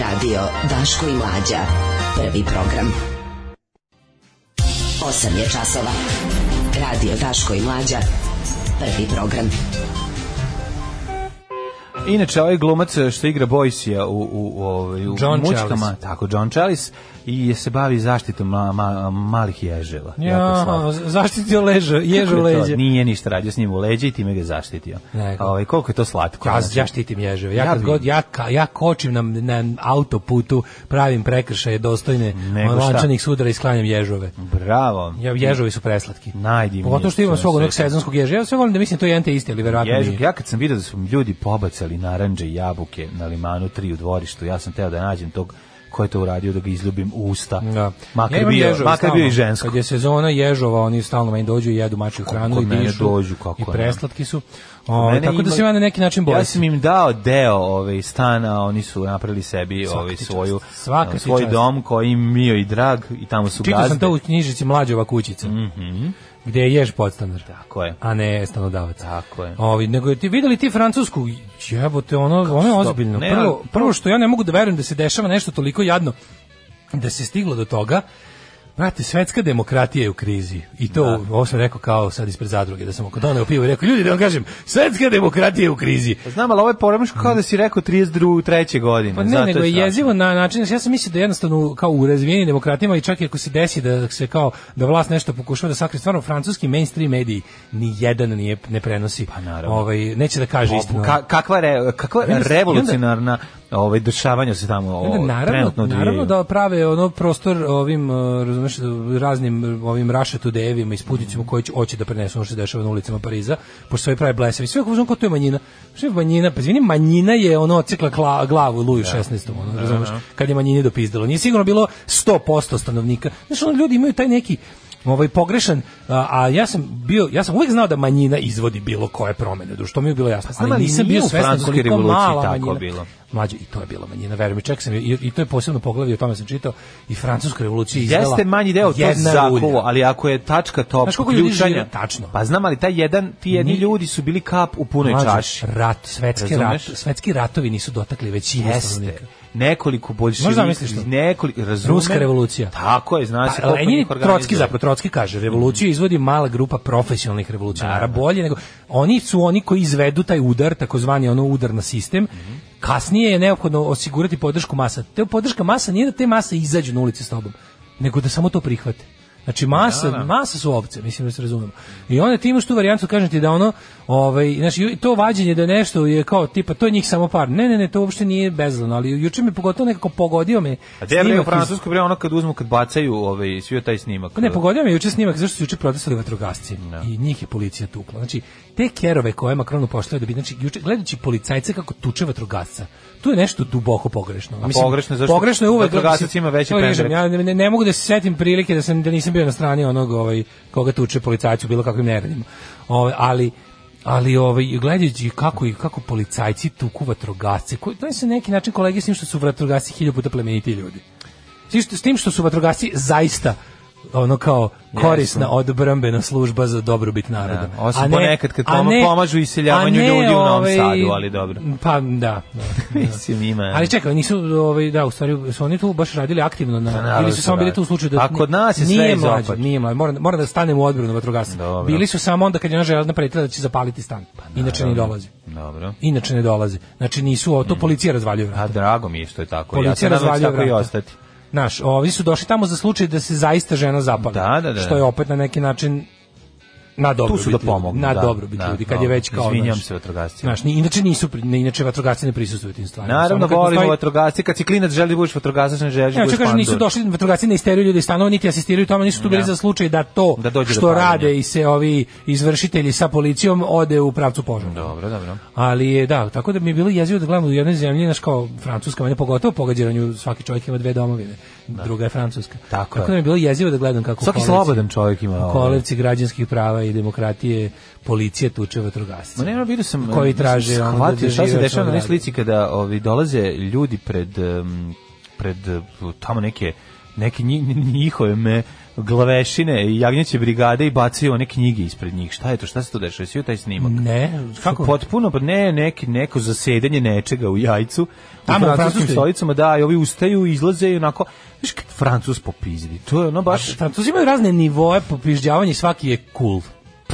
S4: Radio Daško i Mlađa. Prvi program. 8 je časova. Radio Daško i Mlađa. Prvi program.
S5: Inače, ovaj glumac što igra Boysija u, u, u, ovaj, u
S6: John
S5: mučkama,
S6: Chalice.
S5: tako, John Chalice, i je se bavi zaštitom ma, ma, malih ježeva. Jako slatko.
S6: Ja, zaštitio leža, ježu
S5: Kako je to?
S6: leđe.
S5: Nije ništa radio s njim u leđe i time ga je zaštitio.
S6: Nego.
S5: Ovaj, koliko je to slatko.
S6: Ja,
S5: znači.
S6: ja štitim ježeve. Ja,
S5: Ja
S6: kad
S5: bi-
S6: god ja, ka- ja kočim na, na autoputu, pravim prekršaje dostojne
S5: Nego šta?
S6: lančanih sudara i sklanjam ježove.
S5: Bravo.
S6: Ja, ježovi su preslatki.
S5: Najdivnije
S6: Pogotovo što imam
S5: što
S6: svog onog
S5: se sjećam.
S6: sezonskog ježa. Ja sve volim da mislim da to je jedan te isti, ali verovatno
S5: Ježuk,
S6: nije.
S5: ja kad sam vidio da su mi ljudi pobacali naranđe i jabuke na limanu tri u dvorištu, ja sam teo da nađem tog ko je to uradio da ga izljubim u usta.
S6: Da.
S5: Makar,
S6: ja imam
S5: bio,
S6: ježove
S5: makar bio i
S6: stalno.
S5: žensko.
S6: Kad je sezona ježova, oni stalno meni dođu i jedu mačju hranu
S5: kod
S6: i
S5: mene
S6: dišu.
S5: dođu, kako
S6: I
S5: ne.
S6: preslatki su.
S5: Kod
S6: O,
S5: mene
S6: tako da
S5: ima-
S6: se ja na neki način boje.
S5: Ja sam im dao deo ovaj stana, a oni su napravili sebi
S6: Svaka
S5: ovaj
S6: ti čast.
S5: svoju
S6: Svaka ti
S5: svoj
S6: čast.
S5: dom koji im mio i drag i tamo su
S6: Čitao sam
S5: gazde. Mhm.
S6: to u knjižici Mlađova kućica. Gde je jež podstanar.
S5: Tako je.
S6: A ne stanodavac.
S5: Tako je.
S6: Ovi, nego je ti videli ti francusku, jebote, ono, ono je ozbiljno.
S5: Ne, ali-
S6: Prvo, prvo što ja ne mogu da verujem da se dešava nešto toliko jadno da se stiglo do toga, Brate, svetska demokratija je u krizi. I to, ovo sam rekao kao sad ispred zadruge, da sam oko doneo pivo i rekao, ljudi, da vam kažem, svetska demokratija je u krizi.
S5: Pa Znam, ali ovo je poremeško kao da si rekao 32. treće godine.
S6: Pa ne,
S5: Zato
S6: nego je
S5: strašno.
S6: jezivo na način, ja sam mislio da jednostavno kao u razvijenim demokratima i čak i ako se desi da se kao da vlast nešto pokušava da sakrije, stvarno francuski mainstream mediji ni jedan nije ne prenosi. Pa
S5: naravno.
S6: Ovaj neće da kaže istinu.
S5: Ka, kakva re, kakva
S6: I onda-
S5: revolucionarna ovaj dešavanja se tamo
S6: I onda
S5: ovaj, trenutno
S6: naravno,
S5: odvijaju.
S6: naravno da prave ono prostor ovim eh, razumeš raznim eh, ovim rašetu devima i sputnicima koji će- hoće da prenesu ono što se dešava na ulicama Pariza, pošto sve prave blesavi. Sve kako znam ko to je manjina. Što je manjina? Pa izvini, manjina je ono odsekla kla- glavu Luju 16. Ono, razumeš, kad je manjini dopizdalo. Nije sigurno bilo 100% stanovnika. Znaš, ono, ljudi imaju taj neki ovaj pogrešan a, a ja sam bio ja sam uvek znao da manjina izvodi bilo koje promene društvo to mi je bilo jasno
S5: Pa Znam, ali
S6: ali nisam
S5: nije
S6: bio
S5: u
S6: svestan
S5: Francuskoj
S6: koliko
S5: revoluciji
S6: mala
S5: tako
S6: manjina
S5: bilo.
S6: Mlađe, i to je bila manjina, verujem, i čak sam, i, i to je posebno poglavlje, o tome sam čitao, i Francuska revolucija je izdala
S5: Jeste manji deo to
S6: jedna
S5: zakuvo,
S6: rulja.
S5: ali ako je tačka top
S6: Znaš koliko ljudi
S5: ključanja-
S6: žive? Tačno.
S5: Pa znam, ali taj jedan, ti jedni
S6: Ni-
S5: ljudi su bili kap u punoj
S6: Mlađe,
S5: čaši.
S6: Rat, svetski, rat,
S5: Razumeš?
S6: svetski ratovi nisu dotakli većinu
S5: Jeste.
S6: stanovnika.
S5: Nekoliko
S6: Možeš
S5: boljševika,
S6: zamisliš to?
S5: nekoliko, razumem.
S6: Ruska revolucija.
S5: Tako je, znaš se
S6: Pa,
S5: koliko
S6: Lenin
S5: njih
S6: Trotski
S5: organizuje.
S6: zapravo, Trotski kaže, revoluciju izvodi mala grupa profesionalnih revolucionara, bolje nego, oni su oni koji izvedu taj udar, takozvani ono udar na sistem, kasnije je neophodno osigurati podršku masa. Te podrška masa nije da te mase izađu na ulici s tobom, nego da samo to prihvate. Znači masa, masa su ovce, mislim da se razumemo. I onda ti imaš tu varijantu, kažem ti da ono, ovaj, znači ju- to vađenje da nešto je kao tipa to je njih samo par. Ne, ne, ne, to uopšte nije bezlano, ali juče me pogotovo nekako pogodio me.
S5: A gde je bre u
S6: snimak iz-
S5: Francuskoj bre ono kad uzmu kad bacaju ovaj svi taj snimak.
S6: pa ne, pogodio me juče snimak zašto su juče protestovali vatrogasci i njih je policija tukla. Znači, te kerove koje je Makronu pošlao da bi, znači, juče, gledajući policajce kako tuče vatrogasca, tu je nešto duboko pogrešno.
S5: pogrešno je zašto?
S6: Pogrešno je uvek.
S5: Vatrogasac
S6: mislim,
S5: ima veći
S6: evo, kažem,
S5: pendrek.
S6: Ja ne, ne- ne mogu da se setim prilike da, sam, da nisam bio na strani onog ovaj, koga tuče policajcu bilo kakvim neradima. Ovaj, ali ali ovaj gledajući kako i kako policajci tuku vatrogasce koji to je se neki način kolege s tim što su vatrogasci hiljadu puta plemeniti ljudi s tim što, s tim što su vatrogasci zaista ono kao korisna odbrambena služba za dobrobit naroda.
S5: Da, osim
S6: A ne-
S5: ponekad kad
S6: a
S5: pomo-
S6: ne-
S5: pomažu iseljavanju
S6: a ne,
S5: ljudi u Novom
S6: ovaj,
S5: Sadu, ali dobro.
S6: Pa da. da.
S5: Mislim, ima.
S6: Ali čekaj, nisu ovaj da, u stvari su oni tu baš radili aktivno na,
S5: naravno
S6: ili su
S5: su
S6: samo bili
S5: radili.
S6: tu u slučaju da
S5: A kod nas je sve
S6: nije
S5: izopačeno.
S6: mlađe, nije mlađe. Moram, moram da stanem u odbranu vatrogasaca.
S5: Dobro. Pa
S6: Bili su samo onda kad je ona željezna pretila da će zapaliti stan. Inače ne dolazi.
S5: Dobro.
S6: Inače ne dolazi. Znači nisu ovo, to policija razvaljuje. vrata.
S5: A drago mi je što je tako.
S6: Policija
S5: ja se nadam da će
S6: razvaljuje
S5: tako i
S6: vrata.
S5: ostati.
S6: Naš, ovi su došli tamo za slučaj da se zaista žena zapali.
S5: Da, da, da.
S6: Što je opet na neki način na dobro
S5: Tu su da pomognu,
S6: Na
S5: da,
S6: dobro biti
S5: da,
S6: ljudi, kad je
S5: dobro.
S6: već kao...
S5: Izvinjam
S6: znaš,
S5: se vatrogascima.
S6: Znaš, ni- inače nisu, pri- ne, inače vatrogasci ne prisustuju tim stvarima.
S5: Naravno,
S6: Samo kad
S5: volimo
S6: postoji-
S5: vatrogasci. Kad si klinac želi da budeš vatrogasac, ne želiš da
S6: Ja ću
S5: budeš
S6: kažem, nisu
S5: pandur.
S6: došli vatrogasci ne isteruju ljudi iz stanova, niti asistiraju tamo, nisu tu bili
S5: Da.
S6: za slučaj da to
S5: Da dođe do
S6: što
S5: paljenja.
S6: rade i se ovi izvršitelji sa policijom ode u pravcu požara.
S5: Dobro, dobro.
S6: Ali je, da, tako da mi je bilo jezivo da gledam u jednoj zemlji, znaš kao Francuska, manje pogotovo pogađiranju, svaki čovjek ima dve domovine. druga je francuska.
S5: Tako je.
S6: Kako nam je bilo jezivo da gledam kako
S5: Svaki
S6: kolevci-
S5: slobodan čovjek ima ovaj. ovo.
S6: kolevci građanskih prava i demokratije policije tuče vatrogasce.
S5: Ma ne, ono vidio sam
S6: koji traže ono, da
S5: shvatio šta se
S6: dožive
S5: dešava na
S6: član
S5: onoj
S6: radi.
S5: slici kada ovi dolaze ljudi pred em, pred eh, tamo neke neke nji- njihove me glavešine i jagnjeće brigade i bacaju one knjige ispred njih. Šta je to? Šta se to dešava? Svi taj snimak.
S6: Ne,
S5: Kako? Potpuno, pa ne, neki, neko zasedanje nečega u jajcu.
S6: Tamo u
S5: u francuskim
S6: Francuskoj?
S5: stolicama, da, i ovi ustaju, izlaze i onako, znaš kad Francus popizdi, to je ono baš,
S6: Francuzi imaju razne nivoe popižđavanja i svaki je cool.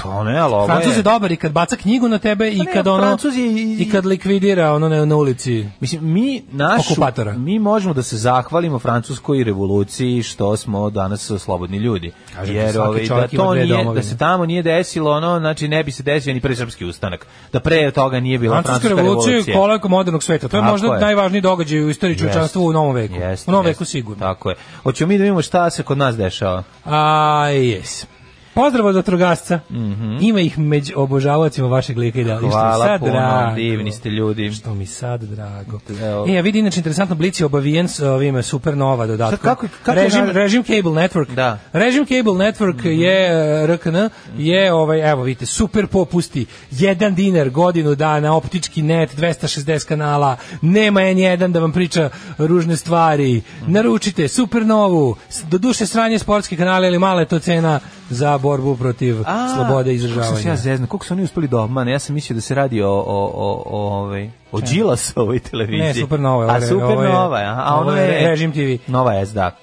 S5: pa ne, ali ovo je- Pa
S6: Francuz je dobar i kad baca knjigu na tebe i
S5: ne,
S6: kad ono
S5: Francuz je i-
S6: i kad likvidira ono na, na ulici.
S5: Mislim, mi našu,
S6: Okupatora.
S5: mi možemo da se zahvalimo francuskoj revoluciji što smo danas slobodni ljudi.
S6: Kažem ti,
S5: Jer
S6: svaki
S5: ovaj, da
S6: čovjek ima
S5: to
S6: dve
S5: nije, da
S6: domovine.
S5: se tamo nije desilo ono, znači ne bi se desio ni prvi srpski ustanak. Da pre toga nije bila francuska,
S6: Francuska revolucija je
S5: revolucija.
S6: kolak modernog sveta. To je
S5: Tako
S6: možda
S5: je.
S6: najvažniji događaj u istoriji čovječanstva u novom veku.
S5: Jest,
S6: u novom
S5: jest.
S6: veku sigurno.
S5: Tako je. Hoćemo mi da vidimo šta se kod nas dešava.
S6: A, jes. Pozdrav od vatrogasca. Ima ih među obožavacima vašeg lika i dela. I što mi
S5: Mhm. Hvala
S6: sad
S5: puno,
S6: drago.
S5: divni ste ljudi.
S6: Što mi sad drago.
S5: Evo.
S6: E, ja vidi, inače, interesantno, Blic je obavijen s ovim supernova dodatkom.
S5: Sad kako- kako je
S6: režim,
S5: na-
S6: režim Cable Network.
S5: Da. Mhm.
S6: Režim Cable Network je, e, RKN, je, ovaj, evo, vidite, super popusti. Jedan dinar godinu dana, optički net, 260 kanala, nema N1 da vam priča ružne stvari.
S5: Mhm.
S6: Naručite supernovu, s- doduše sranje sportske kanale, ali mala je to cena za borbu protiv
S5: A,
S6: slobode
S5: Kako sam se ja
S6: izražavanja.
S5: zeznao, koliko su oni uspeli da obmane, ja sam mislio da se radi o, o, o, o, ovaj, o Đilasovoj televiziji.
S6: Ne, Supernova je,
S5: A
S6: ovo je-
S5: Supernova, je, aha, a
S6: ovo
S5: ono
S6: je
S5: je...
S6: Režim TV.
S5: Nova je, da.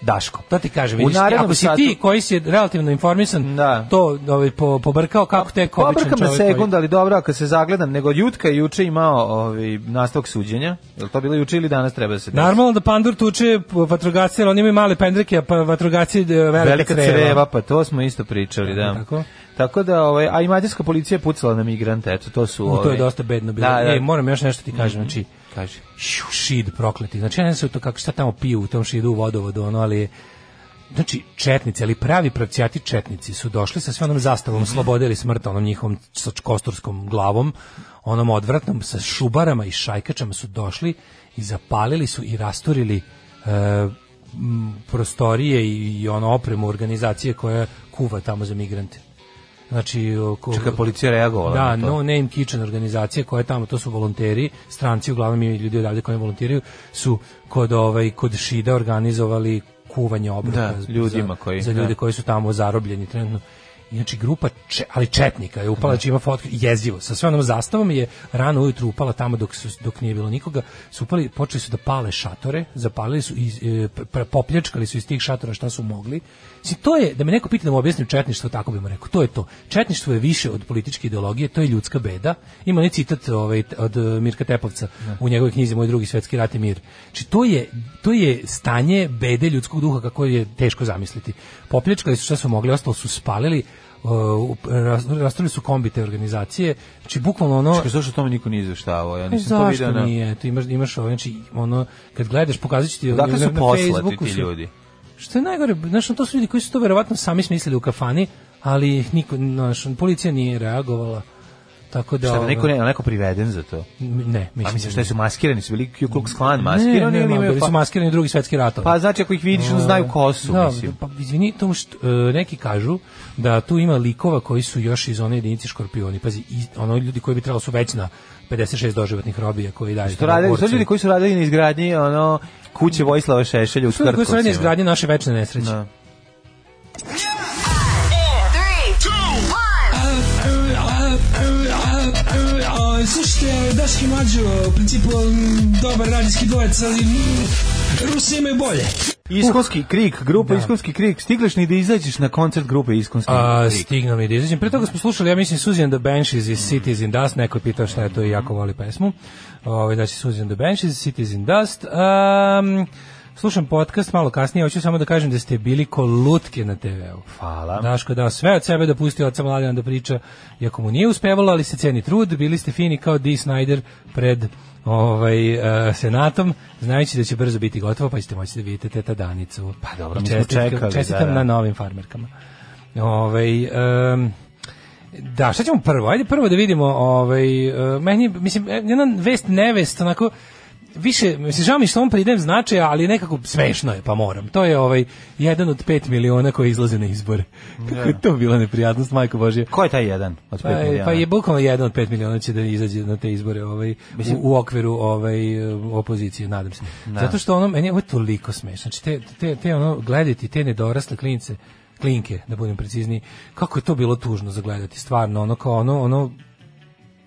S5: Daško.
S6: To ti kažem,
S5: U
S6: vidiš, ti,
S5: narednom
S6: ako si
S5: satu-
S6: ti koji si relativno informisan,
S5: Da. Pa
S6: to ovaj, po, pobrkao kako tek običan
S5: Pobrkam
S6: čovjek.
S5: na
S6: koji-
S5: sekund, ali dobro, ako se zagledam, nego Jutka je juče imao ovaj, nastavak suđenja, je li to bilo juče ili danas treba da se desi?
S6: Normalno da pandur tuče vatrogasce, jer oni imaju male pendreke, a pa vatrogasci e, velika,
S5: Velika
S6: creva.
S5: creva, pa to smo isto pričali, da.
S6: Tako.
S5: Tako da, ovaj, a i mađarska policija je pucala na migrante, eto, to su...
S6: U, to je
S5: ovaj,
S6: dosta bedno bilo.
S5: Da, Mhm. da.
S6: Ej, moram još nešto ti kažem, znači,
S5: Kaži.
S6: šu, šid prokleti. Znači, ja ne znam se to kako, šta tamo piju u tom šidu u vodovodu, ono, ali je- Znači, četnici, ali pravi pravcijati četnici su došli sa sve onom zastavom
S5: Mhm.
S6: slobode ili smrt, onom njihovom sa kosturskom glavom, onom odvratnom, sa šubarama i šajkačama su došli i zapalili su i rasturili e, m, prostorije i, i ono opremu organizacije koja kuva tamo za migrante. Znači, oko-
S5: Čekaj, policija reagovala
S6: da,
S5: na to?
S6: No Name Kitchen organizacija koja je tamo, to su volonteri, stranci uglavnom i ljudi odavde koji volontiraju, su kod, ovaj, kod Šida organizovali kuvanje obroka.
S5: Da,
S6: za-
S5: ljudima koji-
S6: Za ljude
S5: da.
S6: koji su tamo zarobljeni trenutno. I Znači, grupa, če- ali četnika je upala, znači ima fotke, jezivo, sa sve onom zastavom je rano ujutru upala tamo dok, su, dok nije bilo nikoga, su upali, počeli su da pale šatore, zapalili su, i, e, pre- popljačkali su iz tih šatora šta su mogli. Znači, to je, da me neko pita da mu objasnim četništvo, tako bi mu rekao, to je to. Četništvo je više od političke ideologije, to je ljudska beda. Ima onaj citat ovaj, t- od e, Mirka Tepovca u njegovoj knjizi Moj drugi svetski rat i mir. Znači, to je, to je stanje bede ljudskog duha kako je teško zamisliti. Popljačkali su šta su mogli, ostalo su spalili, e, u- ras- rasturili su kombi te organizacije. Znači, bukvalno ono...
S5: Čekaj, zašto o tome niko nije izveštavao? Ja nisam to
S6: Pa Zašto
S5: vidio na...
S6: nije? Tu imaš, imaš ovo, znači, ono, kad gledaš, pokazat ću ti...
S5: Dakle
S6: na-
S5: su
S6: na
S5: poslati
S6: Facebooku
S5: ti
S6: su-
S5: ljudi?
S6: što je najgore, znaš, ono, to su ljudi koji su to verovatno sami smislili u kafani, ali niko, znaš, ono, policija nije reagovala. Tako da...
S5: Šta da
S6: ovaj,
S5: neko ne, neko priveden za to?
S6: m- Ne,
S5: A
S6: mislim.
S5: mislim
S6: da
S5: šta
S6: ne.
S5: su maskirani, su bili Ku Klux Klan maskirani
S6: ne,
S5: ili
S6: ne,
S5: imaju
S6: bili su
S5: pa,
S6: maskirani drugi svetski ono. ratovi.
S5: pa znači ako ih vidiš onda znaju ko su,
S6: Da,
S5: mislim.
S6: pa izvini, to što, e, neki kažu da tu ima likova koji su još iz one jedinice škorpioni. Pazi, iz- ono ljudi koji bi trebalo su već na 56 doživotnih robija koji daju.
S5: To radili, to su ljudi koji su radili na izgradnji ono kuće Vojislava Šešelja u
S6: su ljudi koji su radili na znači,
S5: Krkovcima.
S6: izgradnje naše večne nesreće.
S5: ono. Da.
S6: Slušajte, Daški Mađo, u principu dobar radijski dvojec, ali Rusi imaju bolje.
S5: Iskonski krik, grupa Iskonski krik, stigliš ni da izađeš na koncert grupe Iskonski
S6: A,
S5: krik.
S6: stigno mi je da izađem. Pre toga smo slušali, ja mislim, Suzy and the Banshees iz
S5: Mhm.
S6: Cities in Dust. Neko je pitao šta je to i jako voli pesmu. Ove, znači, Suzy and the Banshees iz Cities in Dust. Um, slušam podcast malo kasnije, hoću samo da kažem da ste bili ko lutke na TV-u.
S5: Hvala.
S6: Daško je dao sve od sebe da pusti oca Mladena da priča, iako mu nije uspevalo, ali se ceni trud. Bili ste fini kao Dee Snyder pred ovaj, e, senatom, znajući da će brzo biti gotovo, pa ćete moći da vidite teta Danicu. Pa
S5: dobro, mi smo čekali,
S6: Čestitam
S5: da, da.
S6: na novim farmerkama. Ovaj em, da, šta ćemo prvo? Ajde prvo da vidimo, ovaj e, meni je, mislim e, jedna vest nevest onako više, mislim, žao mi što on pridem značaja, ali nekako smešno je, pa moram. To je ovaj jedan od pet miliona koji izlaze na izbore. Kako je to bila neprijatnost, majko Božje.
S5: Ko je taj jedan od
S6: Pa,
S5: pet
S6: je-
S5: miliona?
S6: pa je bukvalno jedan od pet miliona će da izađe na te izbore ovaj, u, u okviru ovaj, eh, opozicije, nadam se. Zato što ono, meni je ovo toliko smešno. Znači, te, te, te ono, gledati te nedorasle klinice, klinke, da budem precizniji, kako je to bilo tužno zagledati, stvarno, ono kao ono, ono,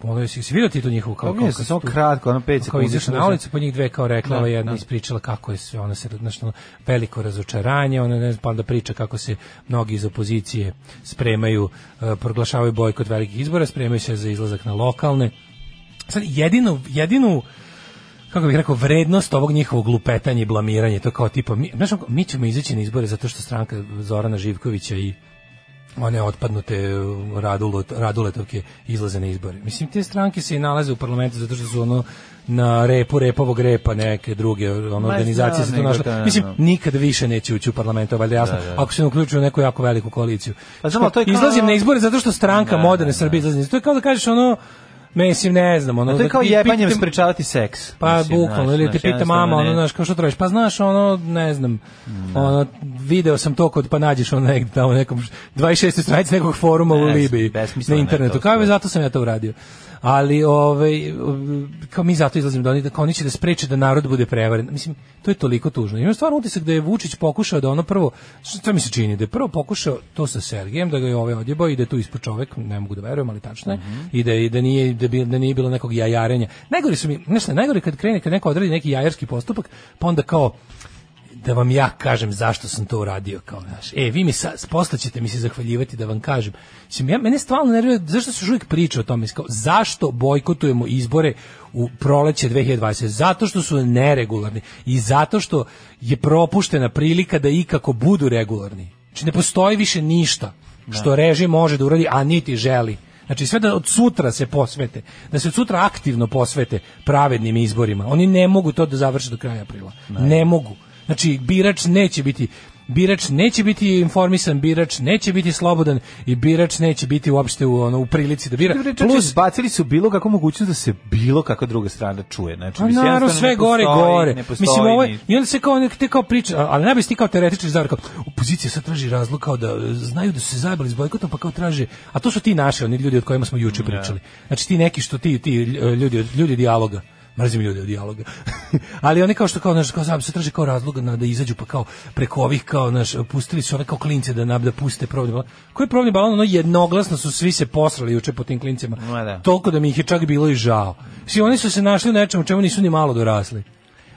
S6: ono, jesi jesi vidio ti tu njihovu kao,
S5: Pa mi je
S6: kako su
S5: samo
S6: tu-
S5: kratko, ono 5
S6: kao
S5: sekundi.
S6: izašla na
S5: slušaj.
S6: ulicu, po njih dve kao rekla,
S5: Da,
S6: ova jedna
S5: da.
S6: ispričala kako je sve, ona se, znaš, ono, veliko razočaranje, ona ne znam, pa onda priča kako se mnogi iz opozicije spremaju, e, proglašavaju bojkot velikih izbora, spremaju se za izlazak na lokalne. Sad, jedinu, jedinu kako bih rekao, vrednost ovog njihovog lupetanja i blamiranja, to kao tipa, mi, znaš, ono, mi ćemo izaći na izbore zato što stranka Zorana Živkovića i one otpadnute uh, radulot, raduletovke izlaze na izbore. Mislim, te stranke se i nalaze u parlamentu zato što su ono na repu repovog repa neke druge ono, organizacije se tu
S5: nego ono.
S6: našle.
S5: da,
S6: Mislim,
S5: da.
S6: nikad više neće ući u parlament, to je valjda jasno, ako se ne uključuju u neku jako veliku koaliciju.
S5: Pa znam, ali to je kao-
S6: Izlazim na izbore zato što stranka
S5: Da,
S6: moderne
S5: da,
S6: Srbije izlazi na izbore. To je kao da kažeš ono, Mislim, ne znam, ono...
S5: To je
S6: da
S5: kao
S6: ti
S5: jebanjem
S6: pitam-
S5: sprečavati seks.
S6: pa
S5: Mislim,
S6: bukvalno,
S5: znaš,
S6: ili te
S5: znaš,
S6: pita
S5: jednostavno
S6: mama, ono,
S5: ne-
S6: znaš, kao što tražiš? Pa znaš, ono, ne znam, ono, video sam to kod, pa nađeš ono negdje tamo nekom 26. stranici nekog foruma u
S5: Ne,
S6: Libiji, na
S5: besmisleno je
S6: internetu,
S5: to
S6: kao je,
S5: sve.
S6: zato sam ja to uradio. Ali, ovaj, kao mi zato izlazimo, da oni, kao oni će da spreče da narod bude prevaren. Mislim, to je toliko tužno. Imam stvarno utisak da je Vučić pokušao da ono prvo, što mi se čini, da je prvo pokušao to sa Sergijem, da ga je ovaj odjebao i da je tu ispod čovek, ne mogu da verujem, ali tačno je, i da, je- da, nije, da, bi, da nije bilo nekog jajarenja. Najgori su mi, znaš šta, najgori kad krene, kad neko odradi neki jajarski postupak, pa onda kao, da vam ja kažem zašto sam to uradio kao naš. E, vi mi sa, posle ćete mi se zahvaljivati da vam kažem. Mislim, ja, mene stvarno nervira, zašto se još uvijek priča o tome? Mislim, Kao, zašto bojkotujemo izbore u proleće 2020? Zato što su neregularni i zato što je propuštena prilika da ikako budu regularni. Znači, ne postoji više ništa što režim može da uradi, a niti želi. Znači sve da od sutra se posvete, da se od sutra aktivno posvete pravednim izborima. Oni ne mogu to da završe do kraja aprila. Ne, mogu. Znači birač neće biti birač neće biti informisan, birač neće biti slobodan i birač neće biti uopšte u ono u prilici da bira.
S5: Plus,
S6: Plus
S5: bacili su bilo kako mogućnost da se bilo kakva druga strana čuje. Znači,
S6: Pa
S5: mislim,
S6: naravno
S5: jednostavno
S6: sve
S5: ne
S6: gore
S5: postoji-
S6: gore.
S5: Ne postoji
S6: Mislim ovo je-
S5: ni-
S6: i onda se kao nek- te kao priča, a- ali najbolje si ti kao teoretičar zar kao opozicija sad traži razlog kao da e, znaju da su se zajebali s bojkotom pa kao traže, a to su ti naši oni ljudi od kojima smo juče pričali. Znači ti neki što ti ti e, ljudi od- ljudi dijaloga mrzim ljude od dijaloga. Ali oni kao što kao naš kao znam, se traži kao razlog na da izađu pa kao preko ovih kao naš pustili su one kao klince da nabda puste probni balon. Koji probni balon ono jednoglasno su svi se posrali juče po tim klincima.
S5: Ma da.
S6: Toliko da mi ih je čak bilo i žao. Svi oni su se našli u nečemu čemu nisu ni malo dorasli.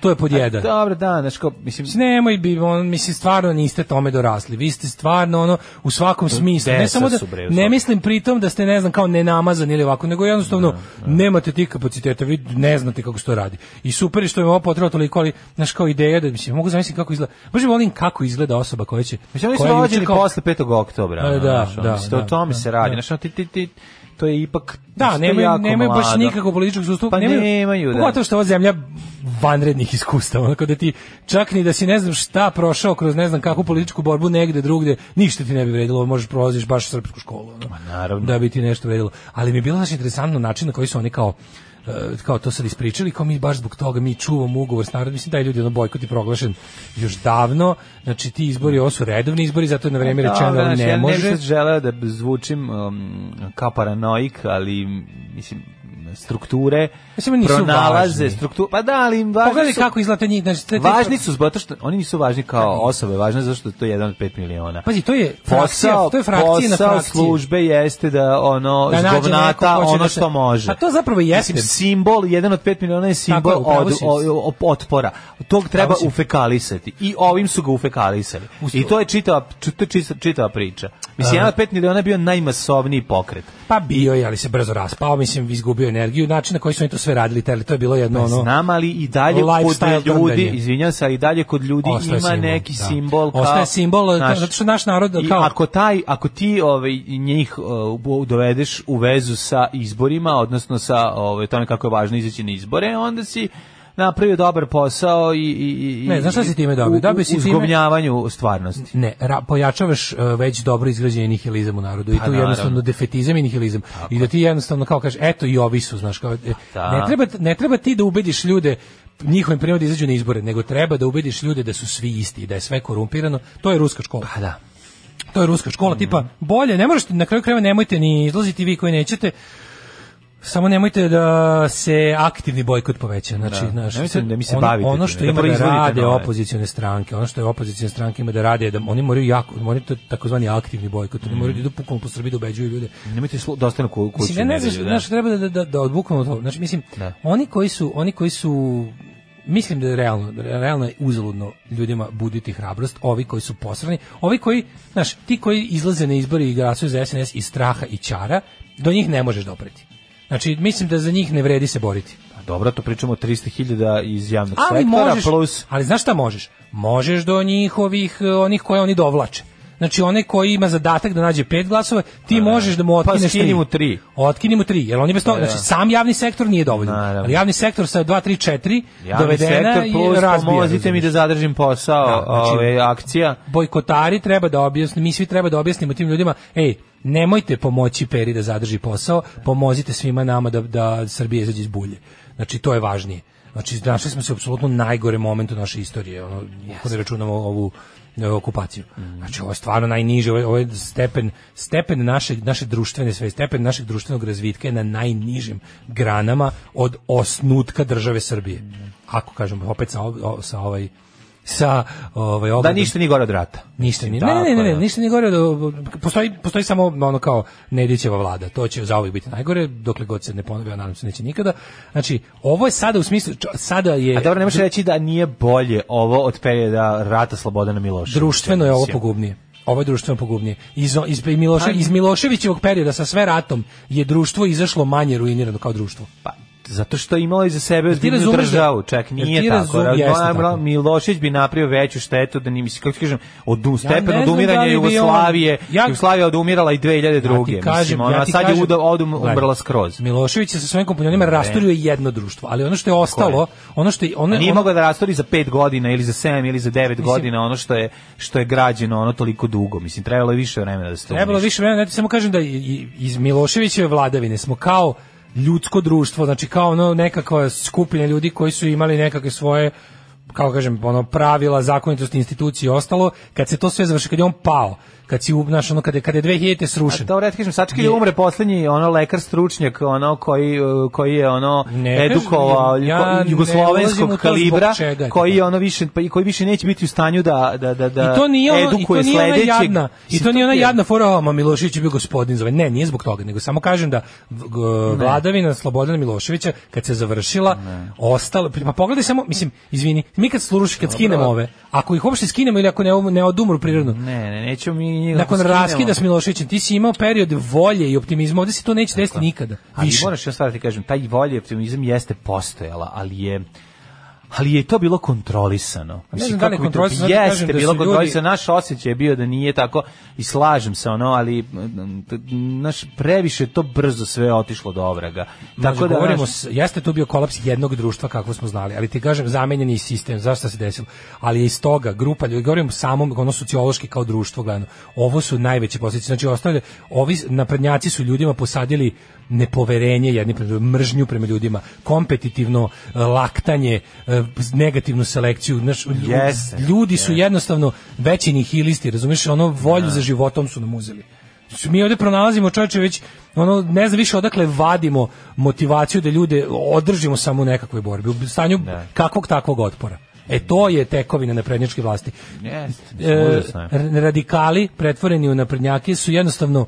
S6: To je pod jedan.
S5: Dobro, da, znači, kao, mislim,
S6: Mislim, Nemoj bi, on, mislim, stvarno niste tome dorasli. Vi ste stvarno, ono, u svakom smislu. Ne
S5: deca
S6: samo da,
S5: Mm, su, bre, u
S6: ne
S5: svakom.
S6: mislim pritom da ste, ne znam, kao nenamazani ili ovako, nego jednostavno nemate tih kapaciteta, vi ne znate kako se to radi. I super je što je ovo potrebno toliko, ali, znaš, kao ideja da, mislim, mogu zamisliti kako izgleda. Možda volim kako izgleda osoba koja će...
S5: Mislim, oni su
S6: koja je juče
S5: rođeni
S6: kao-
S5: posle 5. oktobra.
S6: Pa,
S5: ono,
S6: da,
S5: znaš, ono,
S6: da,
S5: mislim, to-
S6: da,
S5: o tome
S6: da,
S5: se radi.
S6: da.
S5: Znaš, ono, ti, ti, ti, to je ipak...
S6: Da,
S5: mislim, Znači, to je
S6: nemaju,
S5: jako
S6: nemaju baš
S5: mlado.
S6: nikakvog političkog sustava.
S5: Pa nemaju, da.
S6: Pogotovo što je ova zemlja vanrednih iskustava. Onako da ti čak ni da si ne znam šta prošao kroz ne znam kakvu političku borbu negde drugde, ništa ti ne bi vredilo. Možeš prolaziš baš srpsku školu. Ono,
S5: naravno.
S6: Da bi ti nešto vredilo. Ali mi je bilo znaš, interesantno način na koji su oni kao e, kao to sad ispričali, kao mi baš zbog toga mi čuvamo ugovor s narodom, mislim da je ljudi ono bojkot je proglašen još davno znači ti izbori, ovo su redovni izbori zato je na vreme
S5: Da,
S6: rečeno
S5: da,
S6: da,
S5: znaš,
S6: ne
S5: ja
S6: može
S5: ne bih sad želeo da zvučim um, kao paranoik, ali mislim strukture
S6: Mislim, nisu
S5: pronalaze
S6: važni.
S5: strukture. Pa da, ali im važni
S6: Pogledaj
S5: su.
S6: kako izlate njih. Znači, te- te-
S5: Važni su zato što oni nisu važni kao osobe, važni su zato što je to jedan od 5 miliona.
S6: Pazi, to je frakcija,
S5: posao,
S6: to je frakcija na
S5: posao
S6: frakciji.
S5: službe jeste da ono
S6: Da
S5: da
S6: nađe
S5: zgovnata
S6: neko ko će
S5: ono
S6: da se-
S5: što može.
S6: A to zapravo i jeste.
S5: Mislim, simbol, jedan od pet miliona je simbol
S6: Tako je, upravo
S5: od,
S6: si.
S5: o- o- otpora. Tog treba
S6: Upravo si.
S5: ufekalisati. I ovim su ga ufekalisali.
S6: Usto-
S5: I to je čitava, ču- to je čista- čitava priča. Mislim, jedan od pet miliona je bio najmasovniji pokret.
S6: Pa bio je, ali se brzo raspao, mislim, izgubio energiju, način na koji su oni to sve radili, teli, to je bilo jedno ono...
S5: Znam, ali i dalje
S6: Lifestyle
S5: kod ljudi,
S6: trndanje.
S5: izvinjam se, ali i dalje kod ljudi
S6: Ostaje
S5: ima
S6: simbol,
S5: neki
S6: da.
S5: simbol. Kao,
S6: Ostaje simbol, kao-
S5: znaš,
S6: zato što naš narod,
S5: I
S6: kao-
S5: ako, taj, ako ti ovaj, njih uh, dovedeš u vezu sa izborima, odnosno sa ovaj, tome kako je važno izaći na izbore, onda si napravio dobar posao i... i, i
S6: Ne, znaš šta si time dobio?
S5: u-
S6: Dobio si
S5: u
S6: time-
S5: zgovnjavanju stvarnosti.
S6: Ne, ra, pojačavaš e, već dobro izgrađeni nihilizam u narodu i tu
S5: naravno.
S6: jednostavno defetizam i nihilizam. I da ti jednostavno kao kažeš, eto i ovi su, znaš, kao, e,
S5: Da.
S6: ne, treba, ne treba ti da ubediš ljude njihovim primjerom da izađu na izbore, nego treba da ubediš ljude da su svi isti, i da je sve korumpirano. To je ruska škola. Pa da. To je ruska škola, tipa, bolje, ne možete, na kraju krajeva nemojte ni izlaziti vi koji nećete, Samo nemojte da se aktivni bojkot poveća. Znači,
S5: Da.
S6: znaš,
S5: Nemojte da mi se
S6: ono,
S5: bavite
S6: ono
S5: time,
S6: što
S5: da
S6: ima da
S5: proizvodite
S6: rade
S5: nove.
S6: opozicione stranke, ono što je opozicione stranke ima da rade, je da oni moraju jako, oni to je takozvani aktivni bojkot, oni moraju da idu pukom po Srbiji da ubeđuju ljude
S5: Nemojte slu, dosta na ku, kuću.
S6: Mislim, ja ne znam,
S5: nedelju, da.
S6: znaš, treba da, da, da, da odbuknemo to. Znači, mislim, oni koji su, oni koji su mislim da je realno, realno je uzaludno ljudima buditi hrabrost, ovi koji su posrani, ovi koji, znaš, ti koji izlaze na izbore i glasuju za SNS iz straha i čara, do njih ne možeš dopreti. Znači, mislim da za njih ne vredi se boriti.
S5: Dobro, to pričamo o 300.000 iz javnog
S6: Ali
S5: sektora,
S6: možeš,
S5: plus...
S6: ali znaš šta možeš? Možeš do njihovih, eh, onih koje oni dovlače. Znači, onaj koji ima zadatak da nađe pet glasova, ti možeš da mu otkineš tri.
S5: Pa skini mu tri. Pa
S6: Otkini mu tri, jer oni bez toga,
S5: da.
S6: znači sam javni sektor nije dovoljan.
S5: Naravno.
S6: Ali javni sektor sa 2, 3, 4
S5: Javni
S6: dovedena
S5: sektor, plus
S6: i razbija.
S5: pomozite mi
S6: razumeš.
S5: da zadržim posao,
S6: Da, znači-
S5: ove, akcija.
S6: Bojkotari treba da objasni, mi svi treba da objasnimo tim ljudima, ej, nemojte pomoći Peri da zadrži posao, pomozite svima nama da, da Srbija izađe iz bulje. Znači, to je važnije. Znači, našli smo se u apsolutno najgore momentu naše istorije, ono, ako ne računamo ovu e, okupaciju.
S5: Mm.
S6: Znači, ovo je stvarno najniže, ovo je, ovo je stepen, stepen naše, naše društvene sve, stepen našeg društvenog razvitka je na najnižim granama od osnutka države Srbije.
S5: Mm.
S6: Ako kažemo, opet sa, ov- o- sa ovaj sa ovaj
S5: Da
S6: ogledom-
S5: ništa nije gore od rata.
S6: Ništa nije. Ne,
S5: Tako
S6: ne, ne, ne,
S5: je.
S6: ništa nije gore. do- Postoji, postoji samo ono kao Nedićeva vlada. To će zauvijek biti najgore, dokle god se ne ponovi, a nadam se neće nikada. Znači, ovo je sada u smislu, č- sada je...
S5: A dobro, ne možeš reći da nije bolje ovo od perioda rata Slobodana Miloševića.
S6: Društveno je ovo
S5: mislim.
S6: pogubnije. Ovo je društveno pogubnije. Iz, iz,
S5: Pa-
S6: Miloše, iz Miloševićevog perioda sa sve ratom je društvo izašlo manje ruinirano kao društvo.
S5: Pa, zato što je imala iza sebe ozbiljnu
S6: razumeš da-
S5: državu, čak
S6: Jel ti
S5: nije tako.
S6: razum- jeste
S5: Ra-
S6: tako.
S5: Milošević bi napravio veću štetu da nimi, kako ti kažem, od u-
S6: ne
S5: stepen
S6: znam
S5: odumiranja
S6: da li bi on-
S5: Jugoslavije,
S6: Ja-
S5: Jugoslavija odumirala i 2002.
S6: Ja ti kažem,
S5: mislim, ona
S6: ja ti
S5: sad
S6: kažem,
S5: je uda, odum,
S6: Gledaj,
S5: umrla skroz.
S6: Milošević je sa svojim kompanjonima rasturio jedno društvo, ali ono što je ostalo, ono što je, ono,
S5: A nije
S6: ono-
S5: mogla da rastori za 5 godina ili za 7 ili za 9 godina ono što je što je građeno ono toliko dugo. Mislim trebalo je više vremena da se to
S6: Trebalo
S5: uništi.
S6: više vremena, ja ti samo kažem da i- i- iz Miloševićeve vladavine smo kao ljudsko društvo, znači kao ono nekakva skupina ljudi koji su imali nekakve svoje kao kažem, ono pravila, zakonitosti, institucije i ostalo, kad se to sve završi, kad je on pao, kad si obnaš, ono, kada je, kada je 2000 srušen.
S5: Dobro, ja ti kažem, sačekaj da
S6: Je-
S5: umre poslednji ono lekar stručnjak, ono koji uh, koji je ono
S6: Ne kažem,
S5: edukovao
S6: ja
S5: ljuko-
S6: ne ulazim u
S5: jugoslovenskog
S6: to zbog
S5: kalibra,
S6: čega je
S5: koji
S6: to.
S5: je ono više pa i koji više neće biti u stanju da da da da
S6: I to nije ono, i to
S5: edukuje
S6: nije ona
S5: sledećeg.
S6: jadna, i
S5: Mislim,
S6: to nije ona
S5: je-
S6: jadna fora, "O, ma Milošević je bio gospodin zove. Ne, nije zbog toga, nego samo kažem da v- g- vladavina Slobodana Miloševića kad se završila, ostalo, pa pogledaj samo, mislim, izvini, mi kad sluruš, kad skinemo ove, ako ih uopšte skinemo ili ako ne, ne odumru prirodno,
S5: Ne, ne, nećemo mi njega
S6: nakon
S5: skinemo.
S6: raskida s Miloševićem, ti si imao period volje i optimizma, ovde se to neće desiti nikada,
S5: Ali
S6: više.
S5: moraš ja stvar da ti kažem, taj volje i optimizam jeste postojala, ali je ali je to bilo kontrolisano.
S6: znam da
S5: kako
S6: li je
S5: bi to-
S6: kontrolisano, zato
S5: jeste
S6: kažem da
S5: bilo
S6: su ljudi-
S5: kontrolisano. Naš osjećaj je bio da nije tako i slažem se ono, ali mm, t- naš previše je to brzo sve otišlo do ovraga. Tako
S6: Tako
S5: da
S6: govorimo,
S5: naš-
S6: s- jeste tu bio kolaps jednog društva kakvo smo znali, ali ti kažem zamenjen je i sistem, zašto se desilo? Ali je iz toga grupa ljudi, govorimo samom ono sociološki kao društvo gledano. Ovo su najveće posljedice. Znači ostavlja ovi naprednjaci su ljudima posadili nepoverenje jedni prema drugima, mržnju prema ljudima, kompetitivno e, laktanje, e, negativnu selekciju. Znaš, lju-
S5: Jeste.
S6: ljudi su jednostavno veći nihilisti, razumiješ, ono volju za životom su nam uzeli. Znači, Mi ovdje pronalazimo čovječe već, ono, ne znam više odakle vadimo motivaciju da ljude održimo samo u nekakvoj borbi, u stanju kakvog takvog otpora. E to je tekovina naprednjačke vlasti.
S5: Jeste,
S6: E,
S5: užasno je.
S6: r- radikali pretvoreni u naprednjake su jednostavno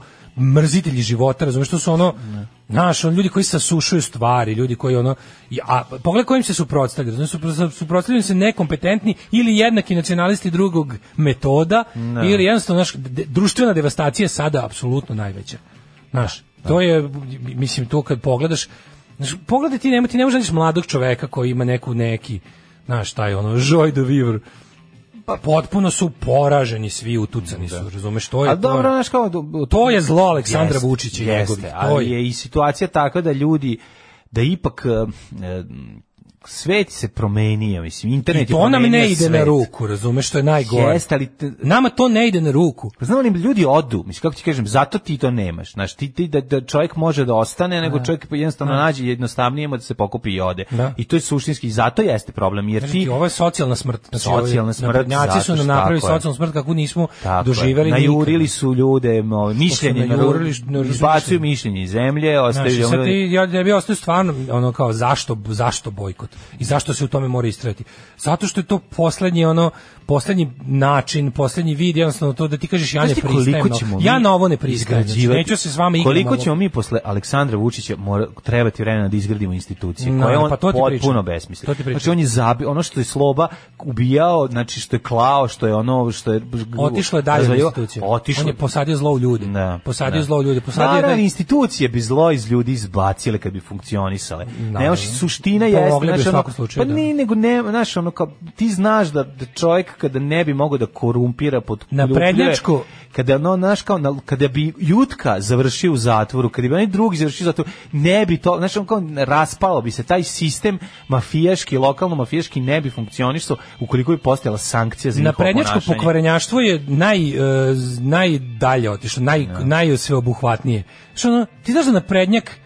S6: mrzitelji života, razumiješ, to su ono, znaš, on ljudi koji sasušuju stvari, ljudi koji ono, i- a pogledaj kojim se suprotstavljaju, razumiješ, supro- suprotstavljaju se nekompetentni ili jednaki nacionalisti drugog metoda, ili jednostavno, znaš, de- društvena devastacija je sada apsolutno najveća, znaš, to je, mislim, to kad pogledaš, znaš, pogledaj ti, nema, ti ne možeš naći mladog čoveka koji ima neku, neki, znaš, taj ono, joy de vivre, pa potpuno su poraženi svi, utucani su, razumeš, to je
S5: A
S6: to.
S5: dobro, znaš kao... do-
S6: To je zlo Aleksandra
S5: Jeste,
S6: Vučića i
S5: jeste,
S6: njegovih, to
S5: ali
S6: je.
S5: je i situacija takva da ljudi, da ipak e, e, svet se promenio, mislim, internet
S6: I
S5: je
S6: to nam ne
S5: promenio
S6: ide na
S5: pa svet.
S6: ruku, razumeš, što je najgore.
S5: Jeste, ali te-
S6: Nama to ne ide na ruku.
S5: Pa znam li, ljudi odu, mislim, kako ti kažem, zato ti to nemaš, znaš, ti, ti da, da čovjek može da ostane, nego čovjek jednostavno nađe jednostavnije mu da se pokupi i ode.
S6: Da.
S5: I to je suštinski, zato jeste problem, jer
S6: Kažem ti,
S5: ti...
S6: ovo je socijalna smrt. Znači,
S5: Socijalna
S6: ovi
S5: smrt,
S6: naprednjaci su
S5: zato
S6: nam
S5: što
S6: napravili
S5: tako je.
S6: socijalnu smrt kakvu nismo
S5: Tako je.
S6: doživjeli
S5: najurili
S6: nikad.
S5: su ljude, mo- mišljenje,
S6: najurili,
S5: najurili,
S6: najurili su
S5: izbacuju mišljenje iz zemlje,
S6: Znaš, i
S5: ostavljaju
S6: sad
S5: ljudi...
S6: ti, ja, ja bi ostao stvarno ono kao zašto zašto bojkot i zašto se u tome mora istrajati. Zato što je to poslednji ono poslednji način, poslednji vid jednostavno to da ti kažeš ja ne
S5: Znaš ti koliko
S6: pristajem. na-
S5: ćemo mi
S6: Ja na ovo ne pristajem. Znači,
S5: izgrađivati-
S6: neću se s vama igrati.
S5: Koliko ćemo mi posle Aleksandra Vučića mora trebati vremena da izgradimo institucije
S6: No,
S5: koje je on
S6: pa to ti
S5: potpuno
S6: pričam.
S5: besmislen.
S6: To ti pričam.
S5: Znači on je zabi, ono što je sloba ubijao, znači što je klao, što je ono što je
S6: Otišlo je dalje u
S5: razvaljivao,
S6: institucije.
S5: Otišlo.
S6: On je posadio zlo u ljude.
S5: Da,
S6: posadio
S5: da.
S6: zlo u ljude. Posadio
S5: Naravno,
S6: da-
S5: institucije bi zlo iz ljudi izbacile kad bi funkcionisale. Ne,
S6: Naravno.
S5: suština
S6: Pomogle
S5: jeste,
S6: bi
S5: znaš,
S6: u
S5: ono,
S6: svakom slučaju,
S5: pa
S6: da.
S5: ni, nego ne, znaš, ono, kao, ti znaš da, da čovjek kada ne bi mogao da korumpira pod
S6: Na prednjačku.
S5: kada ono, znaš, kao, na- kada bi Jutka završio u zatvoru, kada bi onaj drugi završio u zatvoru, ne bi to, znaš, on kao, raspalo bi se taj sistem mafijaški, lokalno-mafijaški ne bi funkcionisao ukoliko bi postojala sankcija za njihovo
S6: Naprednjačko
S5: ponašanje.
S6: pokvarenjaštvo je naj, e, z- najdalje otišlo, naj, najsveobuhvatnije. Što ono, ti znaš da naprednjak,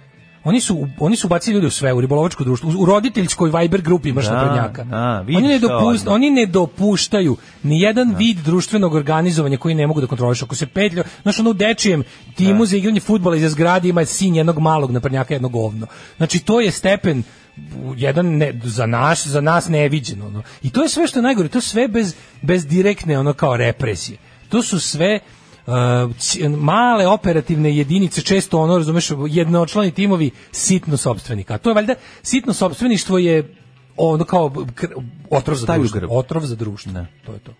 S6: oni su, oni su bacili ljude u sve, u ribolovačko društvo, u, u roditeljskoj Viber grupi imaš
S5: Da,
S6: naprednjaka.
S5: da, vidiš
S6: oni, ne
S5: to
S6: dopust,
S5: odmah.
S6: oni ne dopuštaju ni jedan vid društvenog organizovanja koji ne mogu da kontrolišu. Ako se petlja, znaš ono u dečijem timu za igranje futbala iza zgrade ima sin jednog malog naprednjaka, jednog govno. Znači to je stepen jedan ne, za nas za nas neviđeno ono. i to je sve što je najgore to je sve bez bez direktne ono kao represije to su sve uh, c- male operativne jedinice često ono razumeš jednočlani timovi sitno sopstvenika A to je valjda sitno sopstveništvo je ono kao b- kr- otrov za
S5: Stavi u
S6: društvo
S5: grb.
S6: otrov za društvo to je to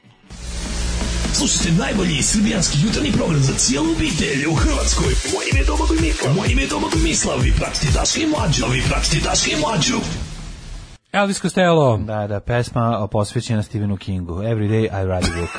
S11: Slušajte najbolji srbijanski jutarnji program za cijelu obitelj u Hrvatskoj. Moje ime je Domagoj Mikla. Moje ime je Domagoj Misla. Vi pratite Daška i Mlađu. Vi pratite Daška i Mlađu.
S6: Elvis Costello
S5: Da, da, pesma posvećena Stephenu Kingu. Every day I write a book.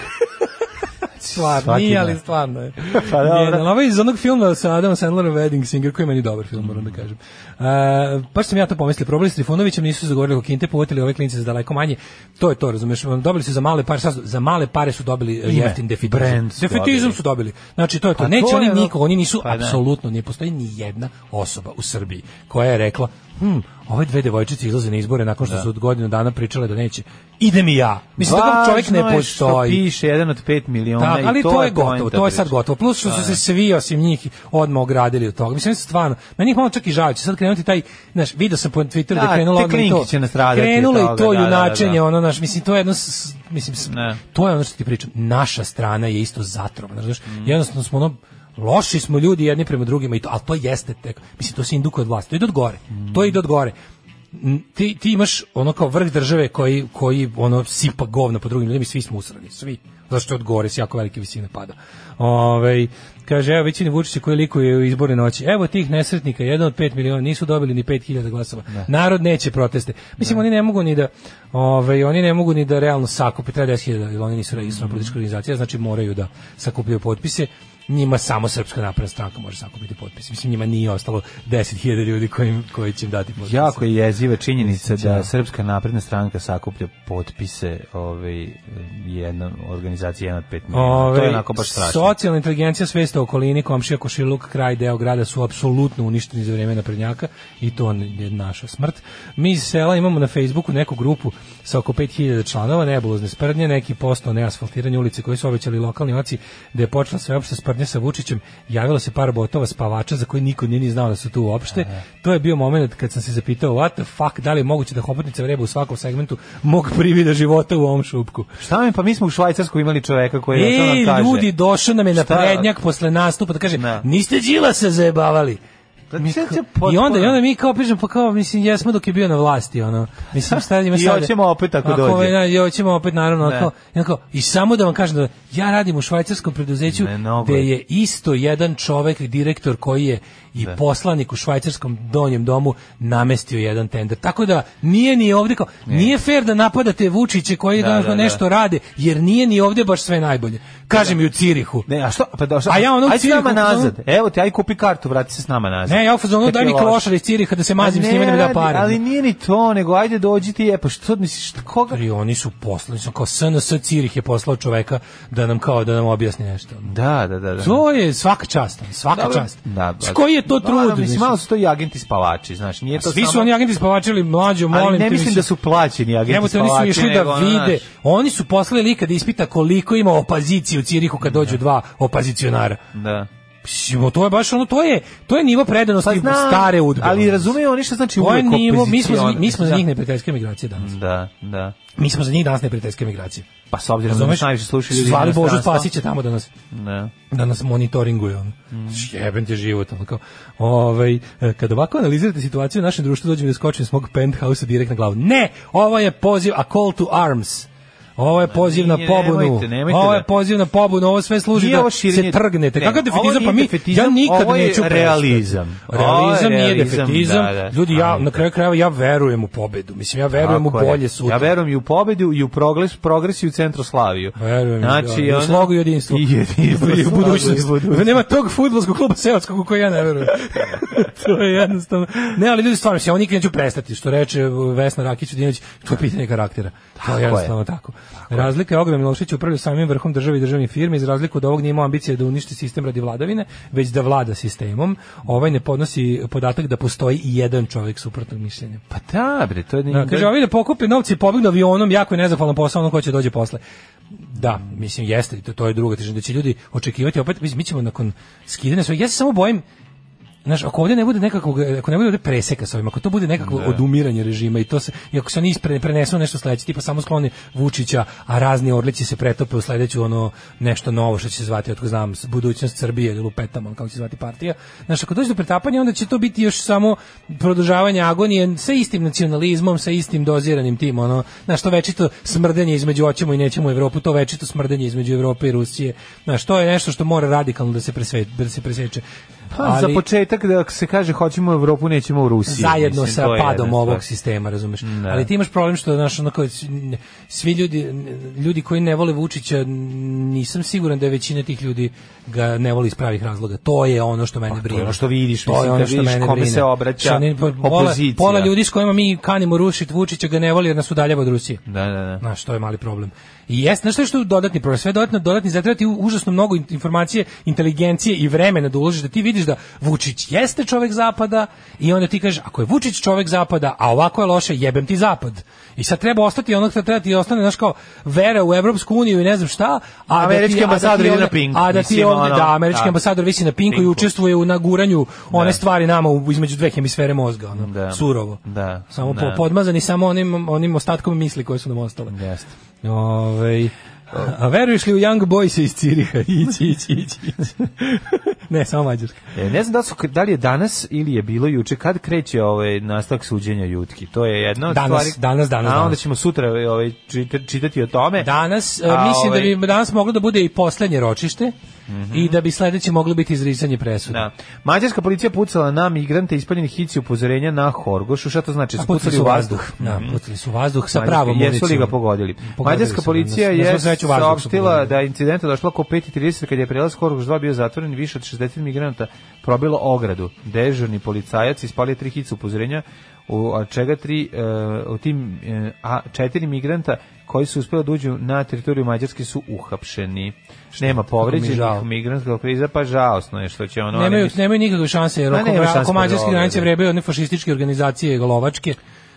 S6: stvarno
S5: Svaki
S6: nije
S5: dan.
S6: ali stvarno je
S5: Pa dobro.
S6: Genijalno. Ovo je iz onog filma sa Adam Sandlerom Wedding Singer koji je meni dobar film moram da kažem uh, baš sam ja to pomislio probali s Trifunovićem nisu zagovorili oko Kinte povotili ove klinice za daleko manje to je to razumeš Ono, dobili su za male pare sad, za male pare su dobili eh,
S5: Ime,
S6: jeftin defitizam
S5: brand su
S6: defitizam
S5: dobili.
S6: su dobili znači to je to
S5: Pa
S6: neće
S5: to
S6: oni
S5: je ono-
S6: niko oni nisu
S5: Pa da.
S6: apsolutno ne postoji ni jedna osoba u Srbiji koja je rekla hm ove dve devojčice izlaze na izbore nakon što su od godinu dana pričale da neće idem i ja mislim da čovjek ne
S5: Važno je što
S6: postoji
S5: piše jedan od 5 miliona
S6: da, ali
S5: i
S6: to,
S5: to,
S6: je gotovo,
S5: poenta
S6: to je sad
S5: priče.
S6: gotovo. Plus što su se svi osim njih odmah ogradili od toga. Mislim stvarno, meni ih malo čak i žao, će sad krenuti taj, znaš, video sam po Twitteru da,
S5: Da,
S6: krenulo
S5: te
S6: odmah i
S5: klinke
S6: to.
S5: će nastradati od
S6: krenulo i
S5: toga,
S6: to
S5: da, da, da.
S6: junačenje, ono, znaš, mislim to je jedno s- s- mislim s-
S5: Ne.
S6: to je ono što ti pričam. Naša strana je isto zatrovana, znaš. Jednostavno smo ono loši smo ljudi jedni prema drugima i to, ali to jeste tek, mislim to se indukuje od vlasti, to ide od gore. To ide od gore. N- Ti, ti imaš ono kao vrh države koji, koji ono sipa govna po drugim ljudima i svi smo usrani, svi. Zašto je od gore s jako velike visine pada. Ovaj kaže, evo većini Vučića koji likuje u izborne noći. Evo tih nesretnika, jedan od 5 miliona, nisu dobili ni 5000 glasova. Narod neće proteste. Mislim, oni ne mogu ni da, ovaj, oni ne mogu ni da realno sakupi, treba 10.000, jer oni nisu registrovana politička organizacija, znači moraju da sakupljaju potpise njima samo Srpska napredna stranka može sakupiti potpise. Mislim, njima nije ostalo 10.000 ljudi koji, koji će im dati potpise.
S5: Jako je jeziva činjenica
S6: Mislim, da.
S5: da Srpska napredna stranka sakuplja potpise ovaj, jedna organizacija jedan od 5 miliona.
S6: Ovaj,
S5: to je onako baš strašno.
S6: Socijalna inteligencija, svest o okolini, komšija, košiluk, kraj, deo grada su apsolutno uništeni za vrijeme naprednjaka i to je naša smrt. Mi iz sela imamo na Facebooku neku grupu sa oko 5000 članova, nebulozne sprdnje, neki post o neasfaltiranju ulice koji su obećali lokalni oci, da je počela sveopšta sprdnja sa Vučićem, javilo se par botova spavača za koje niko nije ni znao da su tu uopšte. To je bio moment kad sam se zapitao, what the fuck, da li je moguće da hobotnica vreba u svakom segmentu mog privida života u ovom šupku?
S5: Šta mi, pa mi smo u Švajcarsku imali čoveka koji je to nam
S6: Ej,
S5: kaže.
S6: ljudi, došao nam je na
S5: Šta?
S6: prednjak posle nastupa da kaže,
S5: Da.
S6: niste đila se zajebavali.
S5: Da, sve se
S6: I onda,
S5: Znači, potpuno-
S6: i onda mi kao pišemo, pa kao, mislim, jesmo dok je bio na vlasti, ono. Mislim, šta ima
S5: I
S6: sad?
S5: hoćemo opet ako
S6: Ako,
S5: dođe.
S6: ja, I hoćemo opet, naravno,
S5: Ne.
S6: ako, i, onako, I samo da vam kažem da ja radim u švajcarskom preduzeću,
S5: Ne, mnogo
S6: gde
S5: je.
S6: je isto jedan čovek, direktor koji je i poslanik u švajcarskom donjem domu namestio jedan tender. Tako da nije ni ovdje kao, nije fair da napadate Vučiće koji
S5: Da,
S6: da,
S5: da, da.
S6: nešto rade, jer nije ni ovdje baš sve najbolje. Kaže mi u Cirihu.
S5: Ne, a što? Pa da, šta?
S6: A ja ono u
S5: Ajde s
S6: Cirihu,
S5: nama
S6: ono-
S5: nazad. Evo te, aj kupi kartu, vrati se s nama nazad.
S6: Ne, ja u fazonu
S5: Kad
S6: daj
S5: je
S6: mi
S5: loše.
S6: klošar iz Ciriha da se mazim
S5: A
S6: s njima da mi da
S5: radi,
S6: pare.
S5: Ali nije ni to, nego ajde dođi ti, e pa što misliš, koga?
S6: I oni su poslali, su kao SNS Cirih je poslao čoveka da nam kao da nam objasni nešto.
S5: Da, da, da. da.
S6: To je svaka čast, svaka
S5: Dobro,
S6: čast.
S5: Da,
S6: S koji je to
S5: Dobro,
S6: trud?
S5: mislim,
S6: mislim?
S5: malo su to i agenti spavači, znaš, nije to
S6: Svi su
S5: samo-
S6: oni agenti spavačili mlađu, molim
S5: Ali ne
S6: te,
S5: mislim da su plaćeni agenti
S6: Jebote, oni su
S5: spavači,
S6: išli da
S5: nego, ono,
S6: vide.
S5: znaš,
S6: Oni su poslali lika da ispita koliko ima opozicije u Cirihu kad dođu dva opozicionara.
S5: Da.
S6: Mislim, to je baš ono, to je, to je nivo predanosti
S5: Pa znam,
S6: stare udbe. ono.
S5: Ali razumiju oni što znači
S6: To je
S5: uvek
S6: nivo, mi smo, za,
S5: opozicion-
S6: mi smo za
S5: Da.
S6: njih neprijateljske migracije danas.
S5: Da, da.
S6: Mi smo za njih danas neprijateljske migracije.
S5: Pa s obzirom da
S6: Razumeš?
S5: nas najviše slušaju ljudi. iz
S6: Zvali Božu
S5: inostranstva.
S6: Spasića tamo da nas
S5: Da.
S6: da nas monitoringuje ono.
S5: Mm.
S6: Jebem ti život, ono kao. Ovaj e, kad ovako analizirate situaciju u našem društvu dođem da skočim s mog penthouse direkt na glavu. Ne, ovo je poziv a call to arms. Ovo je poziv na
S5: nije,
S6: pobunu.
S5: nemojte, nemojte
S6: ovo je
S5: da-
S6: poziv na pobunu, ovo sve služi
S5: Nije
S6: da
S5: ovo širenje-
S6: se trgnete.
S5: ne, ovo
S6: Kakav defetizam? Pa
S5: nije
S6: mi, ja
S5: defetizam,
S6: nikad
S5: ovo je
S6: neću prestati.
S5: realizam. Ovo je
S6: Realizam nije
S5: realizam,
S6: defetizam.
S5: da, da.
S6: Ljudi, ja,
S5: Ali
S6: na
S5: da.
S6: kraju krajeva, ja verujem u pobedu. Mislim, ja verujem
S5: Tako
S6: u
S5: je.
S6: bolje sutra.
S5: Ja verujem i u pobedu i u progres, progres i u centroslaviju.
S6: Verujem,
S5: znači,
S6: znači, da, i u
S5: ono-
S6: slogu i jedinstvo.
S5: I jedinstvo.
S6: I u budućnost.
S5: Slogu i budućnost.
S6: Nema tog fudbalskog kluba seoskog u koji ja ne verujem. to je jednostavno. Ne, ali ljudi, stvarno, ja ovo nikad neću prestati, što reče uh, Vesna Rakić Udinović, to je pitanje karaktera. to
S5: je.
S6: je jednostavno tako. Razlika je ogromna. Milošić upravlja samim vrhom države i državnih firmi, iz razliku od ovog nije imao ambicije da uništi sistem radi vladavine, već da vlada sistemom. Ovaj ne podnosi podatak da postoji i jedan čovjek suprotnog mišljenja.
S5: Pa da, bre, to je...
S6: Da, kaže, ovi da pokupe novci i pobegnu avionom, jako je nezahvalan posao, ono ko će dođe posle. Da, mislim, jeste, to, to je druga težina, da će ljudi očekivati, opet, mislim, mi ćemo nakon skidanja svojeg, ja se samo bojim, Znaš, ako ovdje ne bude nekakvog, e, ako ne bude ovdje preseka sa ovim, ako to bude nekakvo odumiranje režima i to se, i ako se oni ispre, prenesu nešto sledeće, tipa samo skloni Vučića, a razni orlici se pretope u sledeću ono nešto novo što će se zvati, otko znam, s- budućnost Srbije ili lupetamo, ono kako će se zvati partija. Znaš, ako dođe do pretapanja, onda će to biti još samo produžavanje agonije sa istim nacionalizmom, sa istim doziranim tim, ono, znaš, to večito smrdenje između hoćemo i nećemo Evropu, to večito smrdenje između Evrope i Rusije. Znaš, to je nešto što mora radikalno da se, presve, da se preseče.
S5: Pa, za početak da se kaže hoćemo u Evropu, nećemo u Rusiju.
S6: Zajedno
S5: mislim,
S6: sa
S5: to je jedna
S6: padom
S5: stvar.
S6: ovog sistema, razumeš. Ali ti imaš problem što znaš, ono kao, svi- svi ljudi ljudi koji ne vole Vučića, n- nisam siguran da je većina tih ljudi ga ne voli iz pravih razloga. To je ono što mene
S5: Pa, to je
S6: brine.
S5: ono što vidiš, mislim, kad vidiš kome se obraća
S6: Što oni- po- pola-
S5: opozicija.
S6: Pola ljudi s kojima mi kanimo rušiti Vučića ga ne voli jer nas udaljava od Rusije.
S5: Da, da, da.
S6: Znaš, to je mali problem. I jest, znaš što je što je dodatni problem? Sve dodatno, dodatni zatrati užasno mnogo in- informacije, inteligencije i vremena da uložiš, da ti vidiš da Vučić jeste čovek zapada i onda ti kažeš, ako je Vučić čovek zapada, a ovako je loše, jebem ti zapad. I sad treba ostati onog što treba ti ostane, znaš kao, vera u Evropsku uniju i ne znam šta, a
S5: Američki
S6: da ti, a da ti
S5: ambasador ide
S6: ovde-
S5: na Pinku,
S6: A da ti
S5: mislim,
S6: ovde,
S5: ono,
S6: da, američki
S5: da.
S6: ambasador visi na pinku, i
S5: Pinku.
S6: učestvuje u naguranju one stvari nama u, između dve hemisfere mozga, ono,
S5: Da.
S6: surovo.
S5: Da.
S6: Samo po,
S5: Da.
S6: podmazani samo onim, onim ostatkom misli koje su nam ostale.
S5: Jeste.
S6: Ovaj a- A veruješ li u Young Boys iz Ciriha? Ići, ići, ići, ići. ne, samo Mađarska.
S5: E, ne znam da, su, da li je danas ili je bilo juče, kad kreće ovaj nastavak suđenja Jutki. To je jedna od
S6: Danas,
S5: stvari.
S6: danas, danas,
S5: A onda
S6: danas.
S5: ćemo sutra ovaj, čita- čitati o tome.
S6: Danas, e,
S5: A,
S6: mislim
S5: ovaj- Mhm.
S6: da bi danas moglo da bude i poslednje ročište i da bi sledeće moglo biti izricanje presuda.
S5: Da. Mađarska policija pucala na migrante ispaljenih hici upozorenja na Horgošu. Šta to znači?
S6: A pucali su u vazduh. Da, pucali su u vazduh sa pravom
S5: Mađarska- Mhm. Jesu li ga
S6: municijom.
S5: pogodili?
S6: Pogodili
S5: Mađarska
S6: su,
S5: policija
S6: na- na svu
S5: je
S6: sreću vazduh su
S5: saopštila
S6: pogodili.
S5: da je incident došlo oko 5.30 kad je prelaz Horgoš 2 bio zatvoren i više od 60 migranata probilo ogradu. Dežurni policajac ispalio tri hice upozorenja u od čega tri e, u tim e, a četiri migranta koji su uspeli da uđu na teritoriju Mađarske su uhapšeni. Nema povređenih
S6: žao.
S5: migrantskog kriza, pa žalosno je što će ono... oni
S6: nemaju,
S5: mislim-
S6: nemaju nikakve šanse, jer
S5: Ma,
S6: oko,
S5: nema šanse
S6: oko mađarske
S5: protiv
S6: granice
S5: ograde.
S6: vrebaju one fašističke organizacije golovačke.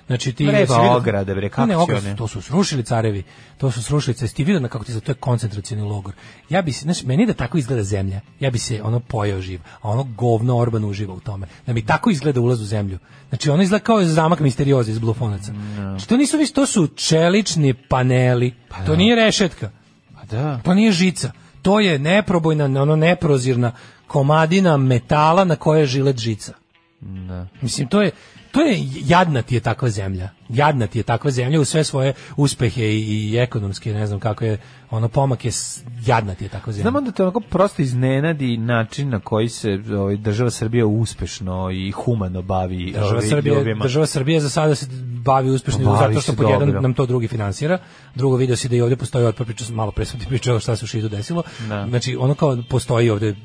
S6: Znači ti
S5: Vreba
S6: jesi vidio-
S5: ograde, bre, kako
S6: Ne,
S5: će
S6: ograde,
S5: one?
S6: to su srušili carevi. To su srušili carevi. Ti vidio na kako ti za to je koncentracioni logor. Ja bi se, znaš, meni da tako izgleda zemlja. Ja bi se ono pojeo živ, a ono govno Orban uživa u tome. Da mi tako izgleda ulaz u zemlju. Znači ono izgleda kao zamak misterioze iz blufonaca. Znači, to nisu više, to su čelični paneli. to nije rešetka.
S5: Pa da.
S6: To nije žica. To je neprobojna, ono neprozirna komadina metala na kojoj je žilet žica.
S5: Da.
S6: Mislim, to je, to je, jadna ti je takva zemlja. Jadna ti je takva zemlja u sve svoje uspehe i, i ekonomske, ne znam kako je, ono pomak je, s- jadna ti je takva zemlja.
S5: Znamo da te onako prosto iznenadi način na koji se ovaj, država Srbija uspešno i humano bavi
S6: Država
S5: ovaj,
S6: Srbije,
S5: ljudima.
S6: država Srbija za sada se bavi uspešno
S5: Bavi
S6: zato što
S5: se
S6: pod jedan
S5: dobro.
S6: nam to drugi finansira, drugo video se da i ovdje postoji otpor, pričao sam malo pre sam ti pričao šta se u Šidu desilo.
S5: Da.
S6: Znači ono kao postoji ovdje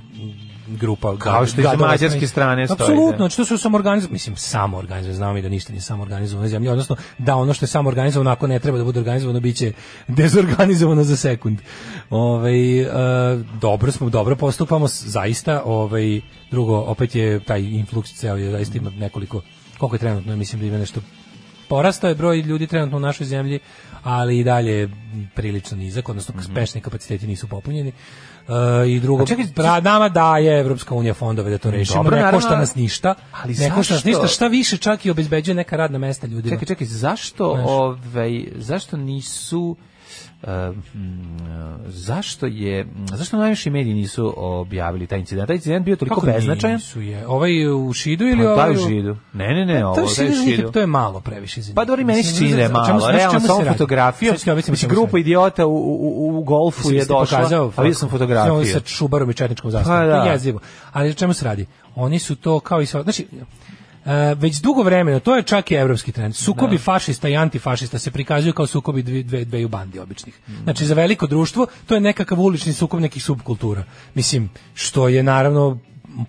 S6: grupa
S5: Kao što iz
S6: gadova-
S5: mađarske strane stoji, da.
S6: Apsolutno, znači to su samoorganizovani, mislim samoorganizovani, znamo i da ništa nije samoorganizovano na zemlji, odnosno da ono što je samoorganizovano ako ne treba da bude organizovano biće dezorganizovano za sekund. Ovaj e, dobro smo, dobro postupamo s- zaista, ovaj drugo opet je taj influx ceo je zaista ima nekoliko koliko je trenutno, mislim da ima nešto porastao je broj ljudi trenutno u našoj zemlji, ali i dalje je prilično nizak, odnosno spešni kapaciteti nisu popunjeni. E, I drugo, pra, nama daje Evropska unija fondove da to rešimo,
S5: Dobro,
S6: ne
S5: naravno,
S6: košta nas ništa,
S5: ali
S6: ne košta nas
S5: zašto?
S6: ništa, šta više čak i obezbeđuje neka radna mesta ljudima.
S5: Čekaj, čekaj, zašto
S6: Znaš.
S5: ovaj zašto nisu e, mm, zašto je zašto najviše mediji nisu objavili taj incident? Taj incident bio toliko
S6: Kako
S5: beznačajan.
S6: nisu je? Ovaj u Šidu ili
S5: Pa,
S6: ovaj
S5: taj u
S6: u- Pa
S5: židu. Ne, ne, ne,
S6: To
S5: ovo,
S6: je
S5: taj u
S6: Šidu,
S5: židu.
S6: To je malo previše. izvinite.
S5: Pa dobro, i meni se
S6: Mislim,
S5: čini da je
S6: za- za čemu
S5: malo.
S6: se-
S5: Realno
S6: čemu se
S5: samo
S6: radi?
S5: fotografijom.
S6: Sad ću ti objasniti o
S5: Mislim,
S6: čemu se
S5: grupa
S6: radi.
S5: idiota u, u, u golfu
S6: Mislim,
S5: je
S6: jeste
S5: došla,
S6: pokazao
S5: a vidio sam
S6: fotku. Samo
S5: fotografiju.
S6: Sa čubarom i četničkom zastavom.
S5: Pa
S6: To
S5: da.
S6: je jezivo. Ali o čemu se radi? Oni su to kao i sva... Znači, e, već dugo vremena, to je čak i evropski trend, sukobi fašista i antifašista se prikazuju kao sukobi dve, dve, dveju bandi običnih. Znači, za veliko društvo to je nekakav ulični sukob nekih subkultura. Mislim, što je naravno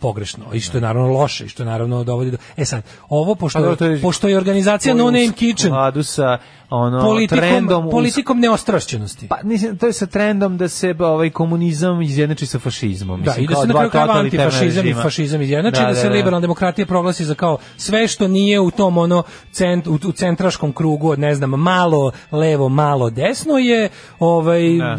S6: pogrešno i što je naravno loše i što naravno dovodi do... E sad, ovo,
S5: Pa
S6: pošto,
S5: dobro, to je-
S6: pošto je organizacija No
S5: Koji je
S6: Name
S5: u
S6: Kitchen,
S5: skladu sa ono, trendom,
S6: politikom,
S5: u-
S6: politikom neostrašćenosti.
S5: Pa, mislim, to je sa trendom da se ba, ovaj komunizam izjednači sa fašizmom.
S6: Da,
S5: Mislim,
S6: i da
S5: kao
S6: se na
S5: dva
S6: kraju krajeva
S5: totalitarna
S6: antifašizam i
S5: režima.
S6: fašizam izjednače, da, se liberalna demokratija proglasi za kao sve što nije u tom ono cent, u, u centraškom krugu od ne znam malo levo, malo desno je ovaj
S5: Da.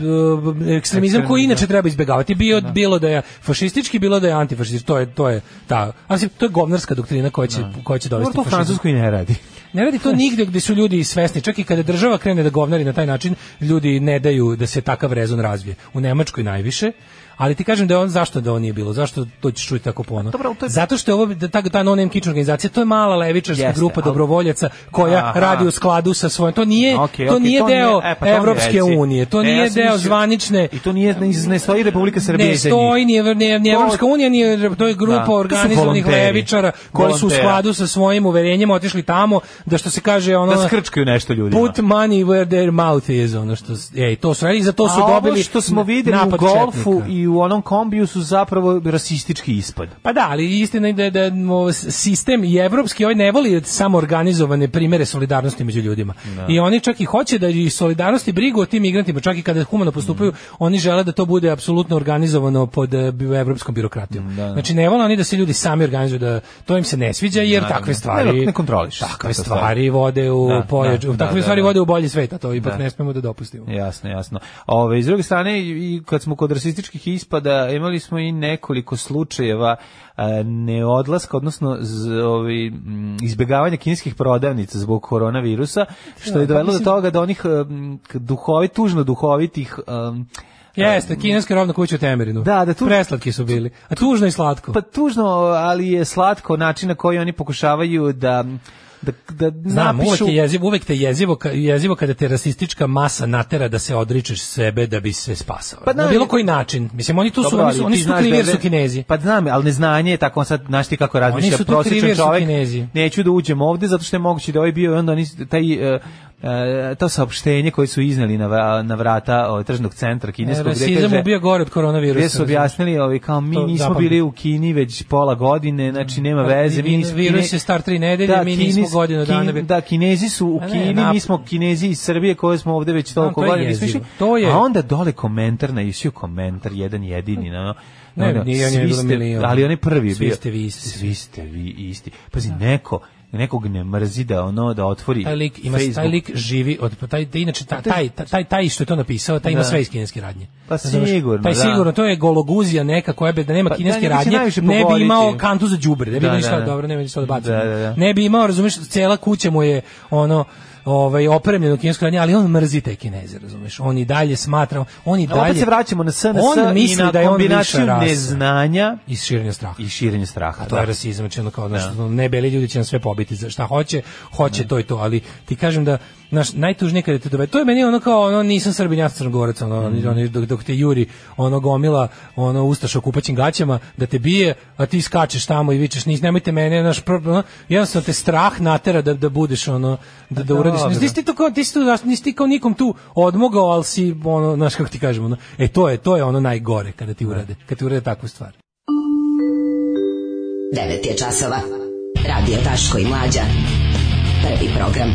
S6: e, ekstremizam koji inače treba izbegavati. Bio bilo da je fašistički, bilo da je antifašistički. To je to je ta. A mislim, to je govnarska doktrina koja će koja će
S5: Dobro,
S6: dovesti
S5: to u
S6: fašizam.
S5: Francuskoj ne radi.
S6: Ne radi to nigde gdje su ljudi svesni, čak i kada država krene da govnari na taj način, ljudi ne daju da se takav rezon razvije. U Nemačkoj najviše, ali ti kažem da je on zašto da on nije bilo, zašto to ćeš čuti tako ponovno.
S5: Dobro, ali to je-
S6: Zato što je ovo da ta, ta no name kitchen organizacija, to je mala levičarska
S5: Jeste,
S6: grupa
S5: ali-
S6: dobrovoljaca koja
S5: Aha.
S6: radi u skladu sa svojim. To nije
S5: Okej,
S6: E, to
S5: okej,
S6: nije
S5: to nije-
S6: deo
S5: e, pa to mi
S6: Evropske
S5: reci.
S6: unije, to
S5: E,
S6: nije
S5: ja sam
S6: deo
S5: mislio-
S6: zvanične
S5: I to nije, ne, ne stoji Republika Srbije
S6: ne
S5: iza
S6: stoji,
S5: njih.
S6: ni, Evr- ni, ni
S5: To-
S6: Evropska unija, ni, to je
S5: Da,
S6: grupa
S5: to su
S6: organizovanih
S5: volonteri.
S6: levičara koji su u
S5: Volontera.
S6: skladu sa svojim uverenjima otišli tamo, da što se kaže ono...
S5: Da skrčkaju nešto ljudima.
S6: Put money where their mouth is, ono što, s- ej, to su radili, i za to su
S5: A
S6: dobili
S5: ovo što smo
S6: n-
S5: videli u
S6: napad
S5: golfu
S6: četnika.
S5: i u onom kombiju su zapravo rasistički ispad.
S6: Pa da, ali istina je da, da mo, s- sistem i evropski ovaj ne voli samo organizovane primere solidarnosti među ljudima. I oni čak i hoće da i solidarnosti i brigu o tim migrantima, čak i kada humano
S5: Mm.
S6: postupaju, oni žele da to bude apsolutno organizovano pod e, bi- evropskom birokratijom. Znači ne vole oni da se ljudi sami organizuju, da to im se ne sviđa jer
S5: Naravno.
S6: takve stvari
S5: Ne, ne kontroliš
S6: Takve
S5: takve stvari.
S6: stvari vode u
S5: Da,
S6: pojađu-
S5: da, da,
S6: takve
S5: da,
S6: stvari
S5: da.
S6: vode u bolji svet, a to ipak
S5: Da.
S6: ne smemo da dopustimo.
S5: Jasno, jasno. Ove, iz druge strane, i i kad smo kod rasističkih ispada, imali smo i nekoliko slučajeva e, neodlaska, odnosno z, ovi, m, izbjegavanja kineskih prodavnica zbog koronavirusa, što je
S6: pa
S5: dovelo do
S6: mislim-
S5: toga da onih em, k- duhovi, tužno duhovitih e, em,
S6: Jeste, kineska rovna kuća u Temerinu.
S5: Da, da, tu-
S6: Preslatki su bili. A tužno i slatko.
S5: pa tužno, ali je slatko način na koji oni pokušavaju da da, da
S6: Znam, uvek,
S5: napišu
S6: je jezivo, uvek te jezivo, ka- jezivo kada te rasistička masa natera da se odričeš sebe da bi se spasao.
S5: Pa
S6: na
S5: da,
S6: bilo
S5: i-
S6: koji način. Mislim, oni tu su,
S5: Dobro,
S6: oni
S5: ali
S6: su,
S5: ti
S6: oni su tu
S5: znaš
S6: krivi
S5: da
S6: jer su
S5: ne-
S6: kinezi.
S5: Pa znam, ali neznanje je tako, on sad, znaš ti kako razmišlja
S6: su tu krivi
S5: prosječan
S6: jer su
S5: čovjek.
S6: Kinezi.
S5: Neću da uđem ovde, zato što je moguće da ovaj bio, i onda oni, taj, e, e, to saopštenje koje su izneli na, vra- na vrata o, tržnog centra kineskog, gde
S6: E, Rasizam
S5: kaže,
S6: ubija gore od koronavirusa.
S5: gde su objasnili, ovi, kao mi
S6: To
S5: nismo
S6: zapamti.
S5: bili u Kini već pola godine, znači nema veze, mi nismo...
S6: Virus
S5: Kine-
S6: je star tri nedelje, mi nismo
S5: Kines-
S6: godinu dana.
S5: Kin-
S6: bili.
S5: Da, Kinezi su u
S6: A ne,
S5: Kini,
S6: nap-
S5: mi smo Kinezi iz Srbije koje smo ovde već
S6: Znam,
S5: toliko
S6: to je
S5: godina nismo
S6: jezivo.
S5: išli.
S6: To je-
S5: A onda dole komentar na isio komentar, jedan jedini, na ono, na
S6: Ne,
S5: ono,
S6: nije, nije
S5: svi
S6: bilo
S5: ste-
S6: milion.
S5: ali on je prvi bio.
S6: Svi ste vi isti.
S5: Svi ste vi isti. Pazi, neko, nekog ne mrzi da ono, da otvori
S6: Taj lik, ima, taj
S5: Facebook. Pa
S6: lik živi od pa taj, taj inače taj, taj, taj, taj što je to napisao, taj ima
S5: Da.
S6: sve iz kineske radnje.
S5: Pa
S6: Razumeš?
S5: sigurno,
S6: Taj
S5: da.
S6: sigurno, to je gologuzija neka koja bi da nema
S5: Pa
S6: kineske
S5: da, njega će
S6: radnje,
S5: najviše
S6: ne bi
S5: pogoditi.
S6: imao kantu za đubre, ne bi
S5: Da,
S6: imao
S5: da,
S6: ništa
S5: da.
S6: dobro, ne bi ništa da baci.
S5: Da, da, da.
S6: Ne bi imao, razumeš, cela kuća mu je ono ovaj opremljeno kinesko radnje, ali on mrzi te Kineze, razumeš? On i dalje smatra, on i
S5: A
S6: dalje
S5: Opet se vraćamo na SNS
S6: on
S5: i
S6: misli
S5: na
S6: da je on
S5: kombinaciju
S6: viša rasa.
S5: neznanja
S6: i širenja straha.
S5: i širenje straha.
S6: A to je rasizam, znači ono kao, znaš, ne beli ljudi će nam sve pobiti, za šta hoće, hoće to i to, ali ti kažem da, naš najtužnije kada te dove, to je meni ono kao, ono, nisam srbin, ja sam crnogorac, ono, ono, dok, dok te juri, ono, gomila, ono, ustaša u kupaćim gaćama, da te bije, a ti skačeš tamo i vičeš, nis, nemojte mene, naš, ono, jednostavno te strah natera da, da budeš, ono, da, da uradiš,
S5: dobro.
S6: nisi ti to kao, ti si tu, znaš, nisi ti kao nikom tu odmogao, ali si, ono, znaš, kako ti kažem, ono, e, to je, to je ono najgore kada ti urade, kada ti urade takvu stvar.
S4: 9 je časova. Radio Daško i Mlađa. Prvi program.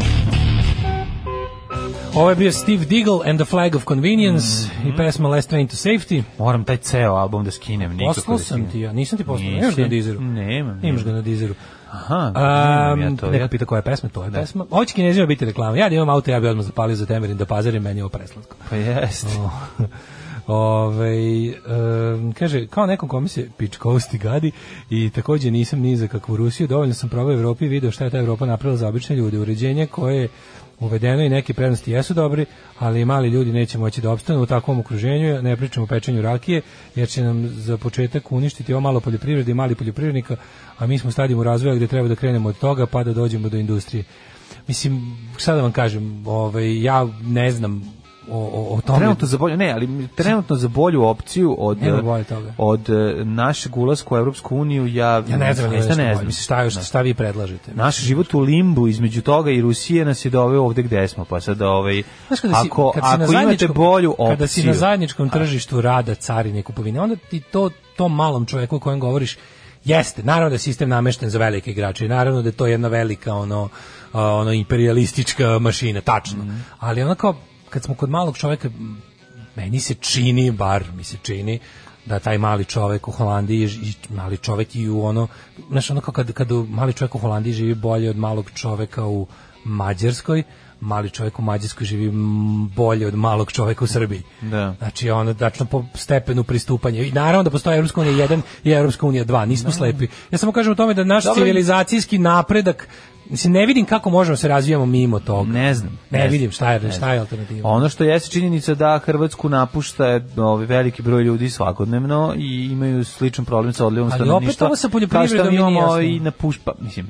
S6: Ovo je bio Steve Diggle and the Flag of Convenience
S5: Mhm.
S6: i pesma Last Train to Safety.
S5: Moram taj ceo album da skinem. nikako
S6: Poslao
S5: da
S6: sam
S5: skinem.
S6: ti ja, nisam ti poslao,
S5: Nisi.
S6: nemaš ga na dizeru.
S5: Nemam,
S6: Imaš ga
S5: nemam.
S6: na dizeru.
S5: Aha,
S6: Um,
S5: nemam ja to.
S6: neka
S5: Ja,
S6: pita koja je pesma, to je pesma. Ovo će kinezima biti reklama. Ja da imam auto, ja bi odmah zapalio za temerin da pazarim, meni je ovo preslatko.
S5: pa jeste.
S6: Ove, kaže, kao nekom kome se pičkovosti gadi i takođe nisam ni za kakvu Rusiju, dovoljno sam probao u Evropi i video šta je ta Evropa napravila za obične ljude, uređenje koje je uvedeno i neke prednosti jesu dobri, ali mali ljudi neće moći da opstanu u takvom okruženju, ne pričamo o pečenju rakije, jer će nam za početak uništiti ovo malo poljoprivrede i mali poljoprivrednika, a mi smo u stadijumu razvoja gde treba da krenemo od toga pa da dođemo do industrije. Mislim, sad da vam kažem, ovaj, ja ne znam o, o, o tome.
S5: Trenutno za bolju, ne, ali mi- trenutno za bolju opciju od
S6: Nema bolje toga.
S5: od eh, našeg ulaska u Evropsku uniju ja
S6: Ja ne
S5: zaista
S6: znam, ne znam,
S5: ne
S6: ne
S5: znam.
S6: šta, još, šta vi predlažete?
S5: Naš život u limbu između toga i Rusije nas je doveo ovde gde smo, pa sad ovaj
S6: Znaš, kada si-
S5: ako
S6: kad si na
S5: ako imate
S6: zajedničkom-
S5: bolju opciju.
S6: Kada si na zajedničkom tržištu rada carine i kupovine, onda ti to tom malom čoveku o kojem govoriš jeste, naravno da je sistem namešten za velike igrače i naravno da je to jedna velika ono, a, ono imperialistička mašina, tačno. Ali ono kao, kad smo kod malog čoveka, m, meni se čini, bar mi se čini, da taj mali čovek u Holandiji i mali čovek i u ono, znaš ono kao kad, kad mali čovek u Holandiji živi bolje od malog čoveka u Mađarskoj, mali čovjek u Mađarskoj živi mm, bolje od malog čovjeka u Srbiji.
S5: Da.
S6: Znači, ono, tačno po stepenu pristupanja. I naravno da postoje Evropska unija 1 i Evropska unija 2, nismo slepi. Ja samo kažem o tome da naš
S5: Dobro.
S6: civilizacijski napredak, mislim, ne vidim kako možemo da se razvijamo mimo toga.
S5: Ne znam.
S6: Ne,
S5: znam,
S6: vidim šta
S5: ne
S6: je, šta je
S5: znam.
S6: alternativa.
S5: Ono što jeste činjenica da Hrvatsku napušta ovaj veliki broj ljudi svakodnevno i imaju sličan problem sa odlivom
S6: Ali opet
S5: stanovništva.
S6: ovo sa
S5: kao
S6: poljoprivredom
S5: što mi
S6: mi nije
S5: imamo
S6: jasno.
S5: i napušpa, mislim.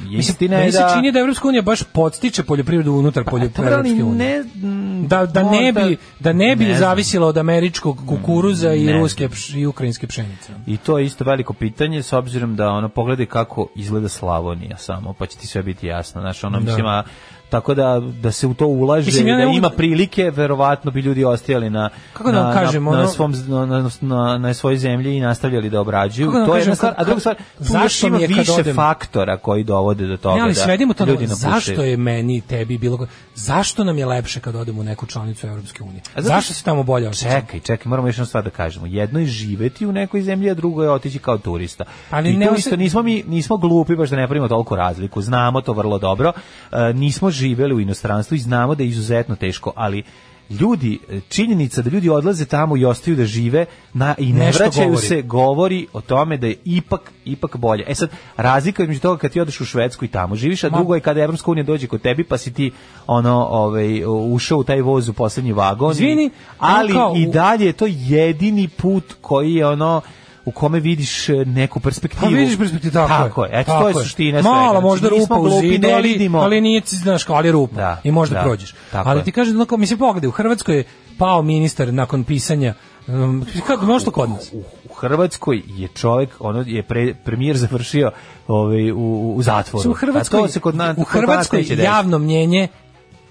S6: Mislim,
S5: istina je
S6: meni se
S5: da Pa,
S6: čini da Evropska unija baš podstiče poljoprivredu unutar
S5: Dobro, ali
S6: poljoprivredne unije.
S5: ne, mm,
S6: Da, da, ne
S5: možda-
S6: bi, da ne bi
S5: znam.
S6: zavisila od američkog kukuruza i
S5: Ne znam.
S6: ruske pš- i ukrajinske pšenice.
S5: I to je isto veliko pitanje s obzirom da ono pogledaj kako izgleda Slavonija samo, pa će ti sve biti jasno. Znaš, ono mislim, a, tako da da se u to ulaže
S6: Mislim, ja
S5: i
S6: ne
S5: da
S6: mogu-
S5: ima prilike verovatno bi ljudi ostajali na
S6: Kako da
S5: na,
S6: vam kažem,
S5: na, na
S6: ono-
S5: svom na, na, na, na svojoj zemlji i nastavljali da obrađuju
S6: Kako da vam
S5: to je
S6: kažem,
S5: jedna stvar a
S6: kako-
S5: druga stvar tu
S6: zašto
S5: još
S6: mi
S5: ima
S6: je kad
S5: više
S6: odem-
S5: faktora koji dovode do toga
S6: Ne, ali
S5: da
S6: svedimo to na
S5: ljudi napuštaju.
S6: zašto je meni, tebi, bilo ko- zašto nam je lepše kad odemo u neku članicu Europske unije?
S5: A zato
S6: Zašto
S5: što-
S6: se tamo bolje osjećamo?
S5: Čekaj, čekaj, moramo još jednu stvar da kažemo. Jedno je živeti u nekoj zemlji, a drugo je otići kao turista.
S6: Ali
S5: I
S6: ne
S5: to
S6: osje-
S5: isto, nismo mi nismo glupi baš da ne pravimo toliku razliku. Znamo to vrlo dobro. E, nismo živeli u inostranstvu i znamo da je izuzetno teško, ali ljudi, e, činjenica da ljudi odlaze tamo i ostaju da žive na, i ne
S6: Nešto
S5: vraćaju
S6: govori.
S5: se, govori o tome da je ipak, ipak bolje. E sad, razlika između toga kad ti odeš u Švedsku i tamo živiš, a
S6: Ma-
S5: drugo je kada Evropska unija dođe kod tebi, pa si ti ono, ovaj, ušao u taj voz u poslednji vagon.
S6: Izvini,
S5: ali
S6: ono kao
S5: i
S6: u-
S5: dalje je to jedini put koji je ono u kome vidiš e, neku perspektivu.
S6: Pa vidiš perspektivu, tako,
S5: je. Eto, to je suština svega.
S6: Malo,
S5: Znači,
S6: možda
S5: nismo
S6: rupa u
S5: glupi,
S6: zidu,
S5: ne
S6: ali,
S5: vidimo.
S6: ali nije, znaš, kao, ali je rupa.
S5: Da,
S6: I možda
S5: da,
S6: prođeš.
S5: tako
S6: ali
S5: je.
S6: ti kažem, onako, mislim, pogledaj, u Hrvatskoj je pao ministar nakon pisanja Um, kako možda kod nas?
S5: u, u Hrvatskoj je čovjek, ono je pre, premijer završio ovaj, u, u zatvoru.
S6: Mislim, U Hrvatskoj,
S5: a to se kod nas, kod
S6: u
S5: nas
S6: Hrvatskoj
S5: neće desiti.
S6: javno mnjenje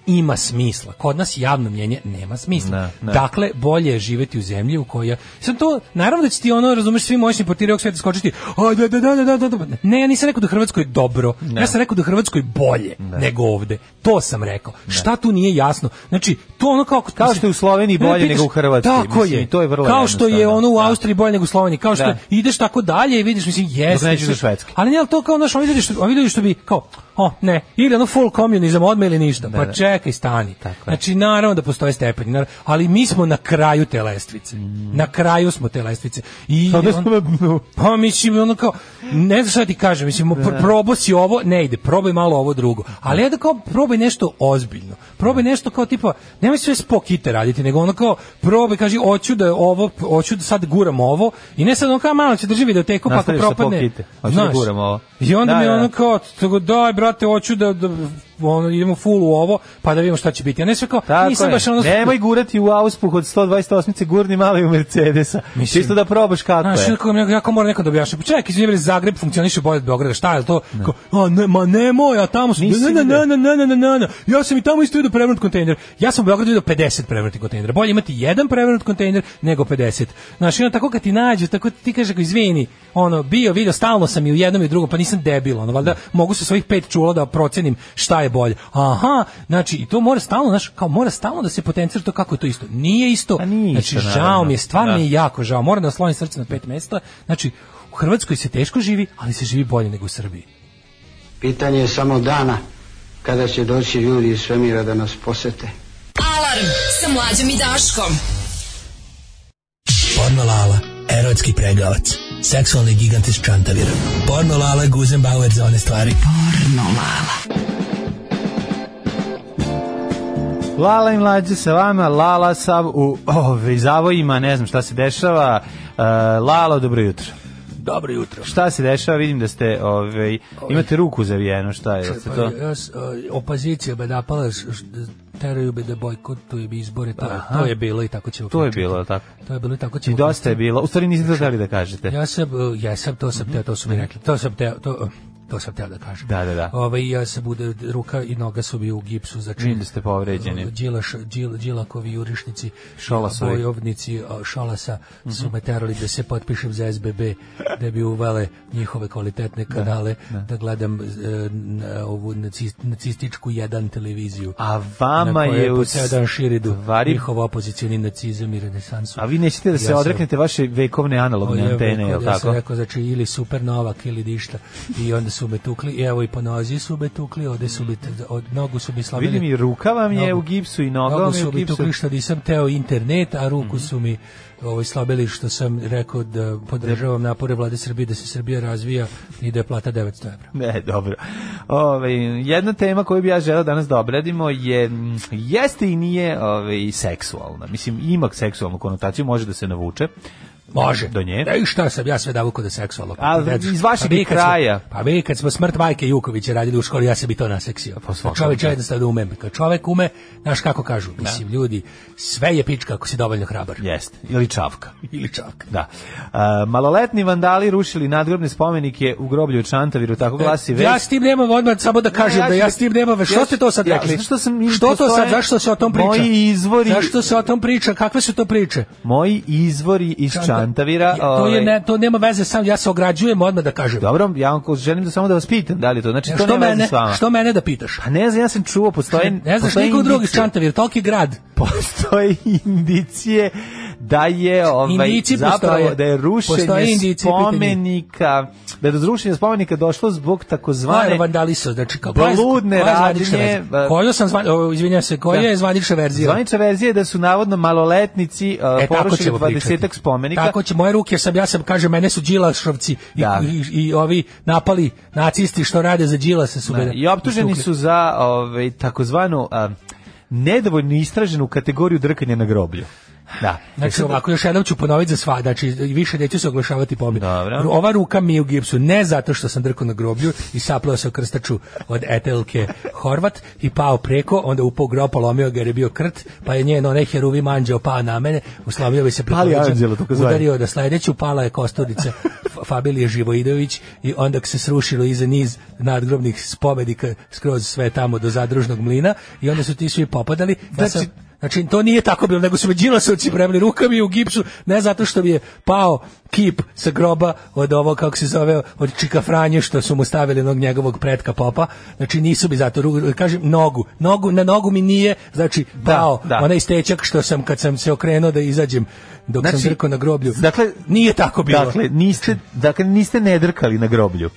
S6: ima smisla. Kod nas javno mnjenje nema smisla.
S5: Ne, ne.
S6: Dakle, bolje je živeti u zemlji u kojoj... Sad to, naravno da će ti ono, razumeš, svi moćni portiri ovog sveta skočiti, a da, da, da, da, da, da. Ne, ja nisam rekao da u Hrvatskoj je dobro. Ja sam rekao da u Hrvatskoj bolje nego ovde. To sam rekao. Šta tu nije jasno? Znači, to ono kao...
S5: Kao što je u Sloveniji
S6: Mene
S5: bolje
S6: pitaš-
S5: nego u Hrvatskoj.
S6: Tako
S5: Mislim,
S6: je.
S5: i to je vrlo
S6: Kao što je
S5: jednostavno.
S6: ono u
S5: Da.
S6: Austriji bolje nego u Sloveniji. Kao što
S5: Da.
S6: ideš tako dalje i vidiš, mislim, jeste.
S5: neđeš do Švedske.
S6: Ali ne, ali to kao naš, ovi ljudi što, ovi ljudi što bi, kao, o, ne, ili ono full komunizam odme ili ništa.
S5: Da,
S6: pa
S5: da.
S6: čekaj, stani. Znači, naravno da postoje stepeni, naravno, ali mi smo na kraju te lestvice. Na kraju smo te lestvice. I
S5: Sada
S6: on-
S5: Mm. smo na dnu.
S6: pa mislim ono kao ne znam šta ti kažem, mislim pr probao si ovo, ne ide, probaj malo ovo drugo. Ali ja da kao probaj nešto ozbiljno. Probaj nešto kao tipa nemoj sve spokite raditi, nego ono kao probaj kaži hoću da je ovo hoću da sad guram ovo i ne sad ono kao malo će drži videoteku pa ako
S5: Nastaviš sa
S6: propadne.
S5: pokite, hoću da guram ovo.
S6: I onda
S5: Da,
S6: mi
S5: da.
S6: ono kao tako daj brate hoću da, da ono, idemo full u ovo pa da vidimo šta će biti. Ja ne sve kao
S5: Tako
S6: nisam
S5: je.
S6: baš ono
S5: Nemoj gurati u auspuh od 128-ice, gurni malo i u Mercedesa.
S6: Mislim-
S5: Čisto da probaš kako
S6: Znaš,
S5: je.
S6: kako mi jako mora neko da objašnja. Pa čekaj, izvini, bre, Zagreb funkcioniše bolje od Beograda. Šta je to? Kao, a ne, ma nemoj, a tamo sam...
S5: Nisi
S6: Ne, ne,
S5: vidio.
S6: ne, ne, ne, ne, ne, ne, ne. Ja sam i tamo isto vidio prevrnut kontejner. Ja sam u Beogradu vidio 50 prevrnutih kontejnera. Bolje imati jedan prevrnut kontejner nego 50. Znaš, i ono tako kad ti nađu, tako ti kaže, ako izvini, ono, bio, video, stalno sam i u jednom i u drugom, pa nisam debil, ono, valjda mogu sa svojih pet čula da procenim šta je bolje. Aha, znači, i to mora stalno, znaš, kao mora stalno da se potencira to kako je to isto. Nije isto.
S5: Pa nije isto,
S6: znači, žao
S5: naravno.
S6: mi je, stvarno
S5: Da.
S6: mi je jako žao. Moram da slonim srce na pet mesta. Znači, u Hrvatskoj se teško živi, ali se živi bolje nego u Srbiji.
S12: Pitanje je samo dana kada će doći ljudi iz svemira da nas posete.
S4: Alarm sa mlađom i Daškom.
S11: Porno Lala, erotski pregavac, seksualni gigant iz Čantavira. Porno Lala, Guzenbauer za one stvari. Porno Lala.
S5: Lala i mlađe sa vama, Lala sav u ove, zavojima, ne znam šta se dešava. E, Lalo, dobro jutro.
S11: Dobro jutro.
S5: Šta se dešava? Vidim da ste, ove, imate ruku zavijenu, šta
S6: Pa,
S5: je? Jeste to?
S6: opozicija me napala, š- š- teraju me da bojkotujem izbore, to,
S5: Aha.
S6: to je bilo i tako ćemo.
S5: To je
S6: pričati.
S5: bilo, jel tako.
S6: To je bilo i tako ćemo.
S5: I Znači, dosta je bilo. U stvari niste to hteli da kažete.
S6: Ja sam, uh, ja sam, to sam teo, to su mi rekli. To sam teo, to, uh, to sam teo da kažem.
S5: Mhm. Da, da, da.
S6: Ovaj, ja sam bude, ruka i noga su mi u gipsu za čin.
S5: Vidim da ste povređeni.
S6: Uh, Đilaš, Đil, Đilakovi jurišnici,
S5: Šolasovi.
S6: bojovnici uh, Šolasa
S5: Mhm.
S6: su me terali da se potpišem za SBB, da bi uvale njihove kvalitetne kanale, da, gledam uh, na ovu nacist, nacističku jedan televiziju.
S5: A vama
S6: na kojoj
S5: je u
S6: po ceo dan širidu
S5: stvari-
S6: njihov opozicioni nacizam i renesansu.
S5: A vi nećete da
S6: Ja
S5: se
S6: sam-
S5: odreknete vaše vekovne analogne
S6: O, jebote,
S5: antene, jel
S6: Ja sam
S5: tako?
S6: rekao, znači, ili super novak, ili ništa. I onda su me tukli, i evo i po nozi su me tukli, ovde su mi, t- od nogu su mi slavili.
S5: Vidim i ruka vam je u gipsu i noga vam
S6: Nogu
S5: je Mhm. u
S6: su mi
S5: gipsu.
S6: tukli što nisam teo internet, a ruku su mi ovaj, slabili što sam rekao da podržavam napore vlade Srbije da se Srbija razvija i da je plata 900 evra.
S5: Ne, dobro. Ove, jedna tema koju bi ja želeo danas da obradimo je, mm, jeste i nije ove, seksualna. Mislim, ima seksualnu konotaciju, može da se navuče.
S6: Može.
S5: Do nje.
S6: E, i šta sam ja sve davuko da seksualno.
S5: A,
S6: Decu.
S5: iz vašeg
S6: vi kad
S5: kraja.
S6: Smo, pa vi kad smo smrt majke Jukovića radili u školi, ja se bi to naseksio. Pa
S5: svakom,
S6: čovjek
S5: da.
S6: jednostavno ume. Kad čovjek ume, znaš kako kažu, mislim, ljudi, sve je pička ako si dovoljno hrabar.
S5: Jeste. Ili čavka.
S6: Ili čavka.
S5: Da. A, maloletni vandali rušili nadgrobne spomenike u groblju u Čantaviru, tako glasi već.
S6: E, Ja s tim nemam odmah samo da kažem
S5: ja
S6: da
S5: ću
S6: ja
S5: da-
S6: s tim nemam. veze.
S5: ja ću-
S6: Što ste to sad
S5: ja,
S6: rekli?
S5: zašto sam-
S6: što to sad
S5: postoje
S6: zašto se o tom priča?
S5: moji izvori-
S6: Zašto se o tom priča? Kakve su to priče?
S5: Moji izvori iz Čantavira...
S6: to je
S5: ove,
S6: ne, to nema veze sam ja se ograđujem odmah da kažem.
S5: Dobro, ja vam ko- želim da samo da vas pitam da li je to. Znači, to
S6: što
S5: nema veze
S6: mene,
S5: s vama.
S6: što mene da pitaš?
S5: Pa ne znam, ja sam čuo, postoje...
S6: Ne znaš
S5: postoje
S6: nikog drugog iz
S5: indicije.
S6: Čantavira, toliki grad.
S5: postoje indicije da je ovaj
S6: Indicije
S5: zapravo
S6: postoje.
S5: da je rušenje
S6: Postoje indicije,
S5: spomenika da je do rušenja spomenika došlo zbog takozvane
S6: Zvane vandalisa, znači kako
S5: Bludne radnje, e,
S6: Koju sam zvan, o, izvinjam se, koja
S5: Da.
S6: je zvanična verzija?
S5: zvanična verzija je da su navodno maloletnici uh,
S6: E, tako
S5: porušili
S6: ćemo
S5: 20
S6: pričati.
S5: spomenika
S6: Tako će, moje ruke sam, ja sam, kažem, mene su Đilašovci i,
S5: Da.
S6: i, i ovi napali nacisti što rade za Đilasa su
S5: Da,
S6: mene
S5: i optuženi
S6: istukli.
S5: su za ovaj takozvanu a, nedovoljno istraženu kategoriju drkanja na groblju da E,
S6: Znači, ovako, još jednom ću ponoviti za sva, znači, više neću se oglašavati pomi.
S5: Dobro.
S6: Ova ruka mi je u gipsu, ne zato što sam drko na groblju i saplao se o krstaču od Etelke Horvat i pao preko, onda upao u grob, polomio ga jer je bio krt, pa je njen onaj heruvim anđeo pao na mene, uslomio bi se preko
S5: Pali
S6: leđa,
S5: anđelo, tako zvani.
S6: udario da sledeću, pala je kosturnica F- Fabilije Živoidović i onda se srušilo iza niz nadgrobnih spomenika skroz sve tamo do zadružnog mlina i onda su ti svi popadali. Ja
S5: Znači,
S6: sam- Znači, to nije tako bilo, nego su me Đilasovci premli rukami u gipsu, ne zato što mi je pao kip sa groba od ovo, kako se zove, od Čika Franje, što su mu stavili onog njegovog pretka popa. Znači, nisu mi zato, ru- kažem, nogu. nogu na nogu mi nije, znači, pao
S5: da.
S6: onaj stečak što sam, kad sam se okrenuo da izađem, dok sam drkao na groblju.
S5: znači, Dakle,
S6: nije tako bilo.
S5: Dakle, niste, dakle, niste ne drkali na groblju.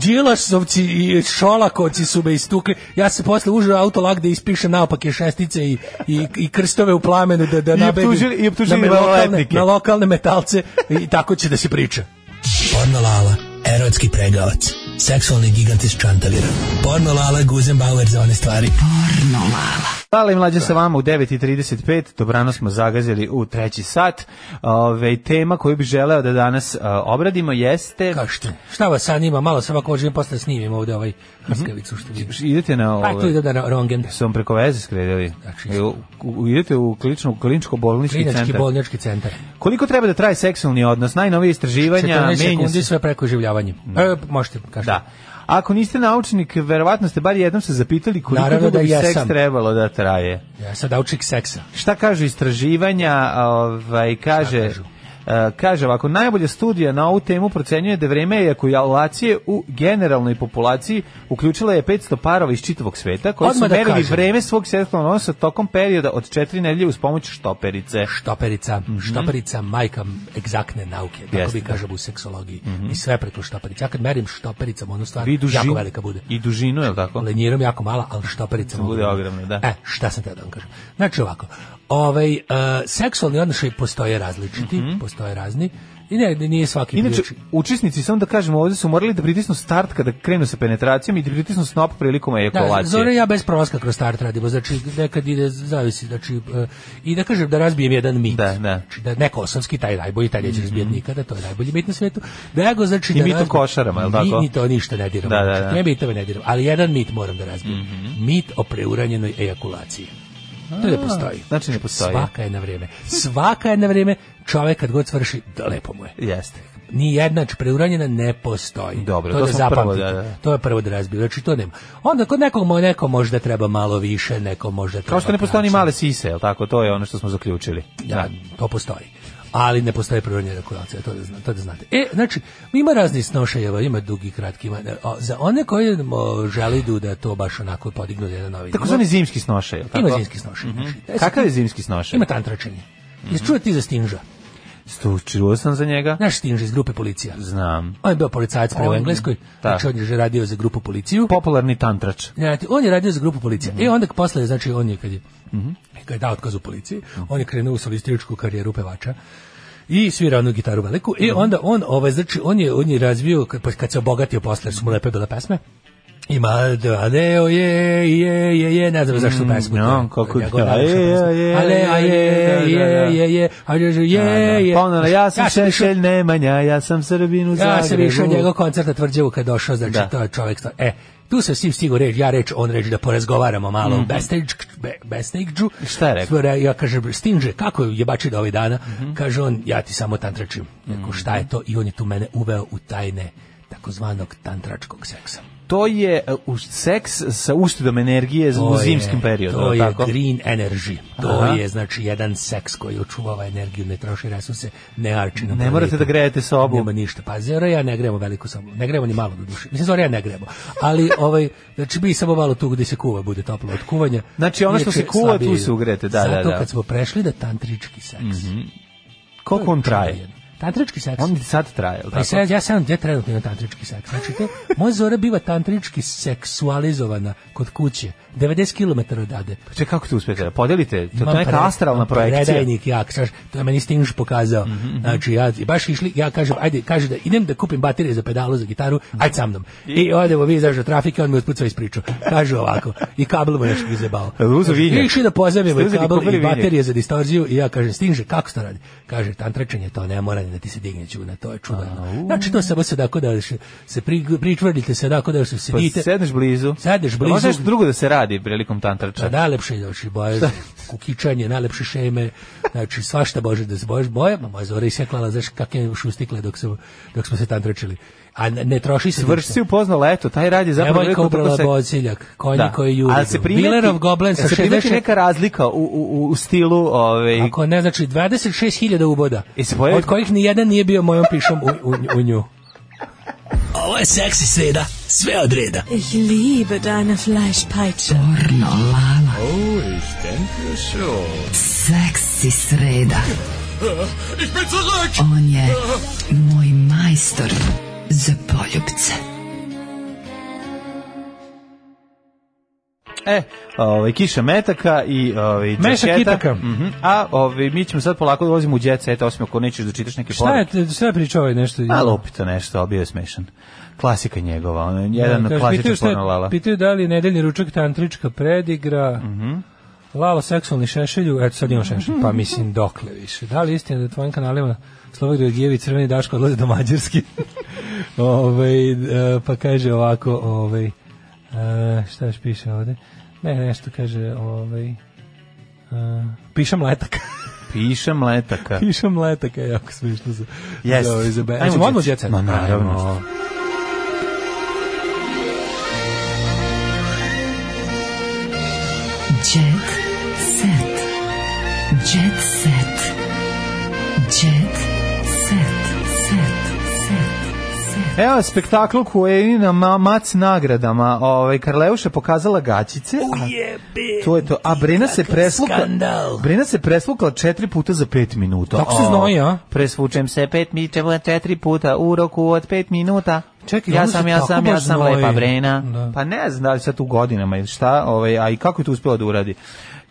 S6: Đilasovci i Šolakovci su me istukli. Ja se posle užao autolag da ispišem naopake šestice i, i, i krstove u plamenu da, da
S5: I
S6: nabedim
S5: optužili- i optužili
S6: na, me lokalne,
S5: maloletnike.
S6: na lokalne metalce i tako će da se priča.
S11: Porno Lala, erotski pregavac, seksualni gigant iz Čantavira. Porno Lala, Guzenbauer za one stvari. Porno Lala.
S5: Hvala i mlađe sa vama u 9.35, dobrano smo zagazili u treći sat. Ove, tema koju bi želeo da danas a, obradimo jeste...
S6: Kažete, šta vas sanima, malo sam ako želim posle da snimim ovde ovaj
S5: Mhm.
S6: hrskavicu što vidim.
S5: Idete na...
S6: Pa, tu ide na rongen.
S5: Sam preko veze skredili. E, U- u- idete u kliničko, kliničko bolnički
S6: Klinički
S5: centar.
S6: bolnički centar.
S5: Koliko treba da traje seksualni odnos? Najnovije istraživanja
S6: 14
S5: menja
S6: sekundi
S5: se. Mm.
S6: sve preko življavanja. E, možete, kažete.
S5: Da. Ako niste naučnik, verovatno ste bar jednom se zapitali koliko
S6: Naravno
S5: dugo
S6: da
S5: bi seks
S6: jesam.
S5: trebalo da traje.
S6: Ja sad naučnik seksa.
S5: Šta kažu istraživanja? Ovaj, kaže, e, kaže ovako, najbolja studija na ovu temu procenjuje da vreme ejakulacije u generalnoj populaciji uključila je 500 parova iz čitavog sveta koji
S6: Odmah
S5: su
S6: da
S5: merili
S6: kažem.
S5: vreme svog seksualnog odnosa tokom perioda od 4 nedelje uz pomoć štoperice.
S6: Štoperica, štoperica majka egzaktne nauke, tako
S5: Mhm. Jeste, Mhm.
S6: bi
S5: da.
S6: kažem u seksologiji. I sve preko štoperica. Ja kad merim štopericom, ono stvar
S5: Vi duži-
S6: jako velika bude.
S5: I dužinu, je li tako?
S6: Lenjirom jako mala, ali štopericom
S5: Bude ogromna, da.
S6: E, šta sam teo da vam kažem? Znači ovako, ovaj, e, seksualni odnošaj postoje različiti, postoje razni, i ne, nije svaki
S5: Mhm. Inače,
S6: priliči-
S5: učesnici, samo da kažemo, ovdje su morali da pritisnu start kada krenu sa penetracijom i da pritisnu snop prilikom
S6: Da, Zora i
S5: ejakulacije.
S6: ja bez prolaska kroz start radimo, znači nekad ide, zavisi, znači, e, i da kažem da razbijem jedan mit. Da, da. Znači, da ne kosovski, taj najbolji, taj neće razbijati nikada, to je najbolji mit na svetu. Da ja go, znači,
S5: Mhm. I
S6: da
S5: mit o
S6: razbijem-
S5: košarama, jel tako?
S6: Ni, ni to ništa ne diramo.
S5: Da, da,
S6: Znači,
S5: da. Mhm.
S6: Ne mitove ne diramo, ali jedan mit moram da razbijem. Mit o preuranjenoj ejakulaciji. To ne
S5: A,
S6: postoji.
S5: Znači ne postoji.
S6: Svaka je na vrijeme. Svaka je na vrijeme. Čovjek kad god svrši, da lepo mu je.
S5: Jeste.
S6: Ni jedna znači, preuranjena ne postoji.
S5: Dobro,
S6: to,
S5: to
S6: da
S5: smo prvo,
S6: zapamtite.
S5: da, da.
S6: To je prvo da razbiju. Znači to nema. Onda kod nekog mo- neko možda treba malo više, neko možda treba.
S5: Kao što ne postoji ni
S6: kraće.
S5: male sise, jel tako? To je ono što smo zaključili.
S6: Da, to postoji. Ali ne postoji preuranjena ejakulacija, to da, zna- to da znate. E, znači, ima raznih snošajeva, ima dugi, kratki, ima, o, za one koji o, želidu da to baš onako podignu na jedan novi
S5: Tako
S6: nivo,
S5: zvani zimski snošaj, jel tako?
S6: Ima zimski snošaj.
S5: Mhm.
S6: znači, da se-
S5: Kakav je zimski snošaj?
S6: Ima tantračenje. Jesi čuo ti za Stinža?
S5: Stu- Čuo sam za njega.
S6: Znaš Stinža iz grupe policija?
S5: Znam.
S6: On je bio policajac prvo u
S5: On-
S6: Engleskoj,
S5: da.
S6: znači on je radio za grupu policiju.
S5: Popularni tantrač.
S6: Znači, on je radio za grupu policija. I onda posle, znači, on je kad je,
S5: Mhm.
S6: kad je dao otkaz u policiji, on je krenuo u solističku karijeru pevača i svira onu gitaru veliku
S5: Mhm.
S6: i onda on ovaj znači on je on je razvio kad, pa kad se obogatio posle jer su mu lepe bile pesme ima da adeo je je je je ne znam zašto
S5: Mm,
S6: pesmu to je
S5: ja, kako-
S6: njegova
S5: a
S6: naučna
S5: je,
S6: pesma.
S5: je,
S6: ale a je
S5: je, da, da.
S6: je je je a je je
S5: Da,
S6: je
S5: Pa ono, ja sam
S6: sam išao-
S5: Šešelj Nemanja, ja sam Srbin u Zagrebu.
S6: ja sam išao na njegov koncert na tvrđavu kad došao, znači
S5: Da.
S6: to je čovjek. stvar- E, tu se svim stigo reći, ja reč, on reč da porazgovaramo malo mm
S5: Mhm.
S6: -hmm. besnejdžu.
S5: Šta je rekao? Mhm.
S6: Ja kažem, stinže, kako je bači da ovih dana? Kaže on, ja ti samo tantračim. Rekao, šta je to? I on je tu mene uveo u tajne takozvanog tantračkog seksa.
S5: To je uh, u- seks sa uštedom energije
S6: To
S5: u
S6: je-
S5: zimskim periodu.
S6: To
S5: jel
S6: je
S5: tako?
S6: green energy. To
S5: Aha.
S6: je znači jedan seks koji očuvava energiju, ne troši resurse, ne arči na
S5: Ne morate
S6: planetu.
S5: da grejete sobu.
S6: Nema ništa. Pa Zora i ja ne gremo veliku sobu. Ne gremo ni malo do duše. Mislim Zora i ja ne gremo. Ali ovaj znači mi samo malo tu gdje se kuva bude toplo od kuvanja.
S5: Znači, ono što
S6: Inače,
S5: se kuva, tu
S6: slabije.
S5: se ugrete, da, da,
S6: Zato
S5: da.
S6: kad smo prešli da tantrički seks.
S5: Koliko on traje?
S6: Tantrički seks.
S5: On sad traje, jel
S6: Pa i
S5: tako?
S6: sad, ja sam gdje trenutno imam tantrički seks. Znači, to, moja Zora biva tantrički seksualizovana kod kuće. 90 km odade.
S5: Pa čekaj, kako to uspete? Da Podelite, to, to
S6: Imam
S5: je neka
S6: pre-
S5: astralna
S6: imam
S5: projekcija. Mhm,
S6: Predajnik, ja, znaš, to je meni Stinž pokazao. Znači, ja baš išli, ja kažem, ajde, kaže da idem da kupim baterije za pedalu za gitaru, ajde sa mnom. I odemo mi, znaš, do trafike, on mi otput sve ispričao. Kaže ovako, i kabel mu nešto izjebao.
S5: Jel uzeo
S6: Kaže,
S5: vinjak?
S6: Išli da pozemimo
S5: Ste
S6: i
S5: uzeli,
S6: kabel
S5: kupili
S6: i
S5: vinjak?
S6: baterije za distorziju i ja kažem, Stinže, kako se to radi? Kaže, tantračenje to ne mora
S13: da ti se digne čuna, to je čuveno. Znači to samo se tako da se, se pri, pričvrnite se tako da se sedite.
S5: Pa sedneš blizu.
S13: Sedneš
S5: Da može
S13: blizu.
S5: nešto drugo da se radi prilikom tantrača.
S13: Pa najlepše je znači boje, kukičanje, najlepše šeme, znači svašta može da se boješ boje, ma moja zora iseklala, znaš kakve je šustikle dok, se, dok smo se tam trčili. A ne, ne troši se
S5: Svrš si upoznao leto, taj rad je zapravo...
S13: Devojka
S5: veliko
S13: ubrala
S5: prkosek.
S13: bociljak, konji koji juri.
S5: Ali se primeti,
S13: Bilerov goblen sa
S5: jel se primeti
S13: 60
S5: neka razlika u, u, u stilu... Ovaj,
S13: Ako ne, znači 26.000 uboda,
S5: pojavi-
S13: od kojih ni jedan nije bio mojom pišom u, u, u nju.
S11: Ovo je seksi sreda, sve od reda.
S14: Ich liebe deine Fleischpeitsche.
S4: Pornolava.
S11: Oh, ich denke schon.
S4: Seksi sreda.
S11: Ich bin zurück!
S4: On je moj majstor za poljubce.
S5: E, ovaj, kiša metaka i ovaj,
S6: Meša
S5: džaketa.
S6: kitaka.
S5: Mhm. A ovaj, mi ćemo sad polako da ulazimo u jet set, osim ako nećeš da čitaš neke
S6: Šta je, te- šta je pričao ovaj nešto?
S5: Malo opito nešto, ali bio je smešan. Klasika njegova, ono, jedan
S6: Kaže,
S5: klasičan
S6: pitaju šta je-
S5: pornolala.
S6: Pitaju da li je nedeljni ručak tantrička predigra,
S5: Mhm.
S6: Lalo seksualni šešelju, eto sad imam šešelj, pa mislim dokle više. Da li je istina da tvojim kanalima Slovak Georgijevi i Crveni Daško odlaze do Mađarski? Ovaj, e, pa kaže ovako, ovaj, e, šta još piše ovde? Ne, nešto kaže, ovaj, e, pišem letaka.
S5: Pišem letaka.
S6: pišem letaka, je e, jako smišno za,
S5: Yes.
S6: za, ovaj, za be-
S5: Ajmo
S6: Hoćemo odmah
S5: u Jet Set. Ma, naravno.
S6: Ajmo.
S4: Jet set. Jet set. Jet set. Set.
S5: Evo spektakl koji je na ma- mac nagradama. Ovaj Karleuša pokazala gaćice. a To je to. A Brena se presluka.
S11: skandal.
S5: Brena se preslukala četiri puta za pet minuta.
S6: Tako se znoji, a?
S5: Presvučem se pet mi četiri puta u roku od pet minuta.
S6: Čekaj,
S5: ja
S6: ona se
S5: sam, ja
S6: tako
S5: sam, ja
S6: baš
S5: sam
S6: znoji.
S5: lepa Brena.
S6: Da.
S5: Pa ne znam da li sad tu godinama ili šta, ovaj, a i kako je to uspjela da uradi.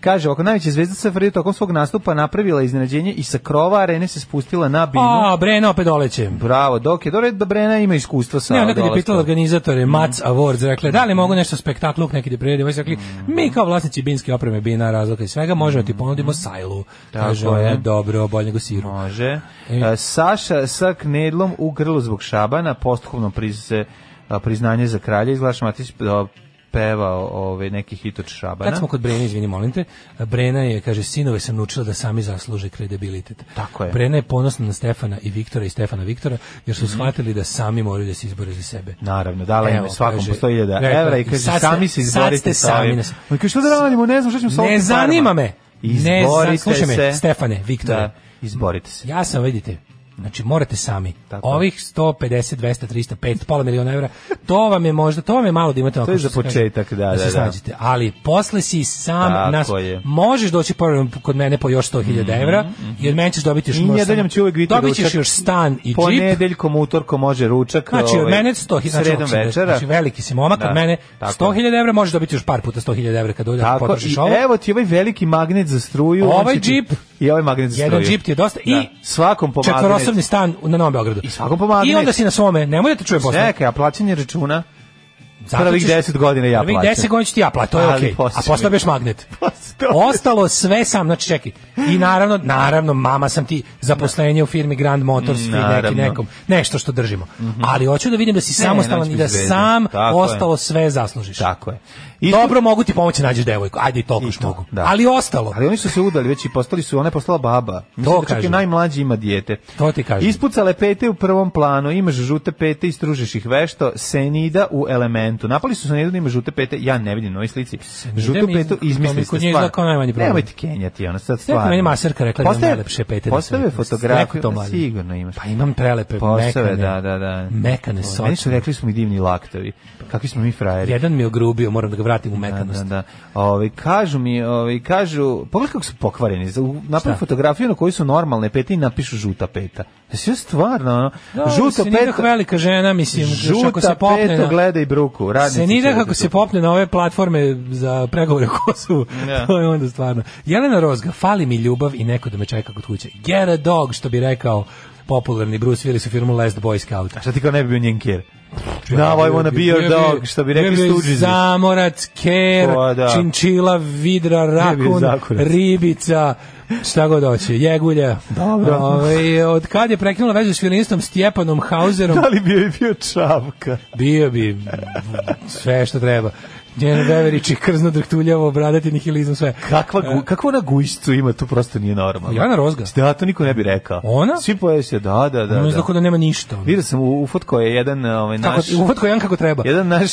S5: Kaže, oko najveća zvezda Safari tokom svog nastupa napravila iznenađenje i sa krova arene se spustila na binu.
S6: A, Brena opet doleće.
S5: Bravo, dok je dobro da Brena ima iskustva sa
S6: Ne, onda kad je
S5: dolaskom.
S6: pitala organizatore
S5: Mm.
S6: Mac Awards, rekla je, da li mogu nešto spektakl u neki priredi, oni su rekli, mi kao vlasnici binske opreme, bina, razloga i svega, možemo ti ponudimo sajlu.
S5: Tako
S6: Kaže, ona,
S5: je.
S6: dobro, bolje nego siru.
S5: Može. E, Saša sa knedlom u grlu zbog šabana, posthumno priz, e, priznanje za kralja, izglaš Matić e, pevao ove, neki hit od šabana.
S6: Kad smo kod Brene, izvini, molim te, Brena je, kaže, sinove sam naučila da sami zasluže kredibilitet.
S5: Tako je. Mhm.
S6: Brena je ponosna na Stefana i Viktora i Stefana Viktora, jer su shvatili da sami moraju da se izbore za sebe.
S5: Naravno, dala im
S6: Evo,
S5: je svakom
S6: kaže,
S5: po 100.000
S6: rekla,
S5: evra i kaže,
S6: sad ste-
S5: sami se
S6: sad
S5: izborite
S6: ste
S5: sa
S6: sami
S5: ovim.
S6: nas-
S5: Ma kaže, što da radimo, ne znam što ćemo sa ovim
S6: Ne
S5: parama.
S6: zanima me. Ne
S5: Izborite
S6: zan- slušaj me,
S5: se.
S6: Stefane, Viktore.
S5: Da, izborite se.
S6: Ja sam, vidite, znači morate sami.
S5: Tako je.
S6: Ovih 150, 200, 300, 5, pola miliona evra, to vam je možda, to vam je malo da imate. ovako
S5: je
S6: što
S5: za
S6: se kaže,
S5: početak, da, da,
S6: se
S5: da.
S6: snađete. Ali posle si sam
S5: Tako
S6: nas,
S5: je. Mhm,
S6: možeš doći prvo kod mene po još 100.000 evra, jer meni ćeš dobiti još...
S5: I
S6: možda-
S5: nedeljom će uvek biti
S6: Dobit ćeš
S5: ručak.
S6: još stan i džip.
S5: Ponedeljkom, utorkom može ručak.
S6: Znači, od
S5: ovaj,
S6: mene 100.000 znači,
S5: sredom
S6: ako si-
S5: večera.
S6: Znači, veliki si momak,
S5: Da,
S6: od mene
S5: tako je.
S6: 100.000 evra, možeš dobiti još par puta 100.000 evra kad dođe ako
S5: Tako,
S6: potrošiš
S5: i
S6: ovo.
S5: evo ti ovaj veliki magnet za struju. on
S6: Ovaj
S5: će ti-
S6: džip.
S5: I ovaj magnet za struju.
S6: Jedan džip ti je dosta i
S5: Da. Svakom po magnet.
S6: Četvorosobni stan na Novom Beogradu. I
S5: svakom po magnet.
S6: I onda si na svome, nemoj da te čuje posle.
S5: Čekaj, a plaćanje računa?
S6: Zato
S5: Prvih
S6: ćeš-
S5: 10 godina ja
S6: Prvih
S5: plaćam.
S6: 10 godina ću ti ja plaćam, to je
S5: Ali
S6: okej.
S5: posle
S6: A
S5: ćemo
S6: posle
S5: vidjeti.
S6: biš magnet. Ostalo sve sam, znači čekaj. I naravno, naravno, mama sam ti zaposlenje u firmi Grand Motors i neki
S5: Naravno. Mhm.
S6: nekom. Nešto što držimo. Ali hoću da vidim da si
S5: Ne,
S6: samostalan
S5: neću
S6: i da
S5: biti zvezda.
S6: sam
S5: Tako je.
S6: ostalo sve zaslužiš.
S5: Tako je.
S6: Dobro, mogu ti pomoći nađeš devojku. Ajde i toliko što mogu.
S5: Da.
S6: Ali ostalo.
S5: Ali oni su se udali već i postali su, ona je postala baba. Mislim da čak i
S6: kažem.
S5: najmlađi ima dijete.
S6: To ti kažem.
S5: Ispucale pete u prvom planu, imaš žute pete i stružiš ih vešto, senida u elementu. Napali su senidu da ima žute pete, ja ne vidim na ovoj slici. Žutu
S6: mi
S5: petu
S6: izgleda-
S5: izmislili
S6: kod
S5: ste
S6: nje izgleda kao najmanji problem.
S5: Nemojte kenjati, ona sad
S6: Sve
S5: stvarno.
S6: meni maserka rekla da imam
S5: Postave-
S6: najlepše pete. na
S5: Postave
S6: svetu.
S5: fotografiju,
S6: Rekao to mladim.
S5: sigurno imaš.
S6: Pa imam prelepe,
S5: Postave,
S6: mekane.
S5: da, da, da.
S6: Mekane sočne.
S5: Meni su rekli smo mi divni laktovi. Kakvi smo mi frajeri.
S6: Jedan mi je ogrubio, moram da ga vratim u mekanost.
S5: Da, da. Ovaj kažu mi, ovaj kažu, pogledaj kako su pokvareni. Napravi
S6: Šta?
S5: fotografiju na kojoj su normalne pete i napišu žuta peta. Sve stvarno, ono, žuta
S6: Senidah
S5: peta.
S6: velika žena, mislim, još znači, ako se
S5: Žuta
S6: popne
S5: peta
S6: na-
S5: gleda i bruku. Radnici
S6: Senidah
S5: će
S6: ako se
S5: žutu.
S6: popne na ove platforme za pregovore o Kosovu,
S5: Da.
S6: to je onda stvarno. Jelena Rozga, fali mi ljubav i neko da me čeka kod kuće. Get a dog, što bi rekao popularni Bruce Willis u filmu Last Boy Scout.
S5: A šta ti kao ne bi bio njen kjer? Now I ovaj wanna be your dog, što bi rekli Stooges.
S6: Zamorac, ker,
S5: O, da.
S6: činčila, vidra,
S5: Bio bi
S6: rakun,
S5: zakurac.
S6: ribica, Šta god hoće, jegulja.
S5: Dobro.
S6: Ovaj, od kad je prekinula vezu s violinistom Stjepanom Hauserom?
S5: Da li bi joj bio čavka?
S6: Bio bi mm, sve što treba. Njen Beverić je krzno drhtuljavo, obradati nihilizam, sve.
S5: Kakva, gu, kakva ona gujšcu ima, to prosto nije normalno.
S6: Jovana E. Rozga.
S5: Da, to niko ne bi rekao.
S6: Ona?
S5: Svi poje se, da, da, da.
S6: Ono izgleda kao da nema ništa. ono.
S5: Vidio sam u ufotko je jedan ovaj,
S6: Kako,
S5: naš...
S6: uvatko jedan kako treba.
S5: Jedan naš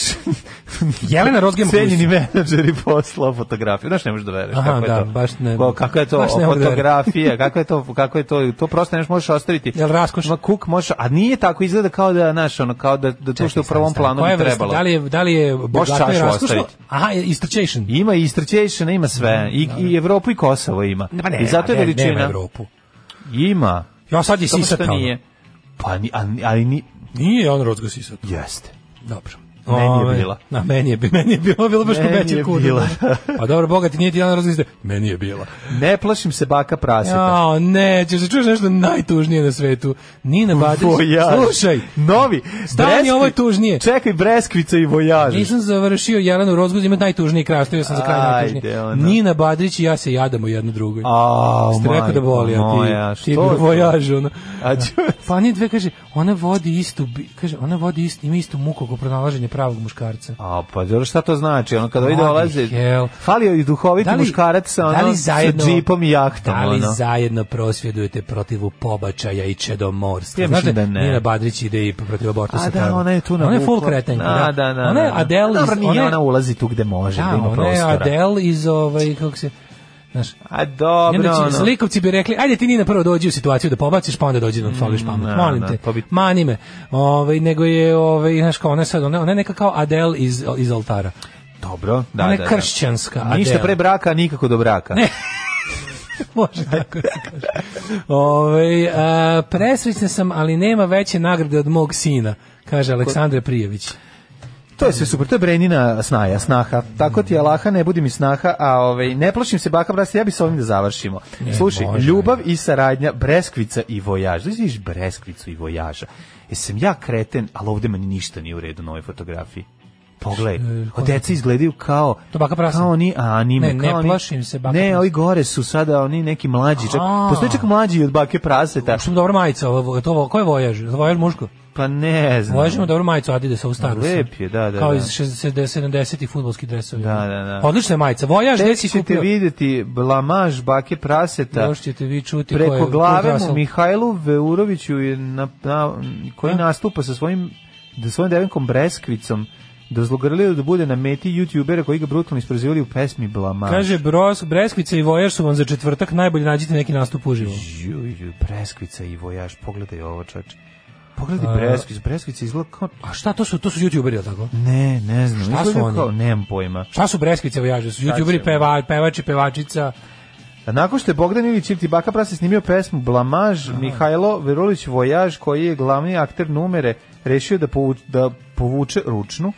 S6: Jelena Rozga ima
S5: cenjeni
S6: gujicu.
S5: menadžer i poslao fotografiju. Znaš, ne možeš da veruješ
S6: Aha,
S5: kako
S6: da,
S5: je to.
S6: baš ne-
S5: Ko- kako je to
S6: baš ne mogu da verujem.
S5: fotografija, kako je to, kako je to, to prosto ne možeš ostaviti.
S6: Jel raskoš?
S5: Ma kuk može, a nije tako izgleda kao da, znaš, ono, kao da, da to što je u prvom planu
S6: Koja
S5: bi
S6: je vrsta?
S5: trebalo.
S6: Da li je, da li je bogato i
S5: čašu
S6: raskošno?
S5: ostaviti.
S6: Aha, istrčation.
S5: Ima i Istrčejšana, ima sve. I, I Evropu i Kosovo ima.
S6: Pa ne,
S5: I zato je
S6: ne,
S5: veličina.
S6: Nema Evropu.
S5: Ima.
S6: Ja sad je
S5: Samo što
S6: sisata. ono.
S5: nije. Pa, ni, ali, ali ni,
S6: Nije on rozgo sisata.
S5: jeste.
S6: Dobro.
S5: Meni
S6: Ove,
S5: je bila.
S6: Na, meni je, bi- meni je bilo, bilo baš ko
S5: Meni
S6: veće
S5: je
S6: kuda.
S5: bila.
S6: pa dobro, bogati nije ti jedan razliste. Meni je bila.
S5: Ne plašim se baka praseta.
S6: Ja, ne, ćeš da čuješ nešto najtužnije na svetu. Nina Badić,
S5: Vojaž.
S6: slušaj,
S5: Novi.
S6: stani,
S5: Breskvi-
S6: ovo je tužnije.
S5: Čekaj, Breskvica i Vojaž.
S6: Nisam završio Jelanu Rozguz, ima najtužniji kraj, ostavio sam za kraj
S5: Ajde,
S6: najtužniji.
S5: ono.
S6: Nina Badrić i ja se jadamo jedno drugoj.
S5: A,
S6: Ste rekao da voli, a ti,
S5: moja,
S6: ti
S5: što je to?
S6: vojaž, ono.
S5: A ću-
S6: Pa nije dve, kaže, ona vodi istu, bi- kaže, ona vodi istu, ima istu muku oko pronalaženja pravog muškarca.
S5: A pa dobro šta to znači? Ono kada ide
S6: Mladi
S5: dolazi.
S6: hell.
S5: Falio i duhoviti
S6: Da li-
S5: muškarac sa
S6: da
S5: ono
S6: li zajedno-
S5: sa džipom i jahtom
S6: Da li
S5: ono.
S6: zajedno prosvjedujete protiv pobačaja i čedomorstva?
S5: Ja
S6: Znaš
S5: mislim da ne.
S6: Nina Badrić ide i protiv abortusa.
S5: A da,
S6: pravo.
S5: ona je tu na
S6: Ona je full kretenka.
S5: Da, da, da.
S6: Ona je
S5: da.
S6: Adele iz...
S5: Dobro, nije
S6: ona je-
S5: ona ulazi tu gde može, da,
S6: Da,
S5: ima
S6: ona je
S5: prostora.
S6: Adele iz ovaj, kako se... Znaš,
S5: A
S6: I onda
S5: dobro,
S6: će-
S5: ono.
S6: Slikovci bi rekli, ajde ti Nina prvo dođi u situaciju da pobaciš, pa onda dođi da
S5: Mm,
S6: odfališ pamet.
S5: ne,
S6: Molim
S5: ne,
S6: te,
S5: to pa bi-
S6: mani me. Ovaj, nego je, ovaj, znaš kao, ona je sad, ona, ona je neka kao Adele iz, iz oltara.
S5: Dobro, da,
S6: ona je
S5: da, da.
S6: kršćanska Adele.
S5: Ništa pre braka, nikako do braka.
S6: Ne. Može tako da se kaže. Ovaj, a, presrećna sam, ali nema veće nagrade od mog sina, kaže Aleksandra Prijević.
S5: To je sve super, to je Brenina snaja, snaha. Tako ti Alaha, ne budi mi snaha, a ovaj, ne plašim se baka brasa, ja bi sa ovim da završimo. Slušaj,
S6: može.
S5: ljubav i saradnja, Breskvica i Vojaž. Da vidiš Breskvicu i Vojaža. Jesam ja kreten, ali ovde meni ništa nije u redu na ovoj fotografiji. Pogledaj, o deca izgledaju kao
S6: To baka prasa.
S5: kao oni anime.
S6: Ne, ne
S5: kao oni-
S6: plašim se baka
S5: Ne,
S6: prasa.
S5: ovi gore su sada oni neki mlađi. Čak,
S6: A.
S5: postoji čak mlađi od bake praseta.
S6: Što mu dobra majica, ovo, to, ovo- ko je Vojaž? Vojaž muško?
S5: Pa ne znam.
S6: Vojaž ima dobru majicu Adidasa u staru.
S5: Lep je, da, da,
S6: Kao
S5: da.
S6: iz 60 70-ih fudbalski dresovi.
S5: Da, da, da.
S6: Odlična je majica. Vojaž, gde
S5: Tek
S6: si
S5: ćete
S6: kupio?
S5: vidjeti blamaž bake praseta.
S6: Još ćete vi čuti ko je-
S5: preko
S6: ko je
S5: glave mu
S6: odrasao.
S5: Mihajlu Veuroviću je na, na, koji nastupa sa svojim da svojim devenkom Breskvicom dozlogrlio da bude na meti youtubera koji ga brutalno isprozivali u pesmi Blamaž.
S6: Kaže, Bros, Breskvica i Vojaž su vam za četvrtak najbolje nađite neki nastup uživo.
S5: Ju, ju, Breskvica i Vojaž, pogledaj ovo čač. Pogledaj Breskvica, Breskvica izgleda kao...
S6: A šta to su? To su youtuberi, jel tako?
S5: Ne, ne znam,
S6: Šta su
S5: izgleda
S6: oni?
S5: kao, nemam pojma.
S6: Šta su Breskvice i Vojaže? Su youtuberi,
S5: ćemo?
S6: peva, pevači, pevačica.
S5: A Nakon što je Bogdan Ilić i Baka Prase snimio pesmu Blamaž, Mihajlo Verulić Vojaž, koji je glavni akter numere, rešio da, povu- da povuče ručnu.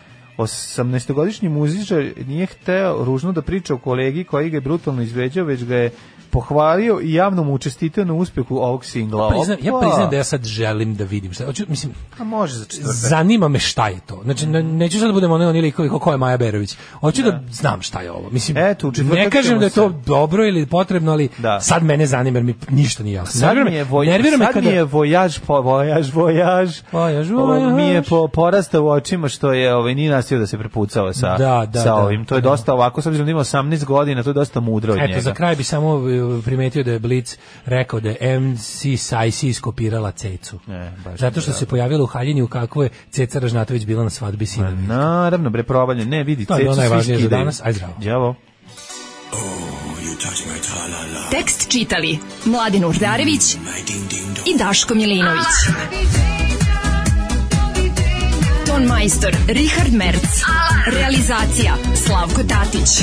S5: 18-godišnji muzičar nije hteo ružno da priča o kolegi koji ga je brutalno izvređao, već ga je pohvalio i javno mu učestitio na uspehu ovog singla.
S6: Priznam, ja
S5: Opa!
S6: priznam da ja sad želim da vidim šta. Hoću, mislim,
S5: A može za četvrtak.
S6: zanima me šta je to. Znači, ne, neću sad da budem onaj lik koji- ko, ko je Maja Berović. Hoću da znam šta je ovo. Mislim,
S5: Eto, u četvrtak
S6: ne kažem
S5: ćemo
S6: da je to
S5: se-
S6: dobro ili potrebno, ali
S5: Da.
S6: sad mene zanima jer mi ništa nije jasno.
S5: Sad
S6: Nervira
S5: mi
S6: me-
S5: je, voj,
S6: nervira me
S5: sad
S6: kada-
S5: mi je vojaž, po, vojaž, vojaž,
S6: Vojaž,
S5: Ovo
S6: vojaž.
S5: Mi je po, porasta u očima što je, ovaj, nije nastio da se prepucava sa,
S6: Da, da,
S5: sa
S6: da.
S5: ovim. To je dosta ovako, s obzirom da ima 18 godina, to je dosta mudro od njega.
S6: Eto, za kraj bi samo e, primetio da je Blitz rekao da je MC Sajsi iskopirala cecu.
S5: E, baš
S6: Zato što se pojavila u haljini u kakvoj je ceca Ražnatović bila na svadbi sina.
S5: Naravno, bre, provalje. Ne, vidi,
S6: To je
S5: cecu
S6: bilo najvažnije
S5: svi
S6: za
S5: skidaju.
S6: danas. Aj, zdravo.
S5: Đavo.
S4: Tekst čitali Mladin Urdarević i Daško Milinović. Ton majstor Richard Merc. Realizacija Slavko Tatić.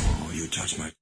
S11: Oh, you touch my